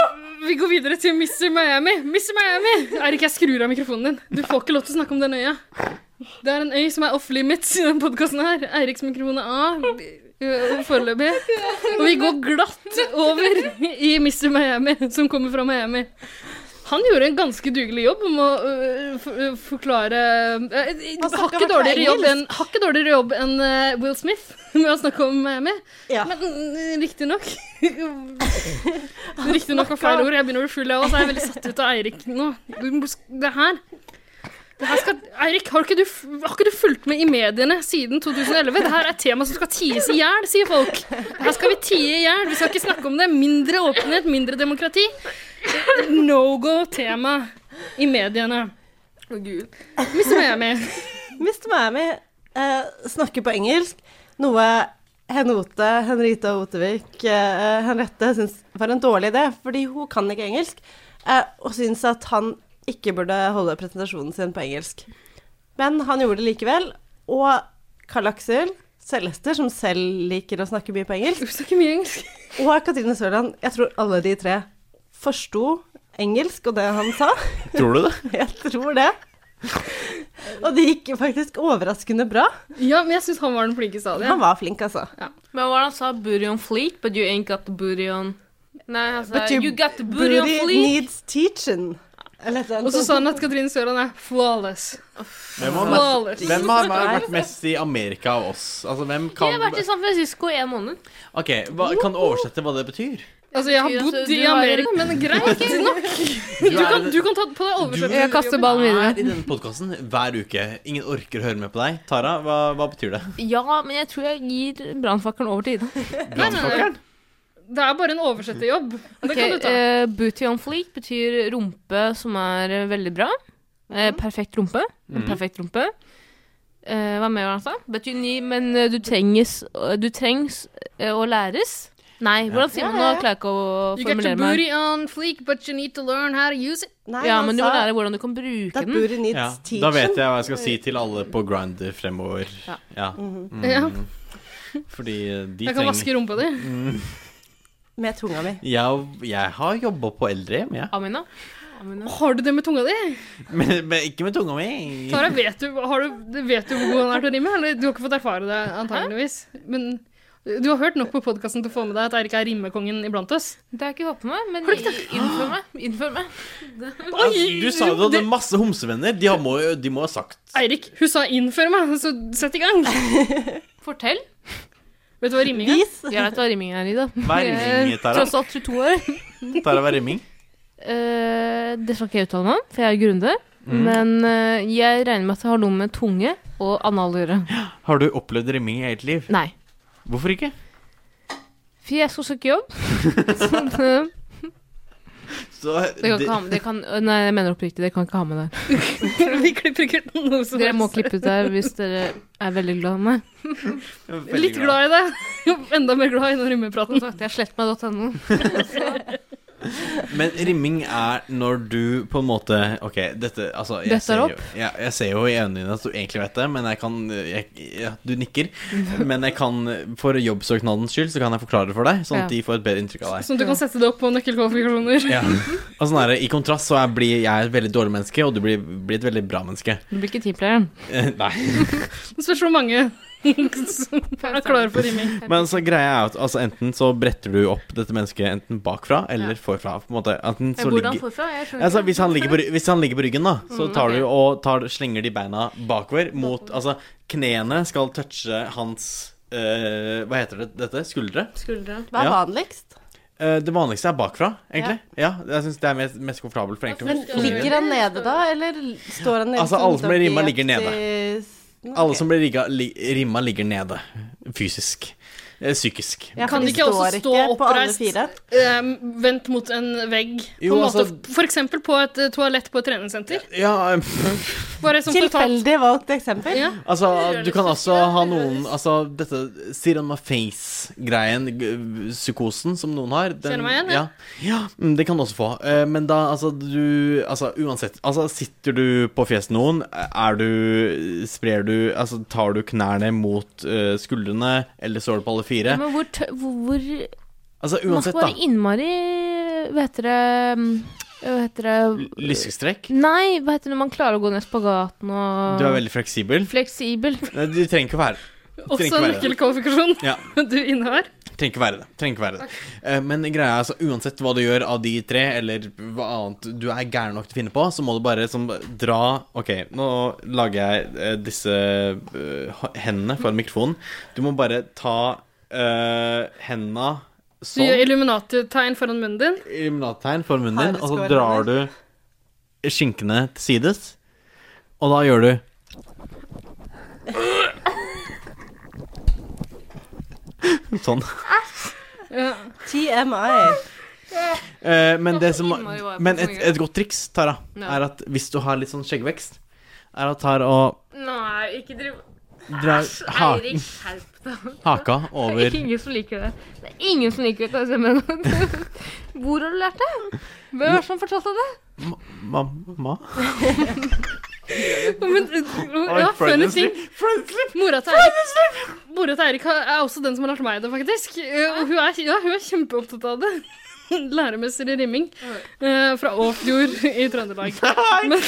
Speaker 5: Vi går videre til Mr. Miami. Mr. Miami! Erik, jeg skrur av mikrofonen din. Du får ikke lov til å snakke om den øya. Det er en øy som er off limits i denne podkasten her. Eiriks mikrofon er av eh, foreløpig. Og vi går glatt over i Mr. Miami, som kommer fra Miami. Han gjorde en ganske dugelig jobb om å øh, for- øh, forklare øh,
Speaker 4: Han snakket
Speaker 5: hakket,
Speaker 4: hvertfall
Speaker 5: dårligere jobb enn,
Speaker 4: engelsk.
Speaker 5: hakket dårligere jobb enn øh, Will Smith [LAUGHS] med å snakke om Miami. Men øh, riktignok Riktignok var feil ord. Jeg begynner å bli full, jeg òg, så jeg er veldig satt ut av Eirik nå. Du må sk- Det her det her skal, Eirik, har ikke, du, f- har ikke du fulgt med i mediene siden 2011? Det her er et tema som skal ties i hjel, sier folk. Her skal vi tie i hjel. Vi skal ikke snakke om det. Mindre åpenhet, mindre demokrati. No go-tema i mediene. Å, gud. Mr. Miami.
Speaker 4: Mr. Miami eh, snakker på engelsk, noe Henote, Henrita Otevik, eh, Henriette syns var en dårlig idé, fordi hun kan ikke engelsk, eh, og syns at han ikke burde holde presentasjonen sin på engelsk. Men han gjorde det likevel, og Karl Aksel Selester, som selv liker å snakke mye på engelsk, og Katrine Sørland, jeg tror alle de tre forsto engelsk og det han sa. [LAUGHS]
Speaker 2: Tror du det?
Speaker 4: Jeg tror det. Og det gikk faktisk overraskende bra.
Speaker 5: Ja, men jeg syns han var den flinkeste av dem.
Speaker 4: Han var flink, altså.
Speaker 1: Men hva var det han sa? Booty on fleet, but you ain't got the booty on Nei, han
Speaker 5: altså,
Speaker 1: sa
Speaker 4: But
Speaker 1: you,
Speaker 4: your
Speaker 1: got the booty, on fleet.
Speaker 4: needs teaching. Eller et eller annet
Speaker 5: Og så sa han
Speaker 4: sånt.
Speaker 5: at Katrine Sørland er flawless.
Speaker 2: Hvem har,
Speaker 5: Flawless.
Speaker 2: mest, hvem har vært mest i Amerika av oss? Altså, hvem
Speaker 1: Jeg
Speaker 2: kan
Speaker 1: har vært i San Francisco i en måned.
Speaker 2: Ok, hva, Kan du oversette hva det betyr?
Speaker 5: Altså, jeg har
Speaker 1: Betyr at
Speaker 5: bodd
Speaker 1: du
Speaker 5: i
Speaker 1: har-
Speaker 5: Amerika, men [LAUGHS] greit nok. Du kan, du kan ta på deg oversettelsen.
Speaker 2: er i denne podkasten hver uke. Ingen orker å høre med på deg. Tara, hva, hva betyr det?
Speaker 1: Ja, men jeg tror jeg gir brannfakkelen over til Ida.
Speaker 5: Nei, nei, nei. Det er bare en oversetterjobb. Det kan
Speaker 1: Ok,
Speaker 5: du ta.
Speaker 1: eh, booty on fleek betyr rumpe som er eh, veldig bra. Eh, perfekt rumpe. En
Speaker 5: Mhm.
Speaker 1: perfekt rumpe. Eh, hva mer var det han sa? But you need, men eh, du trenges, du trengs eh, å læres. Nei, hvordan sier man det? Nå klarer jeg ikke å
Speaker 5: You get your
Speaker 1: formulere meg.
Speaker 5: booty on fleek, but you need to learn how to use it.
Speaker 1: ja, men du må lære hvordan du kan bruke den.
Speaker 2: Ja, da vet jeg hva jeg skal si til alle på Grinder fremover.
Speaker 1: Ja.
Speaker 2: Ja.
Speaker 4: Mhm.
Speaker 2: Mm.
Speaker 5: Ja.
Speaker 2: Fordi de
Speaker 5: Jeg kan vaske rumpa di.
Speaker 2: Mm.
Speaker 4: Med tunga mi.
Speaker 2: Jeg, jeg har jobba på eldrehjem, jeg.
Speaker 1: Amina?
Speaker 5: Har du det med tunga di?
Speaker 2: Men, men ikke med tunga mi.
Speaker 5: Tara, vet du, har du, vet du hvor god han er til å rime? Eller du har ikke fått erfare det, antageligvis. Men du har hørt nok på podkasten til å få med deg at Eirik er rimekongen iblant oss.
Speaker 1: Det har jeg ikke fått med meg, men i- innfør meg. Innfør meg.
Speaker 2: Altså, du sa jo du hadde masse homsevenner. De har- må jo de må ha sagt
Speaker 5: Eirik, hun sa 'innfør meg', så sett i gang.
Speaker 1: Fortell.
Speaker 5: Vet du hva rimming er?
Speaker 1: Vis. Jeg vet hva rimming er, Ida.
Speaker 2: Hva er rimming,
Speaker 1: Jeg er
Speaker 2: Tara?
Speaker 1: Tross alt 22 år.
Speaker 2: Tara var rimming.
Speaker 1: Eh, det skal ikke jeg uttale meg om, for jeg er grunde.
Speaker 2: Mm.
Speaker 1: Men eh, jeg regner med at det har noe med tunge og anal å gjøre.
Speaker 2: Har du opplevd remis i eget liv?
Speaker 1: Nei.
Speaker 2: Hvorfor ikke?
Speaker 1: For jeg skal søke
Speaker 2: [LAUGHS]
Speaker 1: jobb. Sånn, eh,
Speaker 2: Så,
Speaker 1: det kan ikke ha med det kan, Nei, jeg mener oppriktig, det kan ikke ha med der.
Speaker 5: [LAUGHS] Vi klipper ikke ut noe som
Speaker 1: Dere må
Speaker 5: helst.
Speaker 1: klippe ut der hvis dere er veldig glad i meg.
Speaker 5: Litt glad i det. [LAUGHS] Jo, Enda mer glad i den rømmepraten.
Speaker 1: Jeg sletter meg.no.
Speaker 2: Men rimming er når du på en måte Ok, dette altså,
Speaker 1: Dette er
Speaker 2: ser jo-
Speaker 1: opp.
Speaker 2: Ja, jeg ser jo i øynene dine at du egentlig vet det, men jeg kan jeg, ja, Du nikker.
Speaker 1: [LAUGHS]
Speaker 2: Men jeg kan, for jobbsøknadens skyld, så kan jeg forklare det for deg, sånn
Speaker 5: Ja.
Speaker 2: at de får et bedre inntrykk av deg.
Speaker 5: Sånn at du kan sette det opp på nøkkelkvalifikasjoner.
Speaker 2: Ja.
Speaker 1: Mhm.
Speaker 2: Og sånn er det, I kontrast så er, blir jeg et veldig dårlig menneske, og du blir, blir et veldig bra menneske.
Speaker 1: Du blir ikke teamplayeren.
Speaker 2: Eh, [LAUGHS] Nei.
Speaker 5: Det spørs hvor mange
Speaker 4: [LAUGHS]
Speaker 5: som er klare for rimming.
Speaker 2: [LAUGHS] Men så greia er jo at altså, enten så bretter du opp dette mennesket enten bakfra eller forfra. På en måte. Enten så
Speaker 1: Hvordan
Speaker 2: ligger-
Speaker 1: forfra? Jeg skjønner
Speaker 2: Altså,
Speaker 1: ikke.
Speaker 2: hvis, han ligger på, ry- hvis han ligger på ryggen, da, så
Speaker 1: Mm,
Speaker 2: tar
Speaker 1: ok. Mm.
Speaker 2: du og tar, slenger de beina bakover mot Altså, knærne skal touche hans eh, Hva heter det, dette? Skuldre?
Speaker 5: Skuldre.
Speaker 4: Hva er
Speaker 2: Ja.
Speaker 4: vanligst?
Speaker 2: Eh, det vanligste er bakfra, egentlig. Ja, jeg syns det er mest, mest komfortabelt. For egentlig,
Speaker 4: Men ligger han nede da, eller står han nede?
Speaker 2: Altså, alle som blir rimma, ligger nede.
Speaker 4: nede.
Speaker 2: Alle som blir rigga, li, rimma, ligger nede. Fysisk. Eh, psykisk.
Speaker 4: Ja,
Speaker 5: kan
Speaker 4: for
Speaker 5: de
Speaker 4: de
Speaker 5: ikke også
Speaker 4: står
Speaker 5: stå
Speaker 4: ikke på alle
Speaker 5: oppreist,
Speaker 4: fire?
Speaker 5: eh, vendt mot en vegg, på
Speaker 2: Jo,
Speaker 5: en måte,
Speaker 2: altså-
Speaker 5: f- for eksempel på et eh, toalett på et treningssenter?
Speaker 2: Ja,
Speaker 5: Bare som
Speaker 4: Tilfeldig valgt eksempel.
Speaker 5: Ja.
Speaker 2: Altså, du kan også ha noen Altså, dette sit on my face-greien, g- psykosen som noen har den-
Speaker 5: Kjenner meg igjen,
Speaker 2: ja.
Speaker 5: ja.
Speaker 2: ja. mm, Det kan du også få. Eh, Men da, altså, du Altså, uansett. Altså, sitter du på fjeset til noen, er du Sprer du Altså, tar du knærne mot eh, skuldrene, eller står du på alle fire?
Speaker 1: Men hvor, tø hvor, hvor
Speaker 2: Altså,
Speaker 1: Man
Speaker 2: uansett,
Speaker 1: skal
Speaker 2: da.
Speaker 1: være innmari Hva heter det mm, Hva heter det
Speaker 2: Lyskestrekk.
Speaker 1: Nei, hva heter det når man klarer å gå ned spagaten og
Speaker 2: Du er veldig fleksibel.
Speaker 1: Fleksibel.
Speaker 2: Nei, du trenger ikke å være du trenger
Speaker 5: Også
Speaker 2: ikke
Speaker 5: en
Speaker 2: være det.
Speaker 5: nøkkelkvalifikasjon
Speaker 2: Ja.
Speaker 5: [LAUGHS] du innehar.
Speaker 2: Trenger ikke være det. Trenger ikke være det. Eh, Men greia er altså, uansett hva du gjør av de tre, eller hva annet du er gæren nok til å finne på, så må du bare som, dra Ok, nå lager jeg eh, disse eh, ha- hendene foran mikrofonen. Du må bare ta eh, henda
Speaker 5: Du gjør
Speaker 2: sånn,
Speaker 5: Illuminati-tegn foran munnen din.
Speaker 2: illuminattegn foran munnen din, og så
Speaker 5: Hareskår
Speaker 2: drar du skinkene til sides, og da gjør du [LAUGHS] Sånn.
Speaker 4: TMI.
Speaker 2: Eh, men det som,
Speaker 4: innmari vare på
Speaker 2: men
Speaker 4: så
Speaker 2: et,
Speaker 4: mye.
Speaker 2: et godt triks, Tara,
Speaker 5: Ja.
Speaker 2: er at hvis du har litt sånn skjeggvekst, er at Tara og
Speaker 1: Nei, ikke driv
Speaker 2: drar ha
Speaker 1: skjerp deg.
Speaker 2: haka
Speaker 1: Det
Speaker 2: over
Speaker 1: er ingen som liker det. Det er ingen som liker det. jeg mener. [LAUGHS] Hvor har du lært det? Hvem er det som fortalte deg det?
Speaker 2: Mamma?
Speaker 5: [LAUGHS] Men, ja,
Speaker 2: Oi,
Speaker 5: funny thing. Mora til Eirik, mora til Eirik har- er også den som har lært meg det, faktisk. Eh, Og hun er, ja, hun er kjempeopptatt av det. [LAUGHS] Læremester i rimming eh, fra Åfjord i Trøndelag. Men,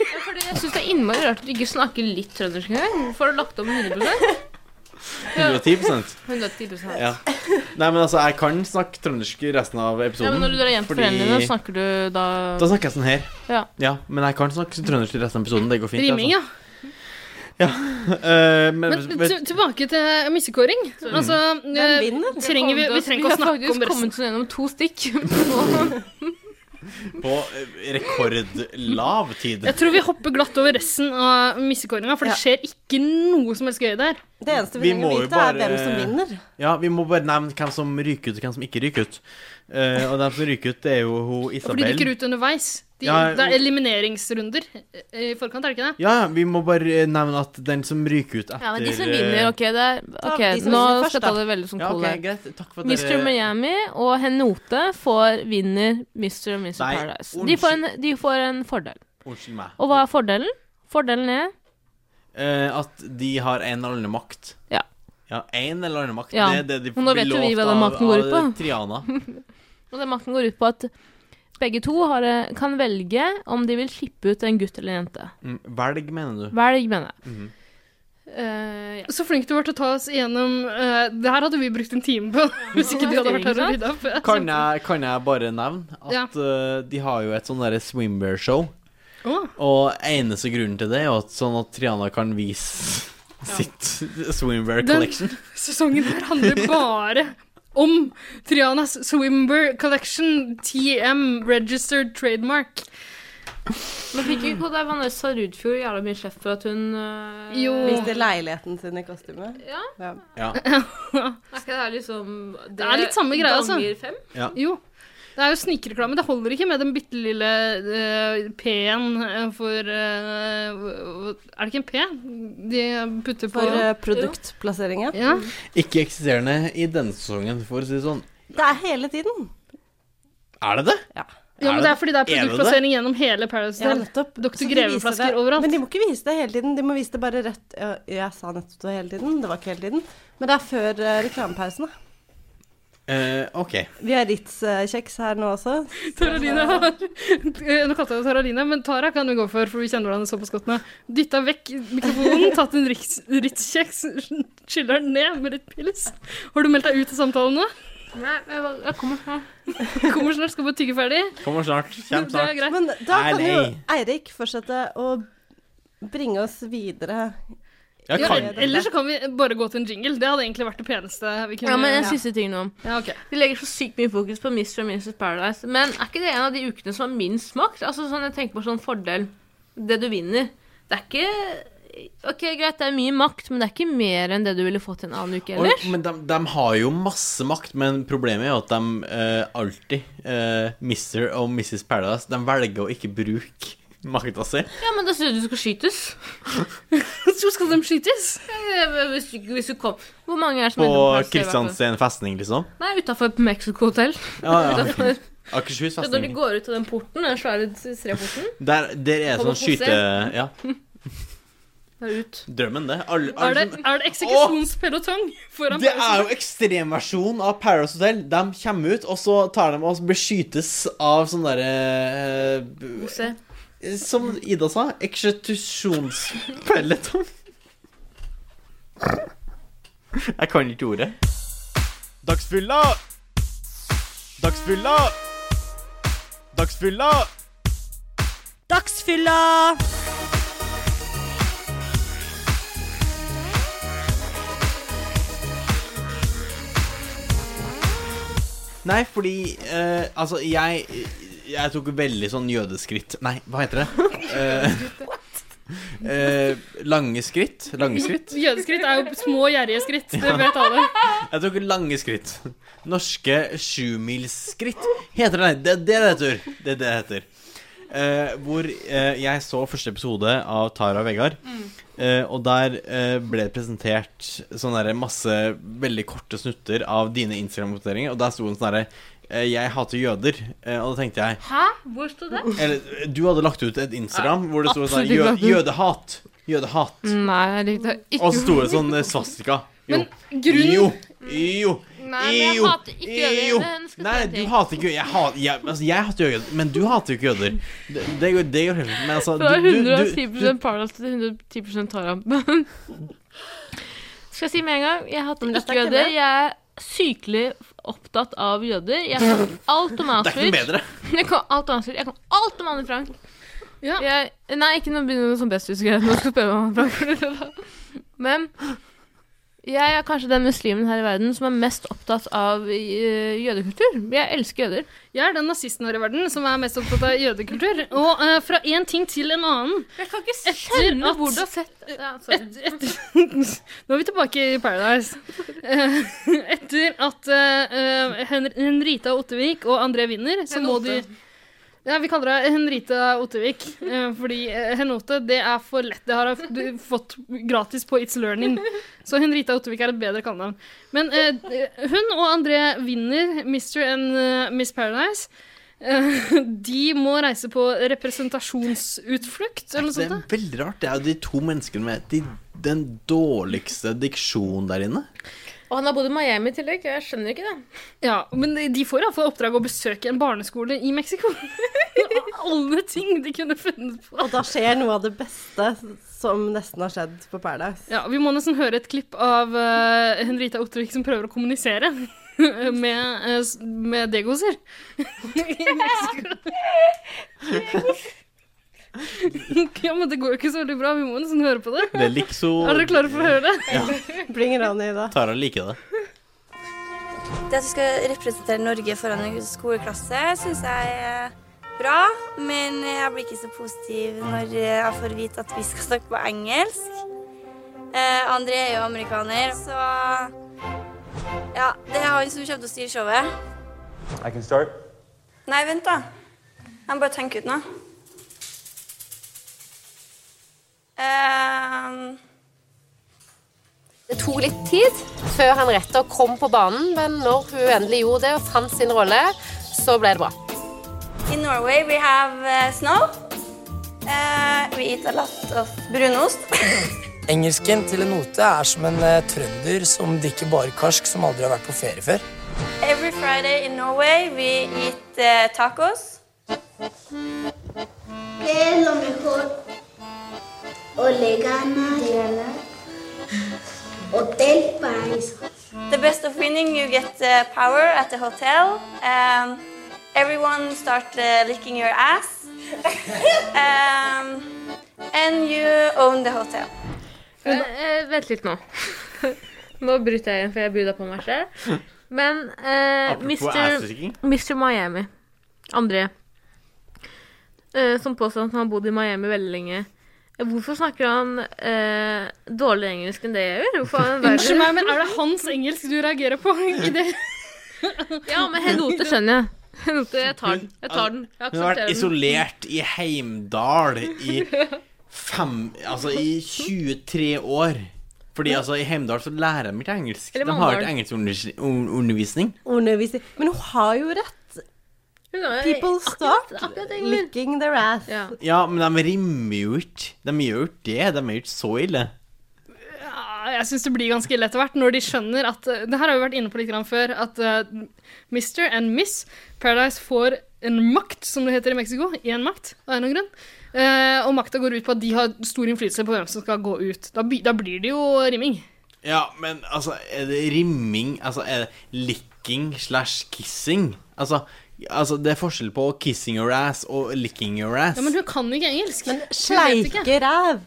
Speaker 1: Ja, fordi jeg syns det er innmari rart at du ikke snakker litt trøndersk engang. Hvorfor har du lagt om 100
Speaker 2: 110
Speaker 1: 110
Speaker 2: ja. Nei, men altså, jeg kan snakke trøndersk i resten av
Speaker 1: Ja,
Speaker 2: episoden.
Speaker 1: men når du drar hjem til foreldrene dine, snakker du da
Speaker 2: Da snakker jeg sånn her.
Speaker 1: Ja.
Speaker 2: Men jeg kan snakke trøndersk i resten av episoden. Det går fint.
Speaker 5: rimming, ja.
Speaker 2: Altså. Eh, men,
Speaker 5: Men
Speaker 2: vet-
Speaker 5: til- tilbake til missekåring. Altså, eh, trenger vi, vi trenger ikke å snakke om
Speaker 1: Vi har faktisk
Speaker 5: resten.
Speaker 1: kommet oss gjennom to stikk.
Speaker 2: på eh, rekordlav tid.
Speaker 5: Jeg tror vi hopper glatt over resten av missekåringa, for det skjer ikke noe som helst gøy der.
Speaker 4: Det eneste
Speaker 2: Vi må jo bare- Ja, vi må bare nevne hvem som ryker ut, og hvem som ikke ryker ut. Eh, og dem som ryker ut, det er jo hun
Speaker 5: Fordi de
Speaker 2: Isabel.
Speaker 5: rykker ut underveis. De,
Speaker 2: Ja,
Speaker 5: det er elimineringsrunder eh, i forkant, er det ikke det?
Speaker 2: Ja, ja, vi må bare eh, nevne at den som ryker ut etter eh,
Speaker 1: Ja, men de som vinner, OK, det er, ok,
Speaker 5: de som
Speaker 1: Nå
Speaker 5: vinner først,
Speaker 1: skal jeg ta
Speaker 5: da.
Speaker 1: det veldig som
Speaker 2: Ja,
Speaker 1: cool
Speaker 2: ok,
Speaker 1: her.
Speaker 2: greit. Takk for at
Speaker 1: Mr.
Speaker 2: dere-
Speaker 1: Miami og Henote får vinner Mr. og Mrs.
Speaker 2: Nei,
Speaker 1: Paradise. De får, en, de får en fordel.
Speaker 2: eh, Unnskyld meg.
Speaker 1: Og hva er fordelen? Fordelen er
Speaker 2: Eh, at de har en eller annen makt.
Speaker 1: Ja.
Speaker 2: Ja, en eller annen makt.
Speaker 1: Ja,
Speaker 2: Det er det de
Speaker 1: men nå vet jo vi hva den
Speaker 2: av-
Speaker 1: makten går ut
Speaker 2: av
Speaker 1: på.
Speaker 2: Triana.
Speaker 1: Og den makten går ut på at begge to har, eh, kan velge om de vil slippe ut en gutt eller en jente.
Speaker 2: Mm, Velg, mener du.
Speaker 1: Velg, mener jeg.
Speaker 2: Mhm.
Speaker 1: Eh, ja.
Speaker 5: Så flink du var til å ta oss igjennom eh, Det her hadde vi brukt en time
Speaker 4: [LAUGHS]
Speaker 5: på hvis ikke du hadde vært her og rydda opp.
Speaker 2: Kan jeg, kan jeg bare nevne at
Speaker 5: Ja.
Speaker 2: eh, de har jo et sånn derre swimwear-show.
Speaker 5: Å.
Speaker 2: Og eneste grunnen til det er jo at sånn at Triana kan vise sitt [LAUGHS] swimwear
Speaker 5: Den
Speaker 2: collection.
Speaker 5: sesongen her handler bare om Trianas Swimber Collection TM Registered Trademark.
Speaker 1: Men fikk ikke det Vanessa Rudfjord jævla mye kjeft for at hun øh,
Speaker 4: Viste leiligheten sin i kostyme.
Speaker 1: Ja.
Speaker 2: Ja.
Speaker 1: Er ikke det her liksom
Speaker 5: Det er litt samme greia, altså.
Speaker 1: Ganger fem?
Speaker 2: Ja.
Speaker 5: Jo. Det er jo snikreklame. Det holder ikke med den bitte lille eh, P-en eh, for eh, Er det ikke en P de putter på
Speaker 4: For eh, produktplasseringen.
Speaker 5: Ja.
Speaker 2: Ikke eksisterende i denne sesongen, for å si det sånn.
Speaker 4: Det er hele tiden.
Speaker 2: Er det det?
Speaker 5: Ja, men det er fordi det er
Speaker 2: det det?
Speaker 5: produktplassering gjennom hele Paradise
Speaker 4: Ja,
Speaker 5: Hotel.
Speaker 4: nettopp.
Speaker 5: Dr.
Speaker 4: Så de viser
Speaker 5: Greve-flasker
Speaker 4: det-
Speaker 5: overalt.
Speaker 4: Men de må ikke vise det hele tiden. De må vise det bare rett ja, Jeg sa nettopp det var hele tiden. Det var ikke hele tiden. Men det er før eh, reklamepausene.
Speaker 2: Eh, ok.
Speaker 4: Vi har Ritz-kjeks her nå også.
Speaker 5: Taralina Eh, Nå kalte jeg det Taralina, men Tara kan vi gå for, for vi kjenner hverandre såpass godt nå. Dytta vekk
Speaker 1: [LAUGHS]
Speaker 5: mikrofonen, tatt en Ritz- Ritz-kjeks, skyller den ned med litt pils. Har du meldt deg ut av samtalen nå?
Speaker 1: Nei, jeg, bare- jeg kommer snart.
Speaker 5: Kommer snart, skal bare tygge ferdig.
Speaker 2: Kommer snart. Kjem
Speaker 5: Det er
Speaker 2: snart.
Speaker 5: greit.
Speaker 4: Men da kan jo
Speaker 2: Nei.
Speaker 4: Eirik fortsette å bringe oss videre.
Speaker 2: Ja,
Speaker 5: Ja,
Speaker 2: kan-
Speaker 5: Eller så kan vi bare gå til en jingle. Det hadde egentlig vært det peneste vi kunne
Speaker 1: Ja, men en siste ting nå.
Speaker 5: Ja, ok.
Speaker 1: De legger så sykt mye fokus på Mr. og Mrs. Paradise. Men er ikke det en av de ukene som har minst makt? Altså sånn, Jeg tenker på sånn fordel. Det du vinner. Det er ikke Ok, greit, det er mye makt, men det er ikke mer enn det du ville fått en annen uke
Speaker 2: Og,
Speaker 1: ellers.
Speaker 2: men de, de har jo masse makt, men problemet er jo at de eh, alltid eh, Mr. og Mrs. Paradise De velger å ikke bruke makta si.
Speaker 1: Ja, men da synes jeg du skal [LAUGHS] skytes.
Speaker 5: Så skal de skytes?
Speaker 1: Hvis, du- hvis du kom Hvor mange er det som er
Speaker 2: På
Speaker 1: innom Paradise?
Speaker 2: Kristiansten festning, liksom.
Speaker 1: Nei, utafor Mexico Hotel.
Speaker 2: Ah, Ja, ja.
Speaker 1: Utenfor-
Speaker 2: Akershus
Speaker 1: Ja, når de
Speaker 2: festning.
Speaker 1: går ut av den porten, den svære treporten,
Speaker 2: Der, der er
Speaker 1: Kommer på
Speaker 2: sånn skyte...
Speaker 1: scenen.
Speaker 2: Ja,
Speaker 1: da er ut.
Speaker 2: drømmen, det. Alle,
Speaker 5: Er
Speaker 2: alle
Speaker 5: det,
Speaker 2: som-
Speaker 5: er det eksekusjonspelotong foran
Speaker 2: Det er jo
Speaker 5: Paradise Hotel?
Speaker 2: ekstremversjonen av Paradise Hotel. De kommer ut, og så tar de og beskytes av sånn derre
Speaker 1: Mose.
Speaker 2: Som Ida sa,
Speaker 1: [LAUGHS]
Speaker 2: eksekusjonspelletong. Jeg kan ikke ordet. Dagsfylla! Dagsfylla! Dagsfylla!
Speaker 14: Dagsfylla!
Speaker 2: Nei, fordi eh, Altså, jeg Jeg tok veldig sånn jødeskritt Nei, hva heter det? Eh, [LAUGHS] eh, lange skritt. Lange skritt.
Speaker 5: Jødeskritt er jo små, gjerrige skritt. Det vet alle.
Speaker 2: Jeg tok lange skritt. Norske sjumilsskritt heter det. Det det er det det heter. Det er det det heter. Eh, hvor eh, jeg så første episode av Tara og Vegard. eh, og der eh, ble det presentert sånn derre masse veldig korte snutter av dine Instagram-voteringer. Og der sto det sånn herre eh, 'Jeg hater jøder'. Eh, og da tenkte jeg
Speaker 1: Hæ? Hvor sto det?
Speaker 2: Eller eh, du hadde lagt ut et Instagram hvor det sto sånn
Speaker 1: absolutt ikke
Speaker 2: jø,
Speaker 1: lagt ut.
Speaker 2: 'Jødehat'. Jødehat.
Speaker 1: Nei, jeg likte ikke
Speaker 2: Og så sto det sånn eh, svastika. Jo.
Speaker 1: Men grunnen-
Speaker 2: jo. Jo.
Speaker 1: Nei, men jeg
Speaker 2: jo.
Speaker 1: hater ikke jøder.
Speaker 2: Jo.
Speaker 1: Men skal jeg
Speaker 2: Nei,
Speaker 1: si en
Speaker 2: du
Speaker 1: ting?
Speaker 2: hater ikke Jeg, hat, jeg, altså, jeg hater jo jøder, men du hater jo ikke jøder. Det, det, går, det går helt fint. Men altså
Speaker 1: Fra
Speaker 2: du- du- du-
Speaker 1: 110 Paradise til 110 Tara. Men- [LAUGHS] Skal jeg si med en gang, jeg hater
Speaker 4: dette
Speaker 1: ikke
Speaker 4: er ikke
Speaker 1: jøder.
Speaker 4: det.
Speaker 1: Jeg er sykelig opptatt av jøder. Jeg kan alt om
Speaker 2: Det er ikke
Speaker 1: Auschwitz.
Speaker 2: noe bedre.
Speaker 1: Jeg kan alt om Auschwitz. Jeg kan alt om Anne Frank. Jeg, nei, ikke noe begynner med sånn besthuskgreier. Nå skal jeg spørre om Anne
Speaker 2: [LAUGHS]
Speaker 1: Frank. Men jeg er kanskje den muslimen her i verden som er mest opptatt av eh, jødekultur. Jeg elsker jøder.
Speaker 5: Jeg er den nazisten her i verden som er mest opptatt av jødekultur. Og eh, fra én ting til en annen.
Speaker 1: Jeg kan ikke
Speaker 5: skjønne hvor du har
Speaker 1: sett
Speaker 5: Et, et, nå er vi tilbake i Paradise. Eh, etter at eh, eh, Hen Henrita Ottevik og André vinner, så må de
Speaker 1: Henote.
Speaker 5: ja, Vi kaller henne Henrita Ottevik, eh, fordi eh, Henote det er for lett. Det har hun f- fått gratis på It's Learning. Så Henrita Ottevik er et bedre kallenavn. Men eh, hun og André vinner Mr. and eh, Miss Paradise. Eh, de må reise på representasjonsutflukt eller noe
Speaker 2: Det
Speaker 5: sånt.
Speaker 2: er
Speaker 5: da.
Speaker 2: veldig rart. Det er jo de to menneskene med de, den dårligste diksjonen der inne.
Speaker 1: Og han har bodd i Miami i tillegg. Jeg skjønner ikke det.
Speaker 5: Ja, men de- de får iallfall oppdrag å besøke en barneskole i [LAUGHS] Mexico. Alle ting de kunne funnet på.
Speaker 4: Og da skjer noe av det beste som nesten har skjedd på Paradise.
Speaker 5: Ja, Vi må nesten høre et klipp av eh, Henrita Ottervik som prøver å kommunisere [LAUGHS] med, eh, s- med [LAUGHS] degoser. [LAUGHS] ja, men det går jo ikke så veldig bra. Vi må nesten høre på det.
Speaker 2: Det er liksom
Speaker 5: Er dere klare for å høre det?
Speaker 2: Ja.
Speaker 4: Bring it on, Ida.
Speaker 2: Tara liker det.
Speaker 12: Det at jeg skal representere Norge foran en skoleklasse, syns jeg eh, bra, men jeg blir ikke så positiv når jeg får vite at vi skal snakke på engelsk. Eh, André er jo amerikaner, så Ja, det er han som kommer til å styre showet.
Speaker 6: I can start.
Speaker 12: Nei, vent, da. Jeg må bare tenke ut noe. Ehm,
Speaker 15: Det tok litt tid før Henriette kom på banen, men når hun endelig gjorde det og fant sin rolle, så ble det bra.
Speaker 12: in Norway we have eh, snow. Eh, we eat a lot of brunost. [LAUGHS]
Speaker 11: Engelsken til en note er som en eh, trønder som drikker bare karsk som aldri har vært på ferie før.
Speaker 12: Every Friday in Norway we eat eh, tacos.
Speaker 3: ¿Qué es lo mejor? Olegana, Hotel Paraíso.
Speaker 12: The best of winning, you get uh, power at the hotel. Um, everyone start uh, licking your ass. um, and you own the hotel.
Speaker 1: Eh, eh, vent litt nå. [LAUGHS] nå bryter jeg inn, for jeg byr deg på meg selv. Men eh,
Speaker 2: Apropos
Speaker 1: Mr.
Speaker 2: ass-drikking.
Speaker 1: Mr. Miami, André, eh, som påstår at han har bodd i Miami veldig lenge Eh, Hvorfor snakker han eh, dårligere engelsk enn det jeg gjør? Hvorfor har han verre-
Speaker 5: Unnskyld meg, men er det hans engelsk du reagerer på? I det?
Speaker 1: Ja, men Henote skjønner jeg. Henote, jeg tar den. Jeg tar den. Jeg
Speaker 2: Hun har vært
Speaker 1: aksepterer den.
Speaker 2: isolert i Heimdal i fem Altså i 23 år. Fordi altså, i Heimdal så lærer de ikke engelsk.
Speaker 4: Eller
Speaker 2: De har
Speaker 4: Mandal.
Speaker 2: ikke engelskundervisning.
Speaker 4: Ordene viser Men hun har jo rett. People stop licking their ass.
Speaker 2: Ja, men de rimer jo ikke. De gjør jo ikke det. De er jo ikke så ille.
Speaker 5: Ja, Ah, jeg syns det blir ganske ille etter hvert, når de skjønner at eh, Det her har vi vært inne på litt grann før, at eh, Mr. and Miss Paradise får en makt, som det heter i Mexico. Én makt, av en eller annen grunn. Eh, og makta går ut på at de har stor innflytelse på hvem som skal gå ut. Da, by, da blir det jo rimming.
Speaker 2: Ja, men altså, er det rimming Altså, er det licking slash kissing? Altså, altså, det er forskjell på kissing your ass og licking your ass.
Speaker 5: Ja, Men hun kan ikke engelsk. Men
Speaker 4: Sleike ræv.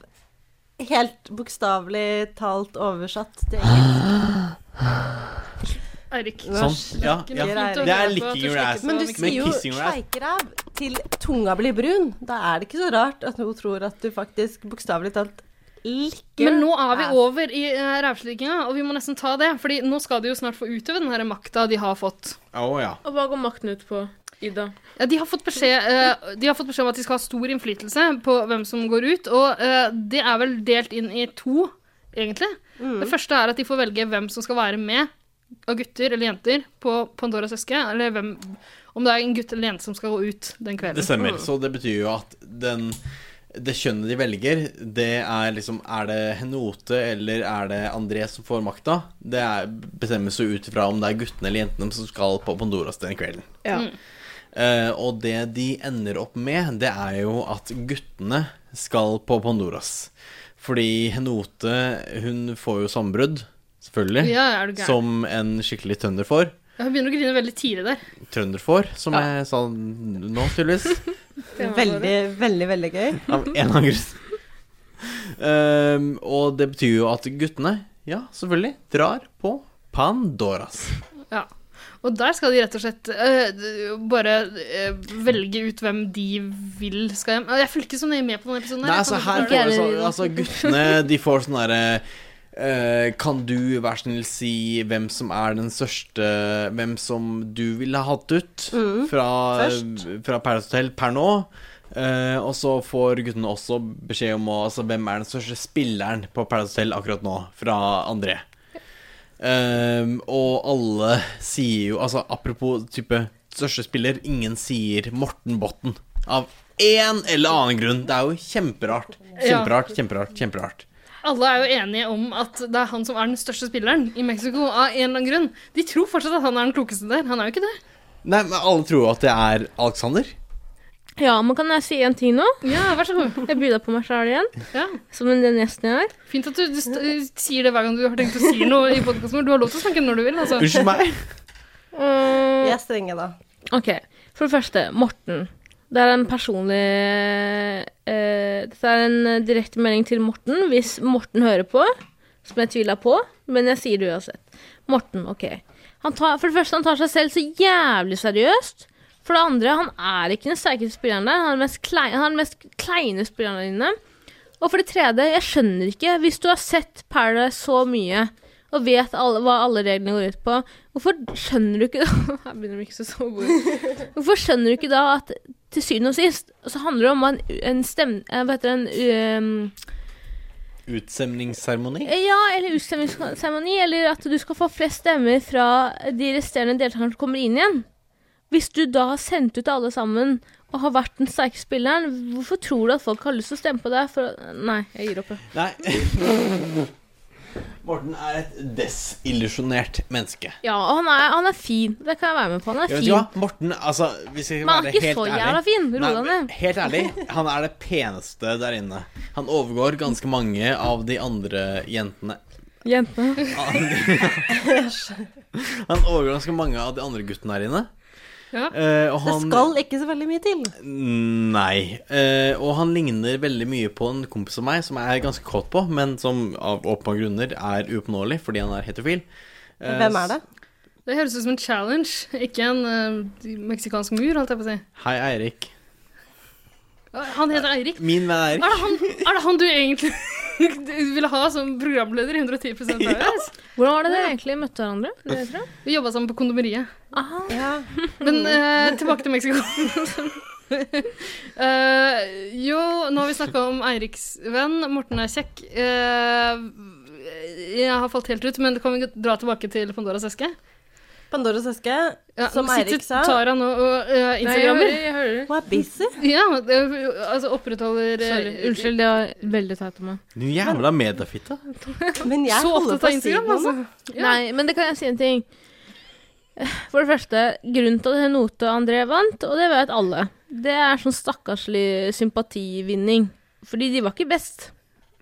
Speaker 4: Helt bokstavelig talt oversatt til engelsk.
Speaker 5: Eirik.
Speaker 2: Sånn, ja, ja. Det er licking your ass.
Speaker 4: Men du
Speaker 2: men
Speaker 4: sier jo
Speaker 2: kissing your ass.
Speaker 4: sleikeræv til tunga blir brun. Da er det ikke så rart at hun tror at du faktisk bokstavelig talt liker
Speaker 5: Men nå er vi
Speaker 4: ass.
Speaker 5: over i uh, rævslikinga, og vi må nesten ta det. Fordi nå skal de jo snart få utøve den her makta de har fått.
Speaker 2: Å ja.
Speaker 1: Og hva går makten ut på, Ida?
Speaker 5: Ja, de, har fått beskjed, eh, de har fått beskjed om at de skal ha stor innflytelse på hvem som går ut, og eh, det er vel delt inn i to, egentlig.
Speaker 1: Mm.
Speaker 5: Det første er at de får velge hvem som skal være med av gutter eller jenter på Pandoras eske, eller hvem, om det er en gutt eller jente som skal gå ut den kvelden.
Speaker 2: Det stemmer. Så det betyr jo at den det kjønnet de velger, det er liksom Er det Henote eller er det André som får makta? Det er, bestemmes jo ut ifra om det er guttene eller jentene som skal på Pandoras den kvelden.
Speaker 1: Ja.
Speaker 2: Eh, og det de ender opp med, det er jo at guttene skal på Pandoras. Fordi Henote, hun får jo sambrudd, selvfølgelig,
Speaker 5: Ja, er du gæren?
Speaker 2: som en skikkelig tønder får.
Speaker 5: Jeg begynner å grine veldig tidlig der.
Speaker 2: Trønder får, som jeg sa nå, tydeligvis.
Speaker 4: Veldig, veldig, veldig gøy.
Speaker 2: Av en eller annen grunn. Ehm, og det betyr jo at guttene, ja, selvfølgelig, drar på Pandoras.
Speaker 5: Ja. Og der skal de rett og slett eh, d- bare eh, velge ut hvem de vil skal hjem. Eh, Jeg følger ikke så nøye med på denne episoden.
Speaker 2: Nei,
Speaker 5: jeg
Speaker 2: altså
Speaker 5: kan
Speaker 2: her
Speaker 5: ikke
Speaker 2: får
Speaker 5: forklare
Speaker 2: vi
Speaker 5: det.
Speaker 2: sånn Altså guttene, de får sånn derre eh, Kan du vær snill si hvem som er den største Hvem som du ville ha hatt ut
Speaker 16: Mm.
Speaker 2: fra,
Speaker 16: Først.
Speaker 2: fra Paradise Hotel per nå? Eh, og så får guttene også beskjed om å, altså, hvem er den største spilleren på Paradise Hotel akkurat nå, fra André. Ehm, og alle sier jo Altså apropos type største spiller, ingen sier Morten Botten. Av én eller annen grunn. Det er jo kjemperart. Kjemperart, kjemperart, kjemperart.
Speaker 5: Alle er jo enige om at det er han som er den største spilleren i Mexico, av en eller annen grunn. De tror fortsatt at han er den klokeste der. Han er jo ikke det.
Speaker 2: Nei, men alle tror jo at det er Alexander.
Speaker 1: Ja, men kan jeg si en ting nå?
Speaker 5: Ja, vær så god.
Speaker 1: Jeg byr deg på meg sjæl igjen. Som den gjesten jeg er.
Speaker 5: Fint at du, du st eh, sier det hver gang du har tenkt å si noe i podkasten vår. Du har lov til å snakke når du vil. Altså.
Speaker 2: Unnskyld meg.
Speaker 4: Vi er strenge, da.
Speaker 1: OK. For det første, Morten. Det er en personlig eh, Dette er en eh, direkte melding til Morten, hvis Morten hører på. Som jeg tviler på, men jeg sier det uansett. Morten, OK. Han tar, for det første, han tar seg selv så jævlig seriøst. For det andre, han er ikke den sterkeste spilleren der. Han er den mest kleine, han er den mest kleine spilleren der inne. Og for det tredje, jeg skjønner ikke, hvis du har sett Paradise så mye og vet alle, hva alle reglene går ut på, hvorfor skjønner du ikke [LAUGHS] Her begynner vi ikke så så gode. Hvorfor skjønner du ikke da at til syvende og sist så handler det om en, en stem... eh, Hva heter det? En, um,
Speaker 2: Utsemningsseremoni?
Speaker 1: ja, eller utstemningsseremoni, eller at du skal få flest stemmer fra de resterende deltakerne som kommer inn igjen. Hvis du da har sendt ut alle sammen og har vært den sterke spilleren, hvorfor tror du at folk har lyst til å stemme på deg? For Nei, jeg gir opp. jeg.
Speaker 2: Nei. [LAUGHS] Morten er et desillusjonert menneske.
Speaker 1: Ja, og han er, han er fin. Det kan jeg være med på. Han er
Speaker 2: Jeg vet
Speaker 1: fin.
Speaker 2: ikke hva, Morten, altså hvis jeg skal
Speaker 1: Men han er
Speaker 2: være
Speaker 1: ikke
Speaker 2: helt
Speaker 1: så
Speaker 2: ærlig-
Speaker 1: jævla fin. Ro
Speaker 2: Nei,
Speaker 1: deg
Speaker 2: men
Speaker 1: ned.
Speaker 2: Helt ærlig, han er det peneste der inne. Han overgår ganske mange av de andre jentene.
Speaker 1: Jente.
Speaker 2: Han overgår ganske mange av de andre guttene her inne. Eh, og
Speaker 4: det
Speaker 2: han-
Speaker 4: skal ikke så veldig mye til.
Speaker 2: Nei. Eh, og han ligner veldig mye på en kompis av meg som jeg er ganske kåt på, men som av åpenbare grunner er uoppnåelig fordi han er heterofil. Eh,
Speaker 4: Hvem er det?
Speaker 5: Det høres ut som en challenge, ikke en eh, meksikansk mur, holdt jeg på å si. Ah,
Speaker 2: Hei, Eirik.
Speaker 5: Han heter Eirik.
Speaker 2: Min venn
Speaker 5: Er
Speaker 2: Eirik.
Speaker 1: Ah!
Speaker 5: det han, er det han du egentlig [LAUGHS] du ville ha som programleder i 110 Paradise?
Speaker 1: Hvordan var det dere egentlig møtte hverandre? Det tror jeg.
Speaker 5: Vi jobba sammen på kondomeriet.
Speaker 1: Ja.
Speaker 4: Mm.
Speaker 5: Men eh, tilbake til
Speaker 4: [LAUGHS]
Speaker 5: Mexico. Eh, jo, nå har vi snakka om Eiriks venn. Morten er kjekk. Eh, jeg har falt helt ut, men kan vi dra tilbake til Pandoras eske?
Speaker 4: Pandoras eske,
Speaker 5: Ja,
Speaker 4: som
Speaker 5: nå sitter
Speaker 4: Eirik sa.
Speaker 5: Tara nå og uh,
Speaker 4: Nei, jeg
Speaker 5: instagrammer.
Speaker 4: hører- jeg hører. Hun er busy.
Speaker 5: Ja, det- altså opprettholder eh,
Speaker 1: Sorry. Unnskyld, det var veldig teit av meg.
Speaker 2: Du jævla mediefitte.
Speaker 4: Men jeg
Speaker 5: [LAUGHS] Så
Speaker 4: holder
Speaker 5: opptatt
Speaker 4: på å
Speaker 5: av
Speaker 4: si
Speaker 5: Instagram,
Speaker 4: noe
Speaker 5: altså.
Speaker 4: nå.
Speaker 1: Nei, men det kan jeg si en ting. For det første, grunnen til at Henote og André vant, og det vet alle, det er sånn stakkarslig sympativinning. Fordi de var ikke best.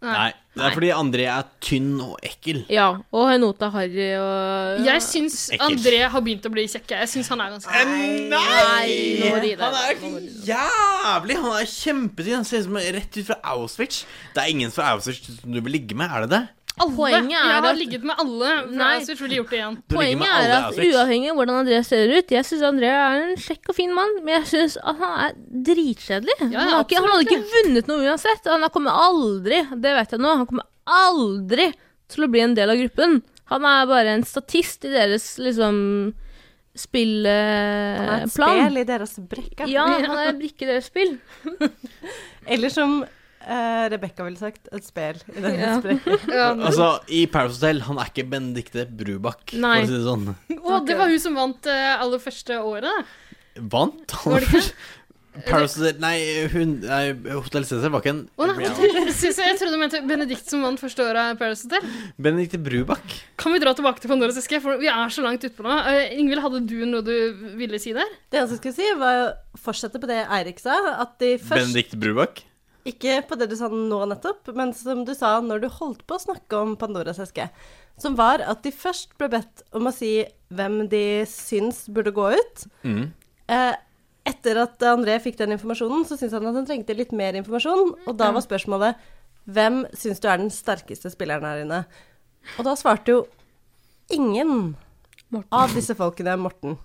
Speaker 1: Ah.
Speaker 2: Nei. Det er fordi André er tynn og ekkel.
Speaker 1: Ja, og Henote er harry og
Speaker 5: Jeg syns
Speaker 2: Ekkelt.
Speaker 5: André har begynt å bli kjekk. Jeg syns han er ganske
Speaker 2: Nei!
Speaker 5: Nå må du gi deg.
Speaker 2: Eh, Han er ikke jævlig! Han er kjempetynn. Han ser ut som rett ut fra Auschwitz. Det er ingen fra Auschwitz som du vil ligge med, er det det?
Speaker 5: Alle.
Speaker 1: Poenget er
Speaker 5: jeg har
Speaker 1: at-
Speaker 5: ligget med alle. Nei.
Speaker 1: Nei.
Speaker 5: Auschwitz ville gjort
Speaker 4: [LAUGHS]
Speaker 5: det igjen.
Speaker 2: Du ligger med
Speaker 1: Poenget er
Speaker 2: alle
Speaker 1: at
Speaker 2: Auschwitz.
Speaker 1: uavhengig av hvordan André ser ut Jeg syns André er en kjekk og fin mann, men jeg syns at han er dritkjedelig.
Speaker 5: Ja,
Speaker 1: han, har ikke, han
Speaker 5: absolutt
Speaker 1: hadde ikke vunnet noe uansett. og Han har kommet aldri, det vet jeg nå, han kommer aldri til å bli en del av gruppen. Han er bare en statist i deres liksom
Speaker 4: Han er
Speaker 1: spillplan.
Speaker 4: et Eh, spel i deres brekke. [LAUGHS]
Speaker 1: Ja, han er en brikke i deres spill.
Speaker 4: Eller som uh, Rebekka ville sagt, et spel i deres
Speaker 1: Ja.
Speaker 4: brekke.
Speaker 2: Altså, i Paris Hotel, han er ikke Benedicte Brubakk,
Speaker 5: Nei.
Speaker 2: for å si det sånn.
Speaker 5: Å, det var hun som vant eh, aller første året, da.
Speaker 2: Vant han
Speaker 5: Var det ikke?
Speaker 2: [LAUGHS] Paris Hotel Nei, hun nei, Hotel Cæsar var ikke en
Speaker 5: Å nei, Hotel Cæsar. Jeg trodde du mente Benedikt som vant første året av Paradise Hotel.
Speaker 2: Benedicte Brubakk.
Speaker 5: Kan vi dra tilbake til Pandoras eske, for vi er så langt utpå nå. Eh, Ingvild, hadde du noe du ville si der?
Speaker 4: Det eneste jeg skulle si, var å fortsette på det Eirik sa. At de først
Speaker 2: Benedicte Brubakk?
Speaker 4: Ikke på det du sa nå nettopp, men som du sa når du holdt på å snakke om Pandoras eske. Som var at de først ble bedt om å si hvem de syns burde gå ut.
Speaker 2: Mm.
Speaker 4: Eh, etter at André fikk den informasjonen, så syntes han at han trengte litt mer informasjon. Og da var spørsmålet hvem syns du er den sterkeste spilleren her inne? Og da svarte jo ingen av disse folkene Morten.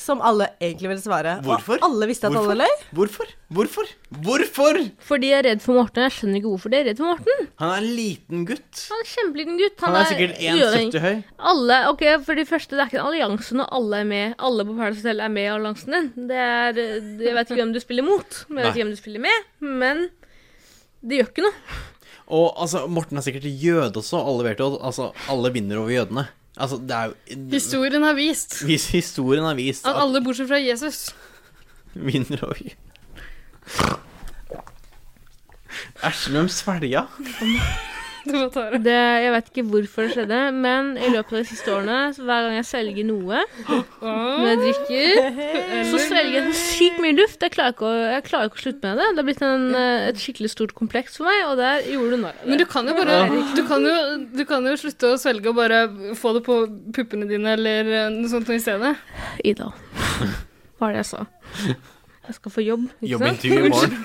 Speaker 4: Som alle egentlig ville svare.
Speaker 2: Hvorfor?
Speaker 4: Og alle visste at
Speaker 2: Hvorfor?
Speaker 4: alle løy.
Speaker 2: Hvorfor? Hvorfor? Hvorfor?
Speaker 1: Fordi jeg er redd for Morten. Jeg skjønner ikke hvorfor de er redd for Morten.
Speaker 2: Han er en liten gutt.
Speaker 1: Han er en kjempeliten gutt.
Speaker 2: Han er sikkert 1,70 høy.
Speaker 1: Alle, ok, for det første, det er ikke en allianse når alle er med. Alle på Paradise Hotel er med i alliansen din. Det er, eh, jeg vet ikke hvem du spiller mot, men jeg vet
Speaker 2: Nei.
Speaker 1: ikke hvem du spiller med. Men det gjør ikke noe.
Speaker 2: Og altså, Morten er sikkert jøde også. Alle vet jo at altså, alle vinner over jødene. Altså, det er jo
Speaker 5: Historien har vist
Speaker 2: Hvis historien har vist
Speaker 5: at
Speaker 2: at
Speaker 5: alle bortsett fra Jesus [LAUGHS]
Speaker 2: vinner over jødene Æsj, hvem svelga?
Speaker 1: Det, jeg vet ikke hvorfor det skjedde, men i løpet av de siste årene, så hver gang jeg svelger noe når jeg drikker, så svelger jeg så sykt mye luft. Jeg klarer ikke å, jeg klarer ikke å slutte med det. Det har blitt en, eh, et skikkelig stort kompleks for meg, og der gjorde du narr av
Speaker 5: Men
Speaker 1: det.
Speaker 5: du kan jo bare du kan jo, du kan jo slutte å svelge og bare få det på puppene dine eller eh, noe sånt noe i stedet.
Speaker 1: Ida. Hva er det jeg
Speaker 2: [LAUGHS]
Speaker 1: sa? Jeg skal få jobb. ikke
Speaker 2: Jobbintervju
Speaker 1: sant?
Speaker 2: i morgen.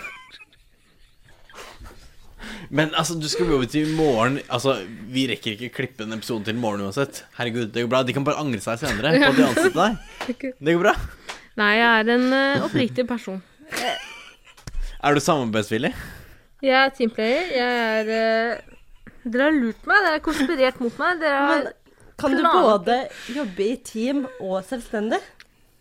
Speaker 2: Men altså, du skal jobbe til i morgen. Altså, Vi rekker ikke klippe en
Speaker 5: [LAUGHS]
Speaker 2: episode til i morgen uansett. Herregud, det går bra. De kan bare angre seg senere på at de ansatte deg. Det går bra.
Speaker 1: Nei, jeg er en eh, oppriktig person.
Speaker 2: Er du samarbeidsvillig?
Speaker 1: Jeg er teamplayer. Jeg er eh, Dere har lurt meg. Dere har konspirert mot meg. Dere har
Speaker 4: Men Kan du
Speaker 1: planlagt-
Speaker 4: både jobbe i team og selvstendig?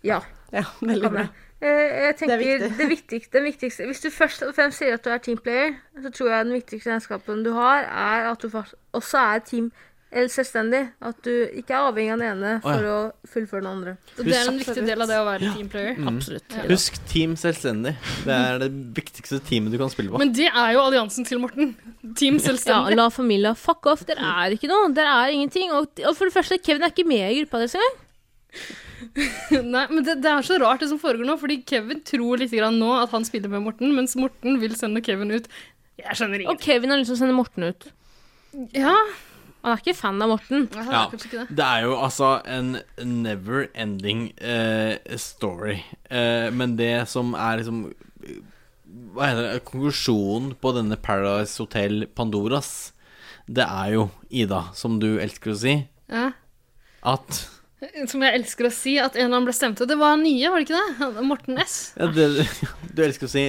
Speaker 1: Ja.
Speaker 4: Ja, veldig
Speaker 1: Kan
Speaker 4: bra.
Speaker 1: jeg. Eh, jeg tenker det,
Speaker 4: viktig.
Speaker 1: viktigste, den viktigste Hvis du først og fremst sier at du er teamplayer, så tror jeg den viktigste egenskapen du har, er at du fakt- også er team eller selvstendig. At du ikke er avhengig av den ene
Speaker 2: Å, ja.
Speaker 1: for å fullføre den andre.
Speaker 5: Og det er en viktig del av det å være teamplayer.
Speaker 2: Mm.
Speaker 5: Ja.
Speaker 2: Husk Team Selvstendig. Det er det viktigste teamet du kan spille på.
Speaker 5: Men det er jo alliansen til Morten. Team selvstendig.
Speaker 1: Ja, la familia fuck off. Dere er ikke noe. Dere er ingenting. Og, og for det første, Kevin er ikke med i gruppa deres engang.
Speaker 5: Nei, men det, det er så rart det som foregår nå, fordi Kevin tror litt grann nå at han spiller med Morten, mens Morten vil sende Kevin ut. Jeg skjønner
Speaker 1: Og
Speaker 5: ingenting.
Speaker 1: Kevin har lyst til å sende Morten ut.
Speaker 5: Ja.
Speaker 1: Han er ikke fan av Morten.
Speaker 2: Ja, det er jo altså en never ending eh, story. Eh, men det som er liksom eh, Hva heter det? Konklusjonen på denne Paradise Hotel Pandoras, det er jo, Ida, som du elsker å si,
Speaker 5: Ja.
Speaker 2: at
Speaker 5: Som jeg elsker å si, at en av dem ble stemt ut. Det var nye, var det ikke det? Morten S.
Speaker 1: [LAUGHS]
Speaker 2: ja, det, [LAUGHS] Du elsker å si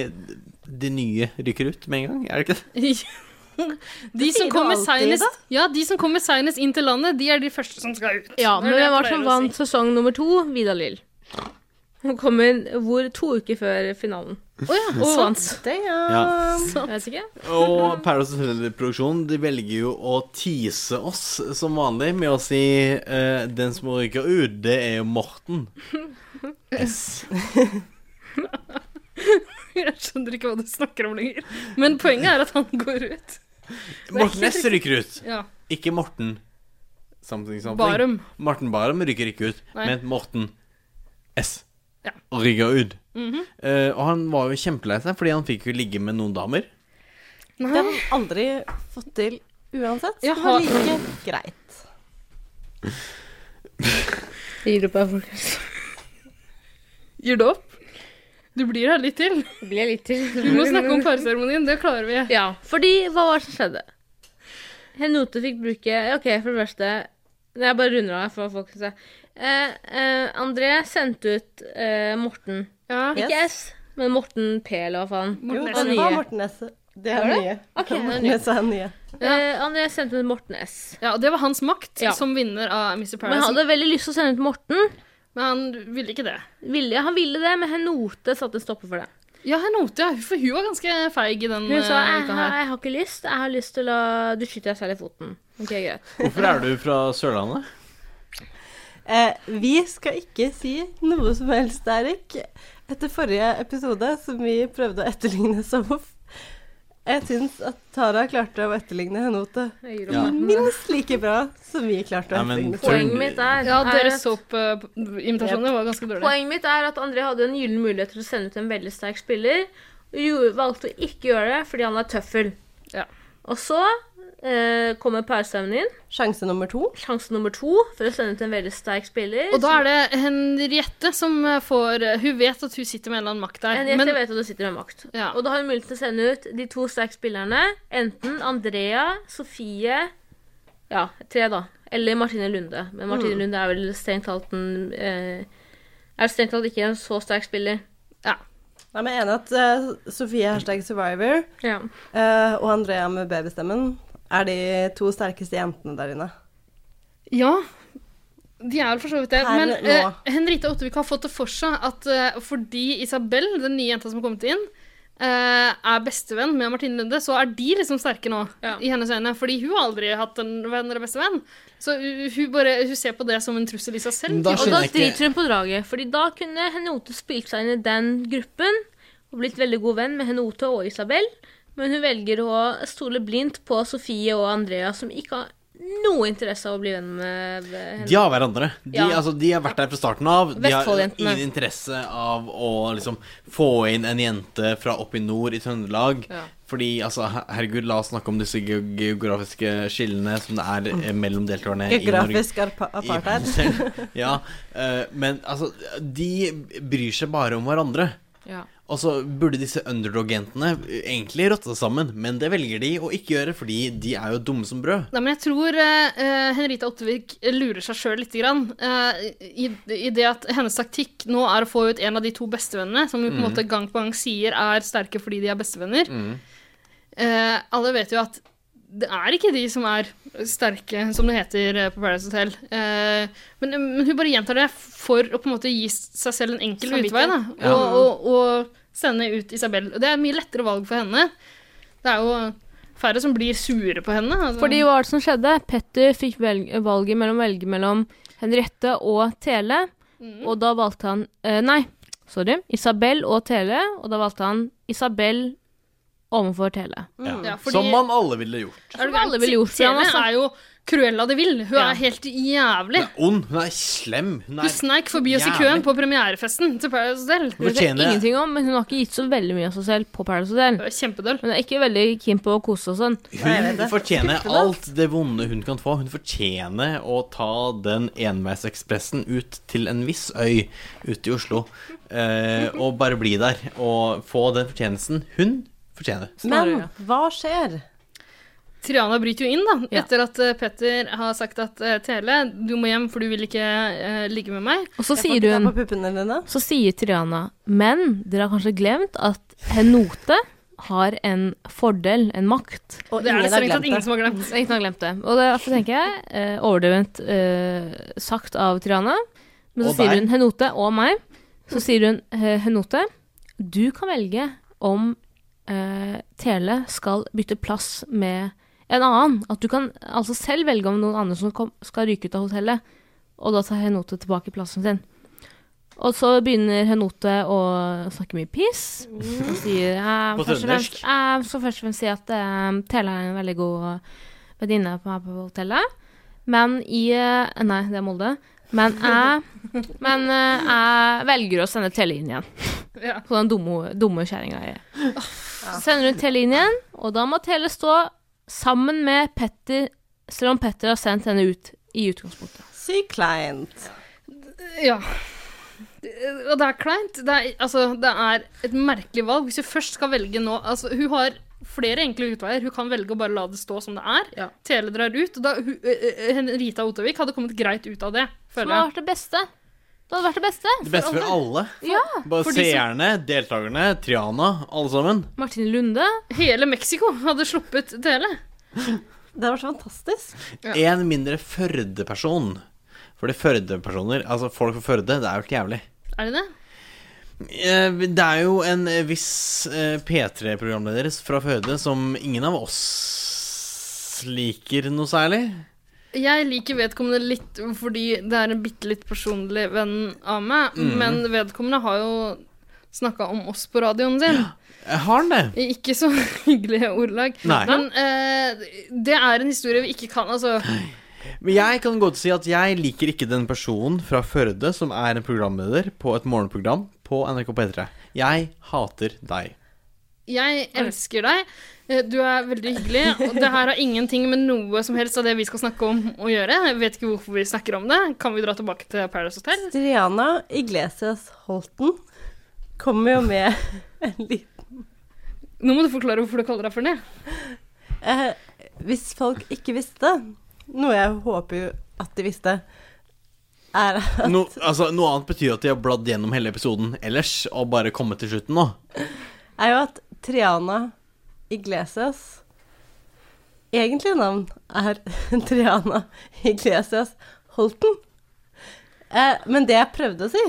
Speaker 2: de nye rykker ut med en gang, er det ikke det?
Speaker 5: De som,
Speaker 1: du
Speaker 5: kommer
Speaker 1: alltid,
Speaker 5: senest,
Speaker 1: da.
Speaker 5: ja, de som kommer seinest inn til landet, de er de første som skal ut.
Speaker 1: Ja,
Speaker 5: Det er
Speaker 1: men
Speaker 5: det jeg
Speaker 1: hvem var det
Speaker 5: pleier
Speaker 1: som
Speaker 5: å si.
Speaker 1: vant sesong nummer to? Vidar Lill. Hun kommer hvor to uker før finalen. Å ja, og
Speaker 5: sant. [LAUGHS]
Speaker 1: vant.
Speaker 2: Ja.
Speaker 1: Jeg vet ikke.
Speaker 2: Og Paradise Hotel-produksjonen De velger jo å tease oss som vanlig med å si eh, 'Den som ryker ut, det er jo Morten'. S.
Speaker 5: Jeg skjønner ikke hva du snakker om lenger. Men poenget er at han går ut.
Speaker 2: Morten S ryker ut.
Speaker 5: Ja.
Speaker 2: Ikke Morten something, something.
Speaker 5: Barum.
Speaker 2: Morten Barum ryker ikke ut,
Speaker 5: Nei.
Speaker 2: men Morten S
Speaker 5: Ja.
Speaker 2: ryker ut.
Speaker 5: Mhm.
Speaker 2: Eh, og han var jo kjempelei seg, fordi han fikk jo ligge med noen damer.
Speaker 4: Det har han aldri fått til uansett.
Speaker 5: Jeg
Speaker 4: Det var
Speaker 5: har-
Speaker 4: like greit.
Speaker 1: Gir opp her, folkens.
Speaker 5: Gir du opp? Du blir her litt til.
Speaker 1: Blir litt til.
Speaker 5: Vi må snakke om parseremonien. Det klarer vi.
Speaker 1: Ja, fordi hva var det som skjedde? Henote fikk bruke OK, for det første Nei, Jeg bare runder av her for folk skal se. Eh, eh, André sendte ut eh, Morten. Ikke S, men Morten P, eller hva faen.
Speaker 4: Jo,
Speaker 1: Og
Speaker 4: det
Speaker 1: nye.
Speaker 4: var Morten Nesse. Det
Speaker 1: Var
Speaker 4: er
Speaker 1: det?
Speaker 4: nye.
Speaker 1: Ok, det er
Speaker 4: Morten
Speaker 1: nye.
Speaker 4: Nesse er nye.
Speaker 1: Eh, André sendte ut Morten S.
Speaker 5: Ja, og Det var hans makt
Speaker 1: Ja.
Speaker 5: som vinner av Mr.
Speaker 1: Men han
Speaker 5: Paradise.
Speaker 1: hadde veldig lyst til å sende ut Morten.
Speaker 5: Men han ville ikke det.
Speaker 1: Ville, han ville det, men Henote satte en stopper for det.
Speaker 5: Ja, her noter jeg, for hun var ganske feig i den
Speaker 1: Hun sa
Speaker 5: eh,
Speaker 1: jeg,
Speaker 5: uka
Speaker 1: har-
Speaker 5: her.
Speaker 1: jeg har ikke lyst, jeg har lyst til å Du skyter deg selv i foten. Ok, greit.
Speaker 2: Hvorfor er du fra Sørlandet?
Speaker 4: Eh, vi skal ikke si noe som helst, Erik. Etter forrige episode, som vi prøvde å etterligne som off, jeg syns at Tara klarte å etterligne Henote
Speaker 1: Jeg gir
Speaker 2: Ja.
Speaker 1: opp.
Speaker 4: minst like bra som vi klarte å
Speaker 2: Nei, men
Speaker 4: etterligne.
Speaker 2: tror-
Speaker 1: Poenget mitt er,
Speaker 5: Ja,
Speaker 1: er
Speaker 5: Deres
Speaker 1: at-
Speaker 5: såpeimitasjoner eh, var ganske dårlige.
Speaker 1: Poenget mitt er at André hadde en gyllen mulighet til å sende ut en veldig sterk spiller. Og gjorde- valgte å ikke gjøre det fordi han er tøffel.
Speaker 5: Ja.
Speaker 1: Og så eh, kommer parstemmen inn.
Speaker 4: Sjanse nummer to.
Speaker 1: Sjanse nummer to for å sende ut en veldig sterk spiller.
Speaker 5: Og da er det Henriette som eh, får Hun vet at hun sitter med en eller annen makt der.
Speaker 1: En gjest vet at du sitter med makt.
Speaker 5: Ja.
Speaker 1: Og da har hun mulighet til å sende ut de to sterke spillerne. Enten Andrea, Sofie Ja, tre, da. Eller Martine Lunde. Men Martine
Speaker 5: Mm.
Speaker 1: Lunde er vel strengt talt en eh, Er strengt talt ikke en så sterk spiller.
Speaker 4: Nei, men jeg er enig at eh, Sofie hashtag survivor
Speaker 1: Ja.
Speaker 4: eh, og Andrea med babystemmen er de to sterkeste jentene der inne.
Speaker 5: Ja, de er vel for så vidt det.
Speaker 4: Her
Speaker 5: Men
Speaker 4: nå.
Speaker 5: eh, Henrita Ottevik har fått det for seg at eh, fordi Isabel, den nye jenta som har kommet inn, eh, er bestevenn med Martine Lunde, så er de liksom sterke nå, i hennes øyne. Fordi hun har aldri hatt en venn eller bestevenn. Så uh, hun, bare, hun ser på det som en trussel i seg selv.
Speaker 2: Men da
Speaker 1: Og da
Speaker 2: skjønner jeg ikke-
Speaker 1: driter hun på draget. Fordi da kunne Henote spilt seg inn i den gruppen og blitt veldig god venn med Henote og Isabel. Men hun velger å stole blindt på Sofie og Andrea, som ikke har noe interesse av å bli venn med henne.
Speaker 2: De har hverandre. De,
Speaker 1: Ja.
Speaker 2: altså, de har vært der fra starten av. De har
Speaker 1: Vestfoldjentene.
Speaker 2: ingen interesse av å liksom få inn en jente fra opp i nord i Trøndelag.
Speaker 1: Ja.
Speaker 2: Fordi, altså, her- herregud, la oss snakke om disse ge geografiske skillene som det er eh, mellom deltakerne i Norge.
Speaker 4: Geografisk arpa- apartheid.
Speaker 2: I- Ja, eh, men altså, de bryr seg bare om hverandre.
Speaker 1: Ja.
Speaker 2: Og så burde disse underdog-jentene egentlig rotte sammen, men det velger de å ikke gjøre, fordi de er jo dumme som brød.
Speaker 5: Nei, men jeg tror eh, eh, Henrita Ottervik lurer seg sjøl lite grann. eh, i, I det at hennes taktikk nå er å få ut en av de to bestevennene, som hun på en
Speaker 17: Mm.
Speaker 5: måte gang på gang sier er sterke fordi de er bestevenner. Eh, alle vet jo at det er ikke de som er sterke, som det heter eh, på Paradise Hotel. Eh, men, men hun bare gjentar det for å på en måte gi seg selv en enkel
Speaker 17: Samvittighet.
Speaker 5: utvei. Da,
Speaker 17: Ja.
Speaker 5: og, og, og sende ut Isabel. Og Det er et mye lettere valg for henne. Det er jo færre som blir sure på henne. Altså.
Speaker 1: Fordi hva var det som skjedde? Petter fikk velg valget mellom å velge mellom Henriette og Tele, og da valgte han eh, Nei, sorry. Isabel og Tele, og da valgte han Isabel overfor Tele.
Speaker 2: Ja.
Speaker 5: Ja, fordi-
Speaker 2: Som man alle ville gjort.
Speaker 1: Som
Speaker 5: Er du
Speaker 1: alle
Speaker 5: gæren?
Speaker 1: ville gjort for han,
Speaker 5: Tele
Speaker 1: altså.
Speaker 5: er jo Cruella de Vil. Hun er helt jævlig.
Speaker 2: Ond. Hun er slem. Hun
Speaker 5: Hun
Speaker 2: er
Speaker 5: sneik forbi oss i
Speaker 2: jævlig.
Speaker 5: køen på premierefesten til Paradise Hotel.
Speaker 1: Hun vet jeg ingenting om, men hun har ikke gitt så veldig mye av seg selv på Paradise Hotel.
Speaker 5: Kjempedøll.
Speaker 1: Hun er ikke veldig keen på å kose og sånn.
Speaker 2: Hun fortjener alt det vonde hun kan få. Hun fortjener å ta den enveisekspressen ut til en viss øy ute i Oslo. Eh, og bare bli der og få den fortjenesten hun fortjener.
Speaker 4: Men hva skjer?
Speaker 5: Triana bryter jo inn, da, etter at eh, Petter har sagt at eh, Tele, du må hjem, for du vil ikke eh, ligge med meg.
Speaker 1: Og så sier hun Så sier Triana Men dere har kanskje glemt at Henote har en fordel, en makt.
Speaker 5: Og Det er ingen det har strengt tatt glemt ingen det. som har glemt.
Speaker 1: Ingen som har glemt det. Og derfor tenker jeg, eh, overdrevent eh, sagt av Triana, men så
Speaker 17: Og
Speaker 1: sier
Speaker 17: deg.
Speaker 1: hun Henote og meg. Så sier hun eh, Henote, du kan velge om eh, Tele skal bytte plass med en annen. At du kan altså selv velge om noen andre som kom, skal ryke ut av hotellet. Og da tar Henote tilbake plassen sin. Og så begynner Henote å snakke mye piss. Og sier eh,
Speaker 17: Mm. På
Speaker 1: først og
Speaker 17: trøndersk.
Speaker 1: fremst, eh, Så først og fremst si at eh, Tele er en veldig god venninne på meg på hotellet. Men i eh, Nei, det er Molde. Men jeg, men eh, jeg velger å sende Telle inn igjen.
Speaker 5: Ja.
Speaker 1: På den dumme, dumme kjerringa jeg er. Så sender hun Telle inn igjen, og da må Telle stå sammen med Petter, selv om Petter har sendt henne ut i utgangspunktet.
Speaker 4: Si kleint.
Speaker 5: Ja. Det- Og det er kleint. Det er, altså, det er et merkelig valg. Hvis hun først skal velge nå altså, Hun har flere enkle utveier. Hun kan velge å bare la det stå som det er. Tele drar ut. Og da, hun, ø, ø, Henrita Ottervik hadde kommet greit ut av det,
Speaker 1: Som
Speaker 5: føler
Speaker 1: har
Speaker 5: jeg.
Speaker 1: vært det beste. Det hadde vært det beste.
Speaker 2: Det beste for alle.
Speaker 1: Ja.
Speaker 2: Bare
Speaker 5: For de som-
Speaker 2: seerne, deltakerne, Triana, alle sammen.
Speaker 1: Martine Lunde.
Speaker 5: Hele Mexico hadde sluppet Tele.
Speaker 4: Det var så fantastisk.
Speaker 2: En mindre Førde-person. Fordi Førde-personer, altså folk fra Førde, det er jo helt jævlig.
Speaker 5: Er det det?
Speaker 2: Eh, Det er jo en viss eh, P3-programleder fra Førde som ingen av oss liker noe særlig.
Speaker 5: Jeg liker vedkommende litt fordi det er en bitte litt personlig venn av meg,
Speaker 2: Mm.
Speaker 5: men vedkommende har jo snakka om oss på radioen sin.
Speaker 2: Eh, Har han det?
Speaker 5: I ikke så [LAUGHS] hyggelige ordlag.
Speaker 2: Nei.
Speaker 5: Men eh, det er en historie vi ikke kan Altså,
Speaker 2: Men jeg kan godt si at jeg liker ikke den personen fra Førde som er en programleder på et morgenprogram på NRK P3. Jeg hater deg.
Speaker 5: jeg elsker deg. Eh, Du er veldig hyggelig. Og det her har ingenting med noe som helst av det vi skal snakke om å gjøre. Jeg vet ikke hvorfor vi snakker om det. Kan vi dra tilbake til Paradise Hotel?
Speaker 4: Triana Iglesias Holten kommer jo med [LAUGHS] en liten
Speaker 5: Nå må du forklare hvorfor du kaller deg for det.
Speaker 4: eh, Hvis folk ikke visste, noe jeg håper jo at de visste, er at
Speaker 2: No, altså, noe annet betyr at de har bladd gjennom hele episoden ellers og bare kommet til slutten nå.
Speaker 4: er jo at Triana Iglesias egentlige navn er [LAUGHS] Triana Iglesias Holten. Eh, men det jeg prøvde å si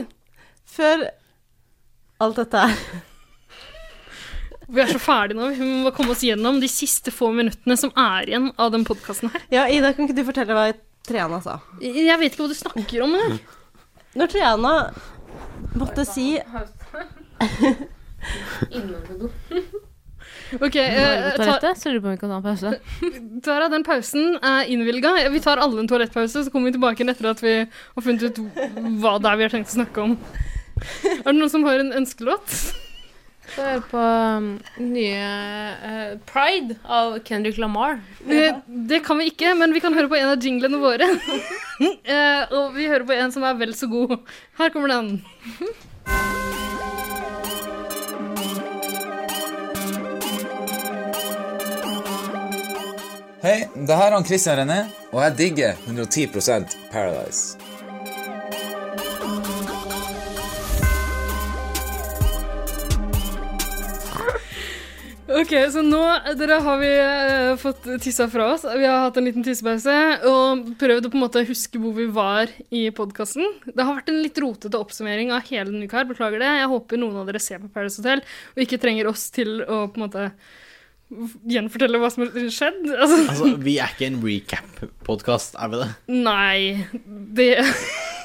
Speaker 4: før alt dette her
Speaker 5: Vi er så ferdige nå. Vi må bare komme oss gjennom de siste få minuttene som er igjen av den podkasten her.
Speaker 4: [LAUGHS] Ja, Ida, kan ikke du fortelle hva Triana sa?
Speaker 5: Jeg vet ikke hva du snakker om engang.
Speaker 4: Når Triana måtte si
Speaker 1: Var
Speaker 5: Ok, eh,
Speaker 1: det på
Speaker 5: ta,
Speaker 1: toalettet? Så lurer jeg på om vi kan ta en pause.
Speaker 5: Tara, den pausen er innvilga. Vi tar alle en toalettpause, så kommer vi tilbake igjen etter at vi har funnet ut hva det er vi har tenkt å snakke om. Er det noen som har en ønskelåt?
Speaker 1: Skal høre på um, nye eh, Pride av Kendrick Lamar.
Speaker 5: Eh, Det kan vi ikke, men vi kan høre på en av jinglene våre. [LAUGHS] Eh, Og vi hører på en som er vel så god. Her kommer den.
Speaker 11: Hei, det her er han Christian René, og jeg digger 110 Paradise.
Speaker 5: Ok, så nå dere, har vi eh, fått tissa fra oss. Vi har hatt en liten tissepause og prøvd å på en måte huske hvor vi var i podkasten. Det har vært en litt rotete oppsummering av hele denne uka her. Beklager det. Jeg håper noen av dere ser på Paradise Hotel og ikke trenger oss til å på en måte gjenfortelle hva som har skjedd. Altså,
Speaker 2: Altså, vi er ikke en recap-podkast, er vi det?
Speaker 5: nei, det [LAUGHS]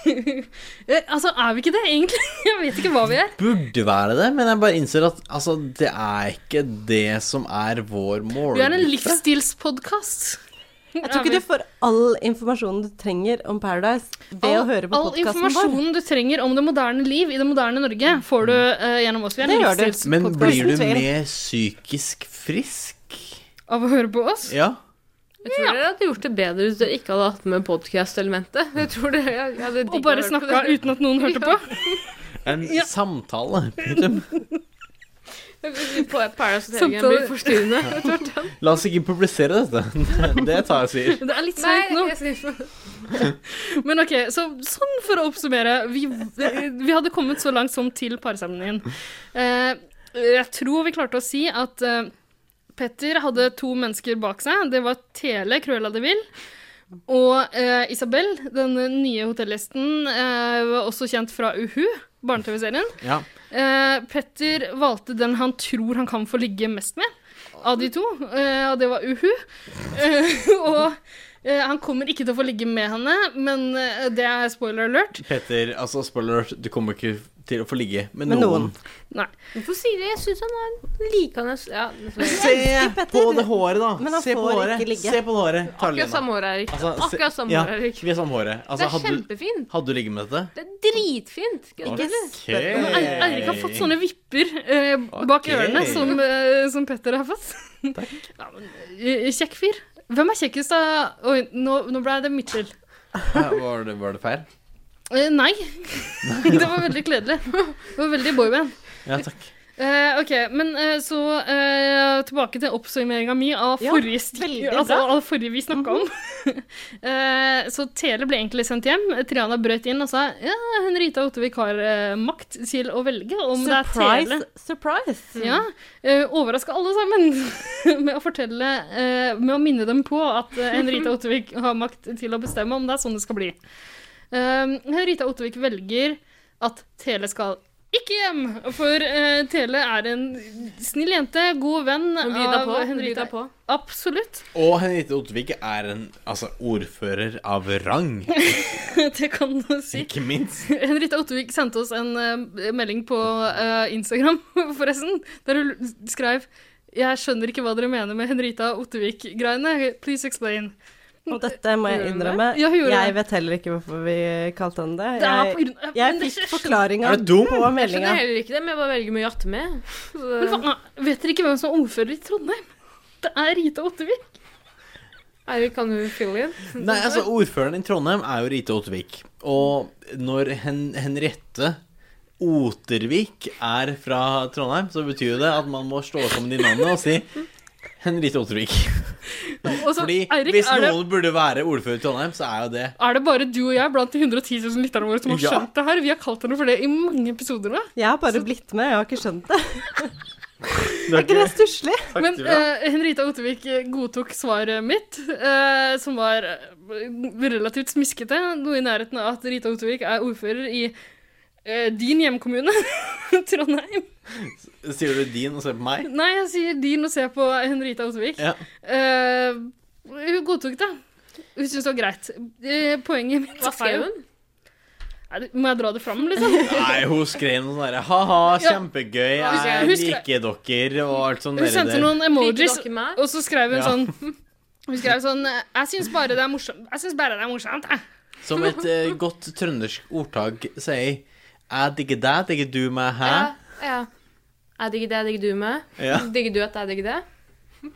Speaker 5: Eh, Altså, er vi ikke det, egentlig? [LAUGHS] Jeg vet ikke hva vi er.
Speaker 2: Burde være det, men jeg bare innser at altså, det er ikke det som er vår mål.
Speaker 5: Vi er en livsstilspodkast.
Speaker 4: Jeg tror ikke du får all informasjonen du trenger om Paradise ved å høre på
Speaker 5: All
Speaker 4: podkasten vår.
Speaker 5: informasjonen du trenger om det moderne liv i det moderne Norge, får du eh, gjennom oss. Vi er en
Speaker 4: Det gjør du.
Speaker 1: sånn
Speaker 5: livsstilspodcast.
Speaker 2: Men blir du mer psykisk frisk?
Speaker 5: Av å høre på oss?
Speaker 2: Ja.
Speaker 1: Jeg tror dere hadde gjort det bedre hvis dere ikke hadde hatt med podcast-elementet. Jeg tror dere jeg hadde
Speaker 5: Og bare snakka
Speaker 1: [LAUGHS]
Speaker 5: uten at noen hørte på?
Speaker 2: En samtale.
Speaker 1: På Paradise Hotel-gjengen
Speaker 5: Samtale-
Speaker 1: blir [LAUGHS] forstyrrende etter hvert. ja.
Speaker 2: La oss ikke publisere dette. [LAUGHS] Det tar jeg
Speaker 1: [LAUGHS]
Speaker 2: sier.
Speaker 5: Det er litt seigt nå. [LAUGHS] Men ok, så, sånn for å oppsummere. Vi, vi hadde kommet så langt som til parseremonien. Eh, jeg tror vi klarte å si at eh, Petter hadde to mennesker bak seg. Det var Tele, Cruella de Vil, og eh, Isabel, den nye hotellgjesten, eh, var også kjent fra Uhu, barne-TV-serien.
Speaker 2: Ja.
Speaker 5: Eh, Petter valgte den han tror han kan få ligge mest med av de to, eh, og det var Uhu. [LAUGHS] Eh, og eh, han kommer ikke til å få ligge med henne, men eh, det er spoiler alert.
Speaker 2: Petter, altså spoiler alert, du kommer ikke til å få ligge med
Speaker 5: Med
Speaker 2: noen.
Speaker 5: noen. Nei.
Speaker 1: Hvorfor sier dere Jeg syns han er likende ja,
Speaker 2: Se på det håret, da.
Speaker 1: Men han
Speaker 2: Se på
Speaker 1: får
Speaker 2: håret.
Speaker 1: ikke ligge.
Speaker 2: Se på det håret. Tarlina.
Speaker 1: Akkurat samme hår, Erik.
Speaker 2: Altså, se-
Speaker 1: Akkurat samme
Speaker 2: ja,
Speaker 1: hår, Erik.
Speaker 2: Vi er samme håret. Altså,
Speaker 1: det er
Speaker 2: hadde, du-
Speaker 1: kjempefint.
Speaker 2: hadde du ligget med dette?
Speaker 1: Det er dritfint. Kødder du?
Speaker 2: Ok.
Speaker 5: Men Ei- Eirik har fått sånne vipper eh, bak
Speaker 2: Ok.
Speaker 5: ørene som, eh, som Petter har fått. [LAUGHS] ja, men, eh, kjekk fyr. Hvem er kjekkest av Oi, nå, nå ble det Mitchell.
Speaker 2: Ja, [LAUGHS] Var det, var det feil?
Speaker 5: Eh, nei. [LAUGHS] det var veldig kledelig. Det var veldig boyband.
Speaker 2: Ja, takk.
Speaker 5: Eh, ok, men eh, så eh, tilbake til oppsummeringa mi av
Speaker 4: Ja,
Speaker 5: forrige, sti-
Speaker 4: veldig
Speaker 5: altså,
Speaker 4: bra. Mhm.
Speaker 5: av forrige vi snakka om. [LAUGHS] Eh, så Tele ble egentlig sendt hjem. Triana brøt inn og sa ja, Henrita Ottevik har eh, makt til å velge om det
Speaker 4: Surprise,
Speaker 5: er Tele.
Speaker 4: surprise.
Speaker 5: Ja, uh, Overraska alle sammen [LAUGHS] med å fortelle eh, Med å minne dem på at eh, Henrita Ottervik har makt til å bestemme om det er sånn det skal bli. Eh, Henrita Ottervik velger at Tele skal ikke hjem, for eh, Tele er en snill jente, god venn
Speaker 1: Hun byr deg
Speaker 5: av
Speaker 1: på, hun byr
Speaker 5: Henrita.
Speaker 1: deg på.
Speaker 5: Absolutt. [LAUGHS]
Speaker 2: Og Henriette Ottervik er en altså, ordfører av
Speaker 5: [LAUGHS]
Speaker 2: rang,
Speaker 5: det kan du si.
Speaker 2: ikke minst.
Speaker 5: [LAUGHS] Henriette Ottervik sendte oss en eh, melding på eh, Instagram, [LAUGHS] forresten, der hun skrev Jeg skjønner ikke hva dere mener med Henrita Ottervik-greiene. Please explain.
Speaker 4: Og dette må jeg
Speaker 5: Gjorde hun det?
Speaker 4: innrømme.
Speaker 5: Ja, hun gjorde
Speaker 4: Jeg
Speaker 5: det.
Speaker 4: vet heller ikke hvorfor vi kalte han det.
Speaker 5: Det er på
Speaker 4: Jeg,
Speaker 5: grunn- Ja, men
Speaker 4: jeg
Speaker 5: det
Speaker 4: fikk
Speaker 5: skjønner-
Speaker 4: forklaringa
Speaker 2: Er du dum?
Speaker 4: på
Speaker 1: Jeg
Speaker 4: meldinga.
Speaker 1: skjønner heller ikke det, men jeg bare velger mye å jatte med. [LAUGHS] Så-
Speaker 5: Men faen, vet dere ikke hvem som er ordfører i Trondheim? Det er Rita Ottervik.
Speaker 1: Eirik, kan du fylle inn?
Speaker 2: Nei, altså, ordføreren i Trondheim er jo Rite Ottervik. Og når Hen Henriette Ottervik er fra Trondheim, så betyr jo det at man må slå sammen de navnene og si Henriette Ottervik.
Speaker 5: Og [LAUGHS] så,
Speaker 2: Fordi
Speaker 5: Eirik,
Speaker 2: hvis
Speaker 5: er det-
Speaker 2: noen burde være ordfører i Trondheim, så er jo det
Speaker 5: Er det bare du og jeg blant de 110 000 lytterne våre som har
Speaker 2: Ja.
Speaker 5: skjønt det her? Vi har kalt henne for det i mange episoder nå.
Speaker 4: Jeg har bare blitt med, jeg har ikke skjønt det.
Speaker 2: Er
Speaker 4: ikke det stusslig?
Speaker 5: Men eh, Henrita Ottervik godtok svaret mitt, eh, som var eh, relativt smiskete. Noe i nærheten av at Rita Ottervik er ordfører i eh, din hjemkommune, [LAUGHS] Trondheim.
Speaker 2: Sier du din og ser på meg?
Speaker 5: Nei, jeg sier din og ser på Henrita Ottervik.
Speaker 2: Ja.
Speaker 5: Eh, hun godtok det. Hun syntes det var greit. Eh, poenget mitt
Speaker 1: Hva skrev hun?
Speaker 5: Er det- Må jeg dra det fram, liksom?
Speaker 2: Nei, hun skrev noe sånn derre Ha-ha,
Speaker 5: Ja.
Speaker 2: kjempegøy,
Speaker 5: Hun skrev-
Speaker 2: jeg
Speaker 5: hun skrev-
Speaker 2: liker dere og alt sånt.
Speaker 5: Hun
Speaker 2: dere
Speaker 5: sendte
Speaker 2: der.
Speaker 5: noen emojis,
Speaker 1: Liker dere meg?
Speaker 5: og så skrev hun
Speaker 2: Ja.
Speaker 5: sånn Hun skrev sånn Jeg syns bare det er morsomt. Jeg syns bare det er morsomt, jeg.
Speaker 2: Som et eh, godt trøndersk ordtak sier Jeg digger deg, digger du meg, hæ?
Speaker 1: Ja, ja. Jeg digger det, jeg digger du med.
Speaker 2: Ja.
Speaker 1: Digger du at jeg digger det?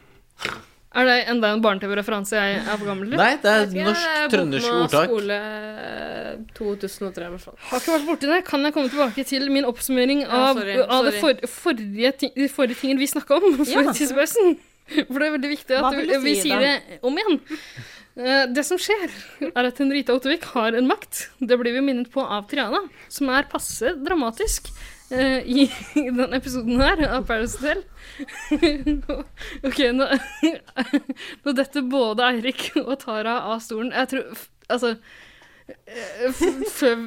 Speaker 5: Er det enda en barne-TV-referanse jeg er for gammel til?
Speaker 2: Nei, det er et
Speaker 1: Ja,
Speaker 2: norsk
Speaker 1: det er
Speaker 2: trøndersk
Speaker 1: Bokmål
Speaker 2: ordtak.
Speaker 1: Skole eh, 2003, i hvert fall.
Speaker 5: Har ikke vært borti det. Kan jeg komme tilbake til min oppsummering
Speaker 1: Ja,
Speaker 5: av,
Speaker 1: sorry,
Speaker 5: av det
Speaker 1: sorry.
Speaker 5: for, forrige, ting, de forrige tingen vi snakka om?
Speaker 1: Ja.
Speaker 5: Før tidspausen? sånn. For det er veldig viktig
Speaker 4: Hva
Speaker 5: at
Speaker 4: vil
Speaker 5: du,
Speaker 4: du
Speaker 5: vi
Speaker 4: si,
Speaker 5: sier
Speaker 4: da?
Speaker 5: det om igjen. Eh, Det som skjer, er at Henrita Ottervik har en makt. Det blir vi minnet på av Triana, som er passe dramatisk eh, i, [LAUGHS] i denne episoden her av Paris Hotel. [LAUGHS] OK, nå, nå detter både Eirik og Tara av stolen. Jeg tror f- Altså eh, f- før,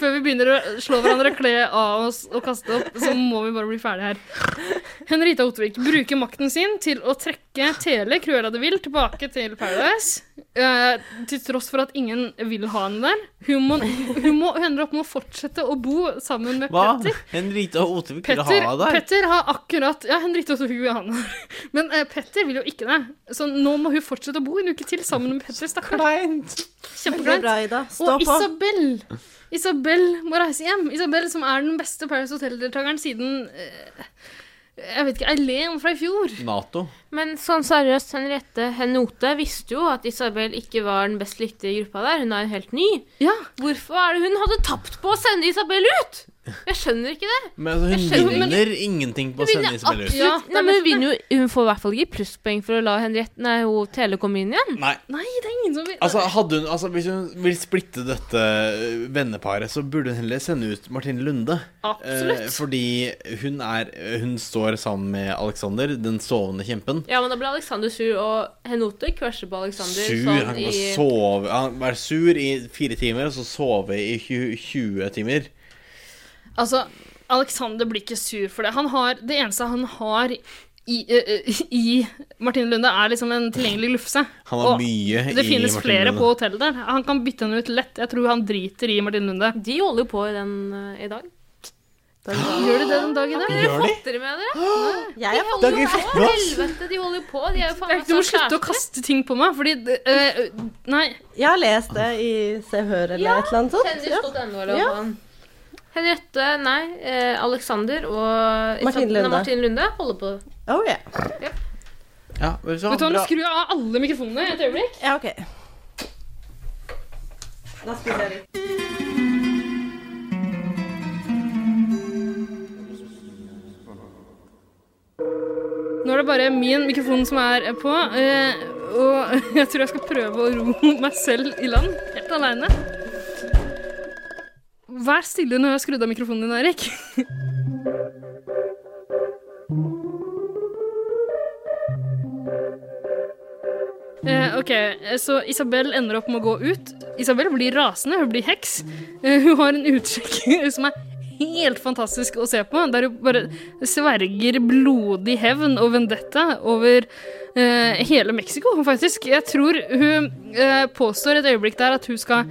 Speaker 5: før vi [LAUGHS] begynner å slå hverandre, kle av oss og kaste opp, så må vi bare bli ferdig her. Henrita Otvik bruker makten sin til å trekke Tele Cruella de Vil tilbake til Paradise. eh, til tross for at ingen vil ha henne der. Hun, må, hun, må, hun ender opp med å fortsette å bo sammen med
Speaker 2: Hva?
Speaker 5: Petter.
Speaker 2: Henrita og Otevik ville ha
Speaker 5: Petter,
Speaker 2: deg der.
Speaker 5: Petter har akkurat Ja, Henrita Otvik vil ha henne der. [LAUGHS] Men eh, Petter vil jo ikke det. Så nå må hun fortsette å bo en uke til sammen med Petter. Stakkar.
Speaker 4: Veldig bra, Ida.
Speaker 5: Kjempekleint.
Speaker 4: Stå
Speaker 5: Og
Speaker 4: på.
Speaker 5: Isabel. Isabel må reise hjem. Isabel som er den beste Paris Hotel-deltakeren siden eh, Jeg vet ikke, Eileen fra i fjor.
Speaker 2: Nato.
Speaker 1: Men sånn seriøst, Henriette Henote visste jo at Isabel ikke var den best likte i gruppa der. Hun er jo helt ny. Hvorfor er det hun hadde tapt på å sende Isabel ut? Jeg skjønner ikke det.
Speaker 2: Men altså, hun
Speaker 1: Jeg skjønner-
Speaker 2: vinner ingenting på å
Speaker 1: Hun vinner
Speaker 2: sende Isabel ut.
Speaker 1: absolutt- Nei, men hun, vinner jo, hun får i hvert fall ikke plusspoeng for å la Henriette Nei, hun Tele komme inn igjen.
Speaker 2: Nei.
Speaker 5: Nei, det er ingen som vil
Speaker 2: Altså, hadde hun, altså, hvis hun vil splitte dette eh, venneparet, så burde hun heller sende ut Martine Lunde.
Speaker 1: Absolutt.
Speaker 2: Eh, fordi hun er Hun står sammen med Alexander, den sovende kjempen.
Speaker 1: Ja, men da ble Alexander sur, og Henote crusher på Alexander.
Speaker 2: Sur.
Speaker 1: sånn
Speaker 2: Han kan
Speaker 1: i-
Speaker 2: sove Han være sur i fire timer, og så sove i 20, 20 timer.
Speaker 5: Altså, Alexander blir ikke sur for det. Han har, det eneste han har i, eh, eh, i Martine Lunde, er liksom en tilgjengelig lufse.
Speaker 2: Han har
Speaker 5: Og
Speaker 2: mye i
Speaker 5: Det finnes
Speaker 2: Martine
Speaker 5: flere
Speaker 2: Lunde.
Speaker 5: på hotellet der. Han kan bytte henne ut lett. Jeg tror han driter i Martine Lunde.
Speaker 1: De holder jo på i den eh, i dag.
Speaker 5: Gjør de det den dag i dag?
Speaker 1: Dere fått dere med dere?
Speaker 5: Jeg
Speaker 1: de
Speaker 5: har fått
Speaker 1: holder jo
Speaker 5: det. Det er ikke
Speaker 1: på!
Speaker 5: fett, ass.
Speaker 1: Helvete, de holder jo på. De er jo faen meg
Speaker 5: Du må
Speaker 1: sånn
Speaker 5: slutte å
Speaker 1: kjærester.
Speaker 5: kaste ting på meg, fordi det- eh, Nei.
Speaker 4: Jeg har lest det i Se og Hør eller et eller annet sånt.
Speaker 1: Kjendis.no eller
Speaker 4: Ja.
Speaker 1: noe sånt. Henriette, nei, eh, Alexander og
Speaker 4: Martin
Speaker 1: Isabel- nei,
Speaker 4: Lunde.
Speaker 1: Martin Lunde holder på.
Speaker 4: Oh, yeah.
Speaker 2: Ja, vet
Speaker 5: Vet du hva, Nå skrur jeg av alle mikrofonene et øyeblikk.
Speaker 4: Ja, ok.
Speaker 5: Nå er det bare min mikrofon som er på, eh, og [LAUGHS] jeg tror jeg skal prøve å ro meg selv i land, helt aleine. Vær stille når jeg har skrudd av mikrofonen din, Erik. Eh, ok, eh, så Isabel ender opp med å gå ut. Isabel blir rasende, hun blir heks. Eh, hun har en utsjekk [LAUGHS] som er helt fantastisk å se på, der hun bare sverger blodig hevn og vendetta over eh, hele Mexico, faktisk. Jeg tror hun eh, påstår et øyeblikk der at hun skal,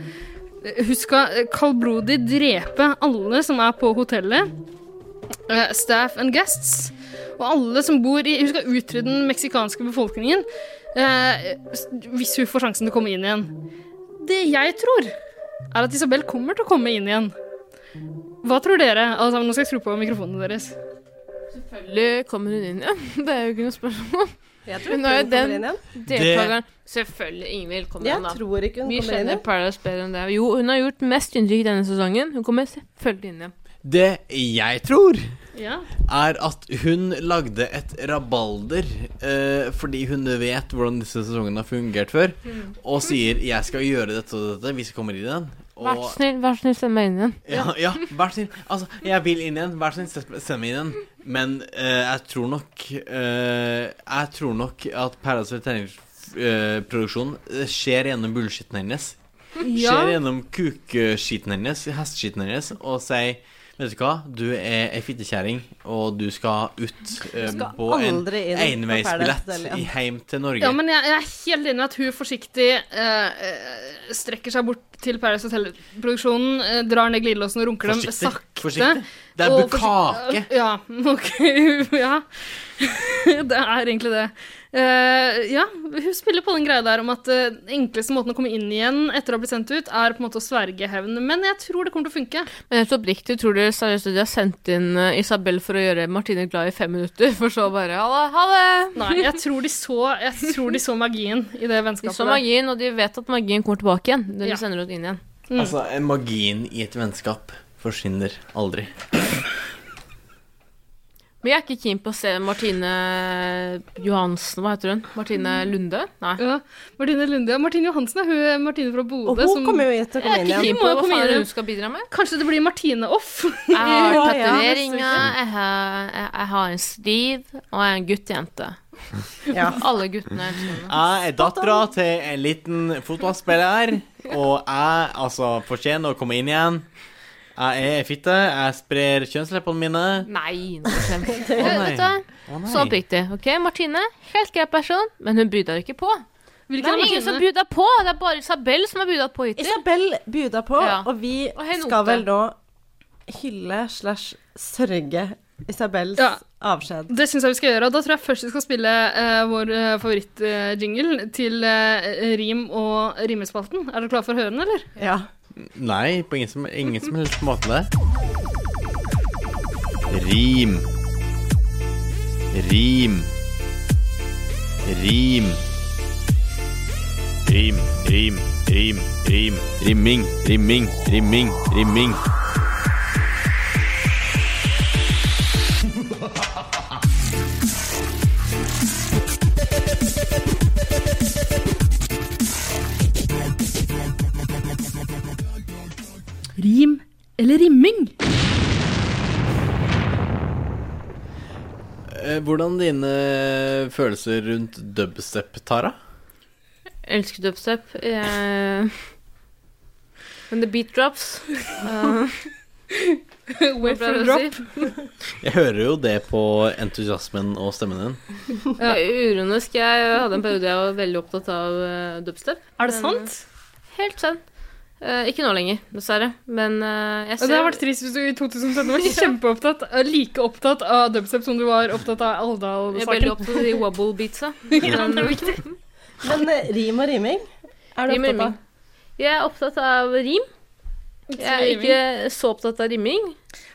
Speaker 5: hun skal eh, kaldblodig drepe alle som er på hotellet eh, staff and guests. Og alle som bor i Hun skal utrydde den meksikanske befolkningen eh, s- hvis hun får sjansen til å komme inn igjen. Det jeg tror, er at Isabel kommer til å komme inn igjen. Hva tror dere? Alle sammen, nå skal jeg skru på mikrofonene deres.
Speaker 1: Selvfølgelig kommer hun inn igjen. [LAUGHS] Det er jo ikke noe spørsmål.
Speaker 4: tror
Speaker 1: Hun er jo
Speaker 4: ikke hun kommer
Speaker 1: den
Speaker 4: inn
Speaker 1: deltakeren Selvfølgelig Ingvild kommer
Speaker 4: Jeg
Speaker 1: inn, da.
Speaker 4: tror ikke hun
Speaker 1: Vi
Speaker 4: kommer inn
Speaker 1: kjenner
Speaker 4: igjen.
Speaker 1: Paradise bedre enn det. Jo, hun har gjort mest inntrykk denne sesongen. Hun kommer selvfølgelig inn igjen.
Speaker 2: Det jeg tror,
Speaker 5: Ja.
Speaker 2: er at hun lagde et rabalder eh, fordi hun vet hvordan disse sesongene har fungert før,
Speaker 1: Mm.
Speaker 2: og sier 'jeg skal gjøre dette og dette hvis jeg kommer inn igjen'.
Speaker 1: Vær så
Speaker 2: Og
Speaker 1: snill, vær så snill, send meg inn igjen.
Speaker 2: ja, ja, vær så snill. Altså, jeg vil inn igjen. Vær så snill, sett- send meg inn igjen. Men eh, jeg tror nok eh, Jeg tror nok at Paradise Hotel-produksjonen skjer gjennom bullshitten hennes.
Speaker 5: Ja.
Speaker 2: Skjer gjennom kukskiten hennes, hesteskiten hennes, og sier Vet du hva, du er ei fittekjerring, og du skal ut eh,
Speaker 5: Du skal
Speaker 2: på en
Speaker 5: aldri inn på Paradise
Speaker 2: enveisbillett
Speaker 5: Hotel igjen.
Speaker 2: i- hjem til Norge.
Speaker 5: Ja, men jeg, jeg er helt enig i at hun forsiktig eh, eh, strekker seg bort til Paradise Hotel-produksjonen, eh, drar ned glidelåsen og runker dem
Speaker 2: Forsiktig,
Speaker 5: sakte.
Speaker 2: forsiktig. Det er
Speaker 5: og
Speaker 2: bukake.
Speaker 5: forsi- Ja, [LAUGHS] ok. ja. [LAUGHS] det er egentlig det. Eh, ja, hun spiller på den greia der om at eh, den enkleste måten å komme inn igjen etter å ha blitt sendt ut, er på en måte å sverge hevn. Men jeg tror det kommer til å funke.
Speaker 1: Men helt oppriktig, tror dere seriøst at de har sendt inn eh, Isabel for å gjøre Martine glad i fem minutter, [LAUGHS] for så bare ha det? Ha det!
Speaker 5: Nei, jeg tror de så, jeg tror de så magien i det
Speaker 1: De
Speaker 5: vennskapet.
Speaker 1: så
Speaker 5: der.
Speaker 1: magien, og de vet at magien kommer tilbake igjen. De
Speaker 5: Ja.
Speaker 1: sender henne inn igjen.
Speaker 2: Altså, magien i et vennskap forsvinner aldri.
Speaker 1: Men jeg er ikke keen på å se Martine Johansen, hva heter hun? Martine Lunde?
Speaker 4: Mm.
Speaker 1: Nei.
Speaker 5: Ja, Martine Lunde. Ja, Martine Johansen er hun Martine fra Bodø.
Speaker 1: Og hun kommer jo til å komme inn igjen. Jeg er ikke keen på hva faen hun
Speaker 5: skal bidra med. Kanskje det blir Martine off. [LAUGHS]
Speaker 1: Jeg har
Speaker 5: Ja, ja.
Speaker 1: tatoveringer, jeg, har- jeg, jeg har en stiv, og jeg er en guttejente. Alle guttene sånn. elsker henne.
Speaker 2: Jeg er dattera til en liten fotballspiller, og jeg altså fortjener å komme inn igjen. Jeg er ei fitte, jeg sprer kjønnsleppene mine.
Speaker 1: Nei, nå skjønner jeg.
Speaker 2: Å, nei.
Speaker 1: Vet du hva?
Speaker 2: Å, nei.
Speaker 1: Så oppriktig. Ok, Martine, helt grei person, men hun byr ikke på.
Speaker 5: Hvilken
Speaker 1: det
Speaker 5: er
Speaker 1: er ingen
Speaker 5: Martine?
Speaker 1: som byr på, det er bare Isabel som har byr på hittil.
Speaker 4: Isabel byr på,
Speaker 1: Ja.
Speaker 4: og vi
Speaker 1: Henote.
Speaker 4: skal vel nå hylle slash sørge Isabels
Speaker 5: Ja.
Speaker 4: avskjed.
Speaker 5: Det syns jeg vi skal gjøre. og Da tror jeg først vi skal spille eh, vår eh, favorittjingle til eh, rim- og rimespalten. Er dere klare for å høre den, eller?
Speaker 4: Ja.
Speaker 2: Nei, på ingen som, ingen som helst måte. det. Rim. Rim. Rim. Rim, rim, rim, rim. Rimming, rimming, rimming, rimming.
Speaker 5: Rim eller rimming?
Speaker 2: Eh, Hvordan dine følelser rundt dubstep, Tara?
Speaker 1: Elsker dubstep. eh, Men the beat drops. Uh,
Speaker 5: Wait for a drop.
Speaker 2: Jeg hører jo det på entusiasmen og stemmen din.
Speaker 1: Ja, uronisk. Jeg hadde en periode jeg var veldig opptatt av eh, dubstep.
Speaker 5: Er det sant?
Speaker 1: helt sant. Eh, ikke nå lenger, dessverre. Men eh, jeg
Speaker 5: Ja,
Speaker 1: ser
Speaker 5: Det har vært trist hvis du i 2017 [LAUGHS] var kjempeopptatt, eh, like opptatt av dubstep som du var opptatt av Alvdal-saken.
Speaker 1: Jeg er veldig opptatt av de [LAUGHS] wobble-beatsa.
Speaker 5: [LAUGHS] ja, det er viktig.
Speaker 4: Men eh, rim og riming er du
Speaker 1: Rim og
Speaker 4: opptatt
Speaker 1: riming.
Speaker 4: av?
Speaker 1: Jeg er opptatt av rim.
Speaker 5: eh,
Speaker 1: Jeg er ikke så opptatt av rimming,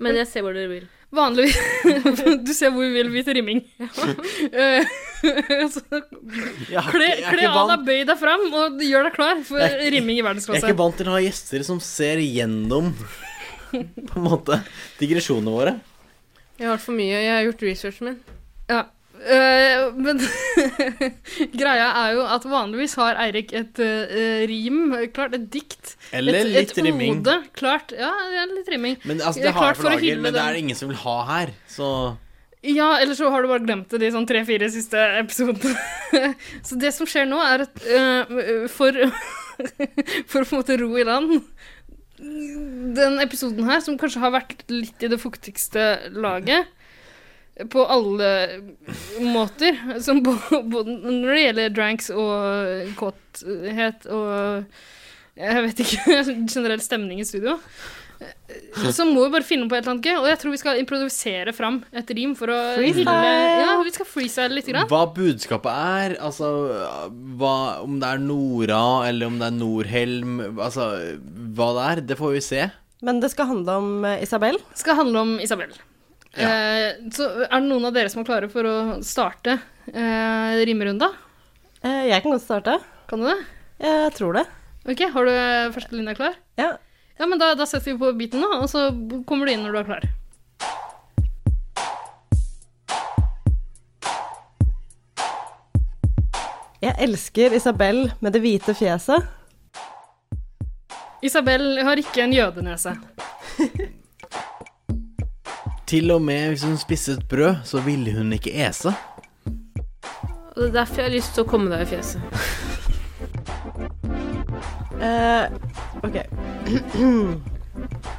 Speaker 1: men jeg ser hvor dere vil.
Speaker 5: Vanligvis [LAUGHS] Du ser hvor vi vil vi til [LAUGHS] rimming. Eh, [LAUGHS] så
Speaker 2: Jeg har ikke- jeg
Speaker 5: Kle,
Speaker 2: er
Speaker 5: kle
Speaker 2: ikke
Speaker 5: av
Speaker 2: vant-
Speaker 5: deg, bøy deg fram, og gjør deg klar for
Speaker 2: Jeg er ikke-
Speaker 5: rimming i
Speaker 2: Jeg er
Speaker 5: verdensklasse.
Speaker 2: ikke vant til å ha gjester som ser gjennom [LAUGHS] på en måte digresjonene våre.
Speaker 1: Jeg har hørt for mye, og jeg har gjort researchen min.
Speaker 5: Ja. Eh, men [LAUGHS] greia er jo at vanligvis har Eirik et eh, rim, klart et dikt.
Speaker 2: Eller
Speaker 5: et,
Speaker 2: litt
Speaker 5: et
Speaker 2: rimming.
Speaker 5: Ode, klart, ja, det er litt rimming.
Speaker 2: Men altså, det
Speaker 5: Det er
Speaker 2: har
Speaker 5: klart
Speaker 2: jeg for
Speaker 5: for å
Speaker 2: lager,
Speaker 5: hylle
Speaker 2: men det er
Speaker 5: den.
Speaker 2: det ingen som vil ha her. Så
Speaker 5: Ja, eller så har du bare glemt det de sånn tre-fire siste episodene. så det som skjer nå, er at eh, for [LAUGHS] For å på en måte ro i land Den episoden her, som kanskje har vært litt i det fuktigste laget på alle måter, som bo- både når det gjelder dranks og kåthet og jeg vet ikke, [LAUGHS] generell stemning i studio. eh, Så må vi bare finne på et eller annet gøy, og jeg tror vi skal improvisere fram et rim for å
Speaker 2: Freestyle!
Speaker 5: hylle- Ja, vi skal freestyle litt. Grann.
Speaker 2: hva budskapet er, altså hva, Om det er Nora, eller om det er Norhelm, altså hva det er, det får vi se.
Speaker 4: Men det skal handle om eh, Isabel.
Speaker 5: skal handle om Isabel. Eh, så er det noen av dere som er klare for å starte eh, rimerunda?
Speaker 4: Eh, Jeg kan godt starte.
Speaker 5: Kan du det?
Speaker 4: Jeg tror det.
Speaker 5: Ok, Har du eh, første linja klar?
Speaker 4: Ja.
Speaker 5: Ja, men da, da setter vi på beaten, da, og så kommer du inn når du er klar.
Speaker 4: Jeg elsker Isabel med det hvite fjeset.
Speaker 5: Isabel har ikke en jødenese.
Speaker 2: Til og med hvis hun spiste et brød, så ville hun ikke ese.
Speaker 1: Og det er derfor jeg har lyst til å komme deg i fjeset.
Speaker 4: Eh, ok.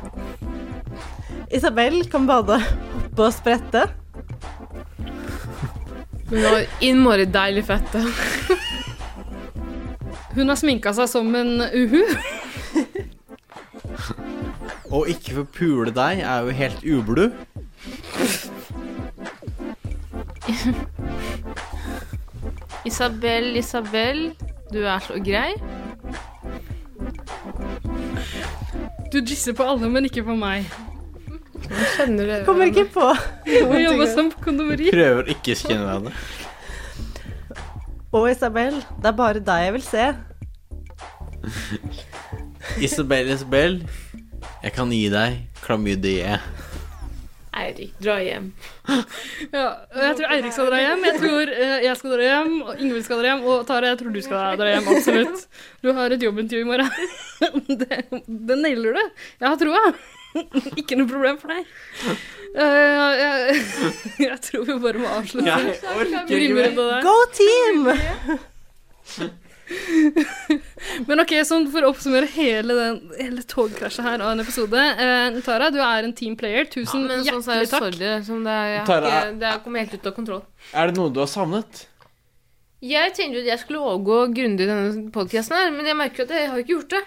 Speaker 4: [CLEARS THROAT] Isabel kan både hoppe og sprette.
Speaker 1: Hun har innmari deilig fette.
Speaker 5: Hun har sminka seg som en uhu.
Speaker 2: Og ikke få pule deg er jo helt ublu.
Speaker 1: Isabel, Isabel, du er så grei.
Speaker 5: Du jizzer på alle, men ikke på meg.
Speaker 1: Kjenner dere
Speaker 4: Kommer ikke på.
Speaker 5: Hun jobber som kondomeri.
Speaker 2: Prøver å ikke å kjenne hverandre.
Speaker 4: Og Isabel, det er bare deg jeg vil se.
Speaker 2: Isabel, Isabel, jeg kan gi deg klamydia.
Speaker 1: Nei,
Speaker 18: Eirik dra hjem.
Speaker 5: Ja, og jeg tror Eirik skal dra hjem, jeg tror eh, jeg skal dra hjem, og Ingvild skal dra hjem, og Tara, jeg tror du skal dra hjem, absolutt. Du har et jobbintervju i morgen. [LAUGHS] Det, det nailer du. Jeg har troa. [LAUGHS] Ikke noe problem for deg. Eh, jeg, [LAUGHS] jeg tror vi bare må avslutte.
Speaker 4: Jeg
Speaker 5: orker ikke mer.
Speaker 4: Go team!
Speaker 5: Men ok, sånn for å oppsummere hele, den, hele togkrasjet her av en episode. Eh, Tara, du er en team player. Tusen
Speaker 1: men sånn så er
Speaker 5: hjertelig
Speaker 1: det
Speaker 5: takk.
Speaker 1: sorry. Liksom det, er- jeg har
Speaker 2: Tara,
Speaker 1: ikke, det er kommet helt ut av kontroll.
Speaker 2: Er det noe du har savnet?
Speaker 1: Jeg tenkte jo at jeg skulle overgå grundig denne podkasten her, men jeg merker jo at jeg har ikke gjort det.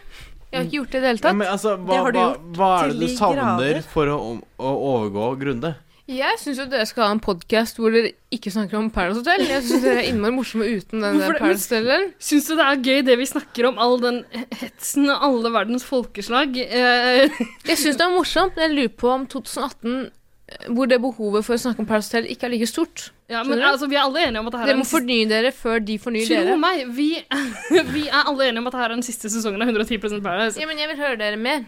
Speaker 1: Jeg har ikke gjort det i det hele
Speaker 2: Ja,
Speaker 1: tatt.
Speaker 2: men altså, hva, hva, hva er det du savner for å, om- å overgå Grunde?
Speaker 1: Jeg syns jo dere skal ha en podkast hvor dere ikke snakker om Paradise Hotel. Jeg syns dere er innmari morsomme uten den der
Speaker 5: Hvorfor det?
Speaker 1: Paradise Hotel-delen.
Speaker 5: Syns du det er gøy det vi snakker om, all den hetsen og alle verdens folkeslag? Eh,
Speaker 1: Jeg syns det er morsomt, men jeg lurer på om 2018, eh, hvor det behovet for å snakke om Paradise Hotel ikke er like stort.
Speaker 5: ja, men
Speaker 1: Skjønner du?
Speaker 5: altså, vi er alle enige om at det her
Speaker 1: Dere
Speaker 5: er
Speaker 1: må fornye dere før de fornyer
Speaker 5: Tro
Speaker 1: dere.
Speaker 5: meg, vi, vi er [LAUGHS] alle enige om at det her er den siste sesongen av 110 Paradise.
Speaker 1: Ja, men jeg vil høre dere mer.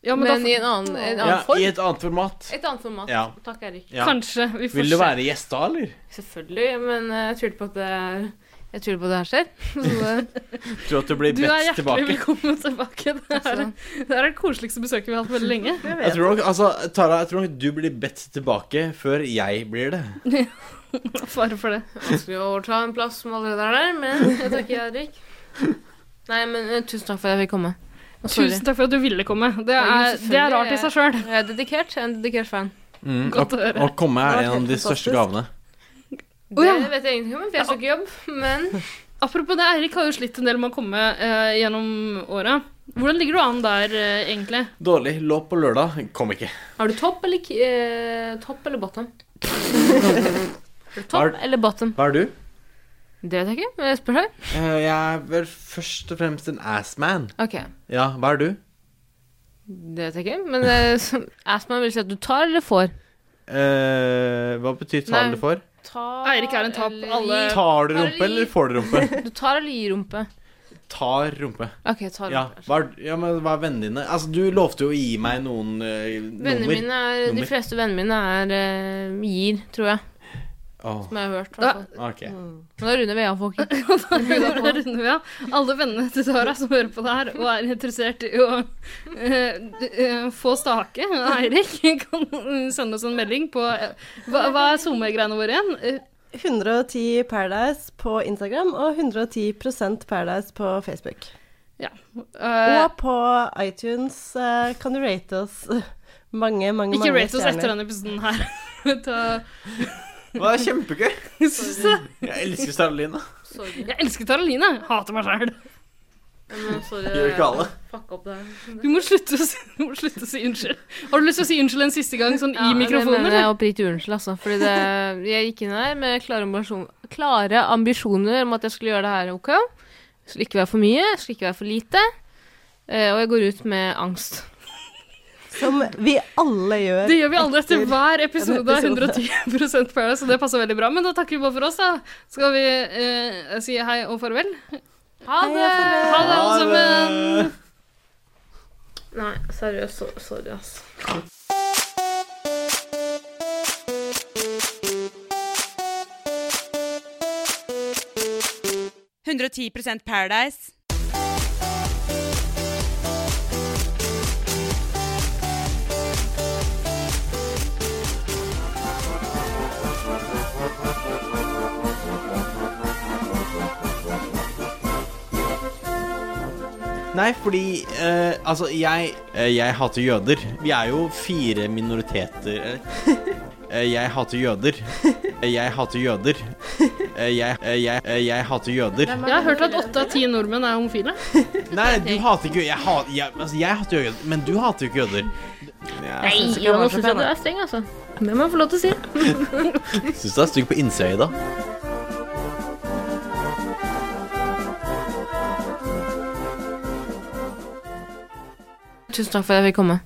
Speaker 5: Ja,
Speaker 1: men
Speaker 5: men da får-
Speaker 1: i en annen, en annen
Speaker 2: Ja,
Speaker 1: form.
Speaker 2: I et annet format.
Speaker 1: Et annet format.
Speaker 2: Ja.
Speaker 1: Takk, Erik.
Speaker 2: Ja. Vil du være gjest da, eller?
Speaker 1: Selvfølgelig, men eh, jeg tviler på at det er jeg tviler på at det her skjer. Så,
Speaker 2: Tror at du blir
Speaker 5: Du er
Speaker 2: bedt
Speaker 5: hjertelig
Speaker 2: tilbake.
Speaker 5: velkommen tilbake. Det er, det er det koseligste besøket vi har hatt på
Speaker 1: [LAUGHS]
Speaker 5: veldig lenge.
Speaker 2: Jeg tror nok, altså, Tara, jeg tror nok du blir bedt tilbake før jeg blir det.
Speaker 5: Fare for det.
Speaker 1: Vanskelig å overta en plass som allerede er der, men jeg takker Erik. Nei, men eh, tusen takk for at jeg fikk komme. Og sorry.
Speaker 5: Tusen takk for at du ville komme. Det
Speaker 1: Ja,
Speaker 5: er,
Speaker 1: selvfølgelig,
Speaker 5: det er rart i seg sjøl.
Speaker 1: Jeg er dedikert. Jeg er en dedikert fan.
Speaker 2: Mm,
Speaker 5: Godt
Speaker 2: å-
Speaker 5: å høre.
Speaker 2: Å komme
Speaker 5: Det
Speaker 2: er
Speaker 5: var
Speaker 2: en av
Speaker 5: helt
Speaker 2: de største
Speaker 5: fantastisk.
Speaker 2: gavene.
Speaker 1: Det vet jeg ingenting om, for jeg skal ikke jobbe, men
Speaker 5: Apropos det, Eirik har jo slitt en del med å komme eh, gjennom åra. Hvordan ligger du an der, eh, egentlig?
Speaker 2: Dårlig. Lå på lørdag, kom ikke.
Speaker 1: Har du topp eller, k- eh, topp eller [LAUGHS] bottom?
Speaker 2: Har-
Speaker 1: topp eller bottom?
Speaker 2: Hva er du?
Speaker 1: Det vet jeg ikke, men jeg spør deg.
Speaker 2: Eh, Jeg er vel først og fremst en assman.
Speaker 1: Ok,
Speaker 2: Ja, hva er du?
Speaker 1: det vet jeg ikke, men [LAUGHS] uh, Asman vil si at du tar eller får.
Speaker 2: Eh, hva betyr tar
Speaker 1: Nei.
Speaker 2: du for?
Speaker 5: Eirik er en tap. Alle
Speaker 2: Tar du rumpe, eller får du rumpe?
Speaker 5: [LAUGHS]
Speaker 1: Du tar eller gir rumpe?
Speaker 2: Tar rumpe.
Speaker 1: Ok, tar
Speaker 2: Ja,
Speaker 1: rumpe.
Speaker 2: hva er, ja, men hva er vennene dine? Altså, du lovte jo å gi meg noen eh,
Speaker 1: Vennene
Speaker 2: nummer.
Speaker 1: mine er, De
Speaker 2: Nummer.
Speaker 1: fleste vennene mine er eh, gir, tror jeg.
Speaker 2: Åh,
Speaker 1: Som jeg har hørt. i hvert fall.
Speaker 2: ok.
Speaker 5: Mm.
Speaker 1: Men da runder vi av, [LAUGHS] folkens.
Speaker 5: Da runder vi av. Alle vennene til Tara som hører på det her og er interessert i å eh, eh, få stake av Eirik, kan sende oss en melding på eh, Hva, hva er SoMe-greiene våre igjen? Eh,
Speaker 4: 110 Paradise på Instagram og 110 Paradise på Facebook.
Speaker 5: Ja. eh,
Speaker 4: og på iTunes eh, kan du rate oss [LAUGHS] mange, mange,
Speaker 5: ikke
Speaker 4: mange
Speaker 5: rate oss etter denne episoden her. [LAUGHS] Ta,
Speaker 2: Det var kjempegøy.
Speaker 5: Syns du?
Speaker 2: Jeg elsker Starlina.
Speaker 5: Jeg elsker Taraline. Hater meg sjæl.
Speaker 2: Gjør ikke alle.
Speaker 1: Fuck opp der.
Speaker 5: Du må slutte å si, du må slutte å si unnskyld. Har du lyst til å si unnskyld en siste gang, sånn i
Speaker 1: Det
Speaker 5: mikrofonen?
Speaker 1: mener jeg
Speaker 5: eller?
Speaker 1: oppriktig unnskyld, altså. Fordi det, jeg gikk inn her med klare, ambisjon, klare ambisjoner om at jeg skulle gjøre det her OK. Det Skulle ikke være for mye, det skulle ikke være for lite. Eh, og jeg går ut med angst.
Speaker 4: Som vi alle gjør.
Speaker 5: Det gjør vi alle etter hver
Speaker 4: en
Speaker 5: episode av 110 Paradise, og det passer veldig bra. Men da takker vi bare for oss, da. Skal vi eh, si hei og farvel?
Speaker 1: Ha det!
Speaker 5: Ha det, alle sammen!
Speaker 1: Nei, seriøst. så- Sorry, altså.
Speaker 12: Paradise. 110 Paradise.
Speaker 2: Nei, fordi eh, Altså, jeg eh, Jeg hater jøder. Vi er jo fire minoriteter eh. Eh, Jeg hater jøder. Eh, Jeg hater jøder. Eh, Jeg, eh, jeg, eh, jeg hater jøder.
Speaker 5: Jeg har hørt at åtte av ti nordmenn er homofile.
Speaker 2: Nei, du hater ikke Jeg, hat, jeg, altså, jeg hater jo jøder, men du hater jo ikke jøder.
Speaker 1: Nei,
Speaker 2: Jeg
Speaker 1: jo, nå syns jeg du er streng, altså. Det må jeg få lov til å si.
Speaker 2: syns du er stygg på innsida, Ida.
Speaker 1: Tusen takk for at jeg fikk komme.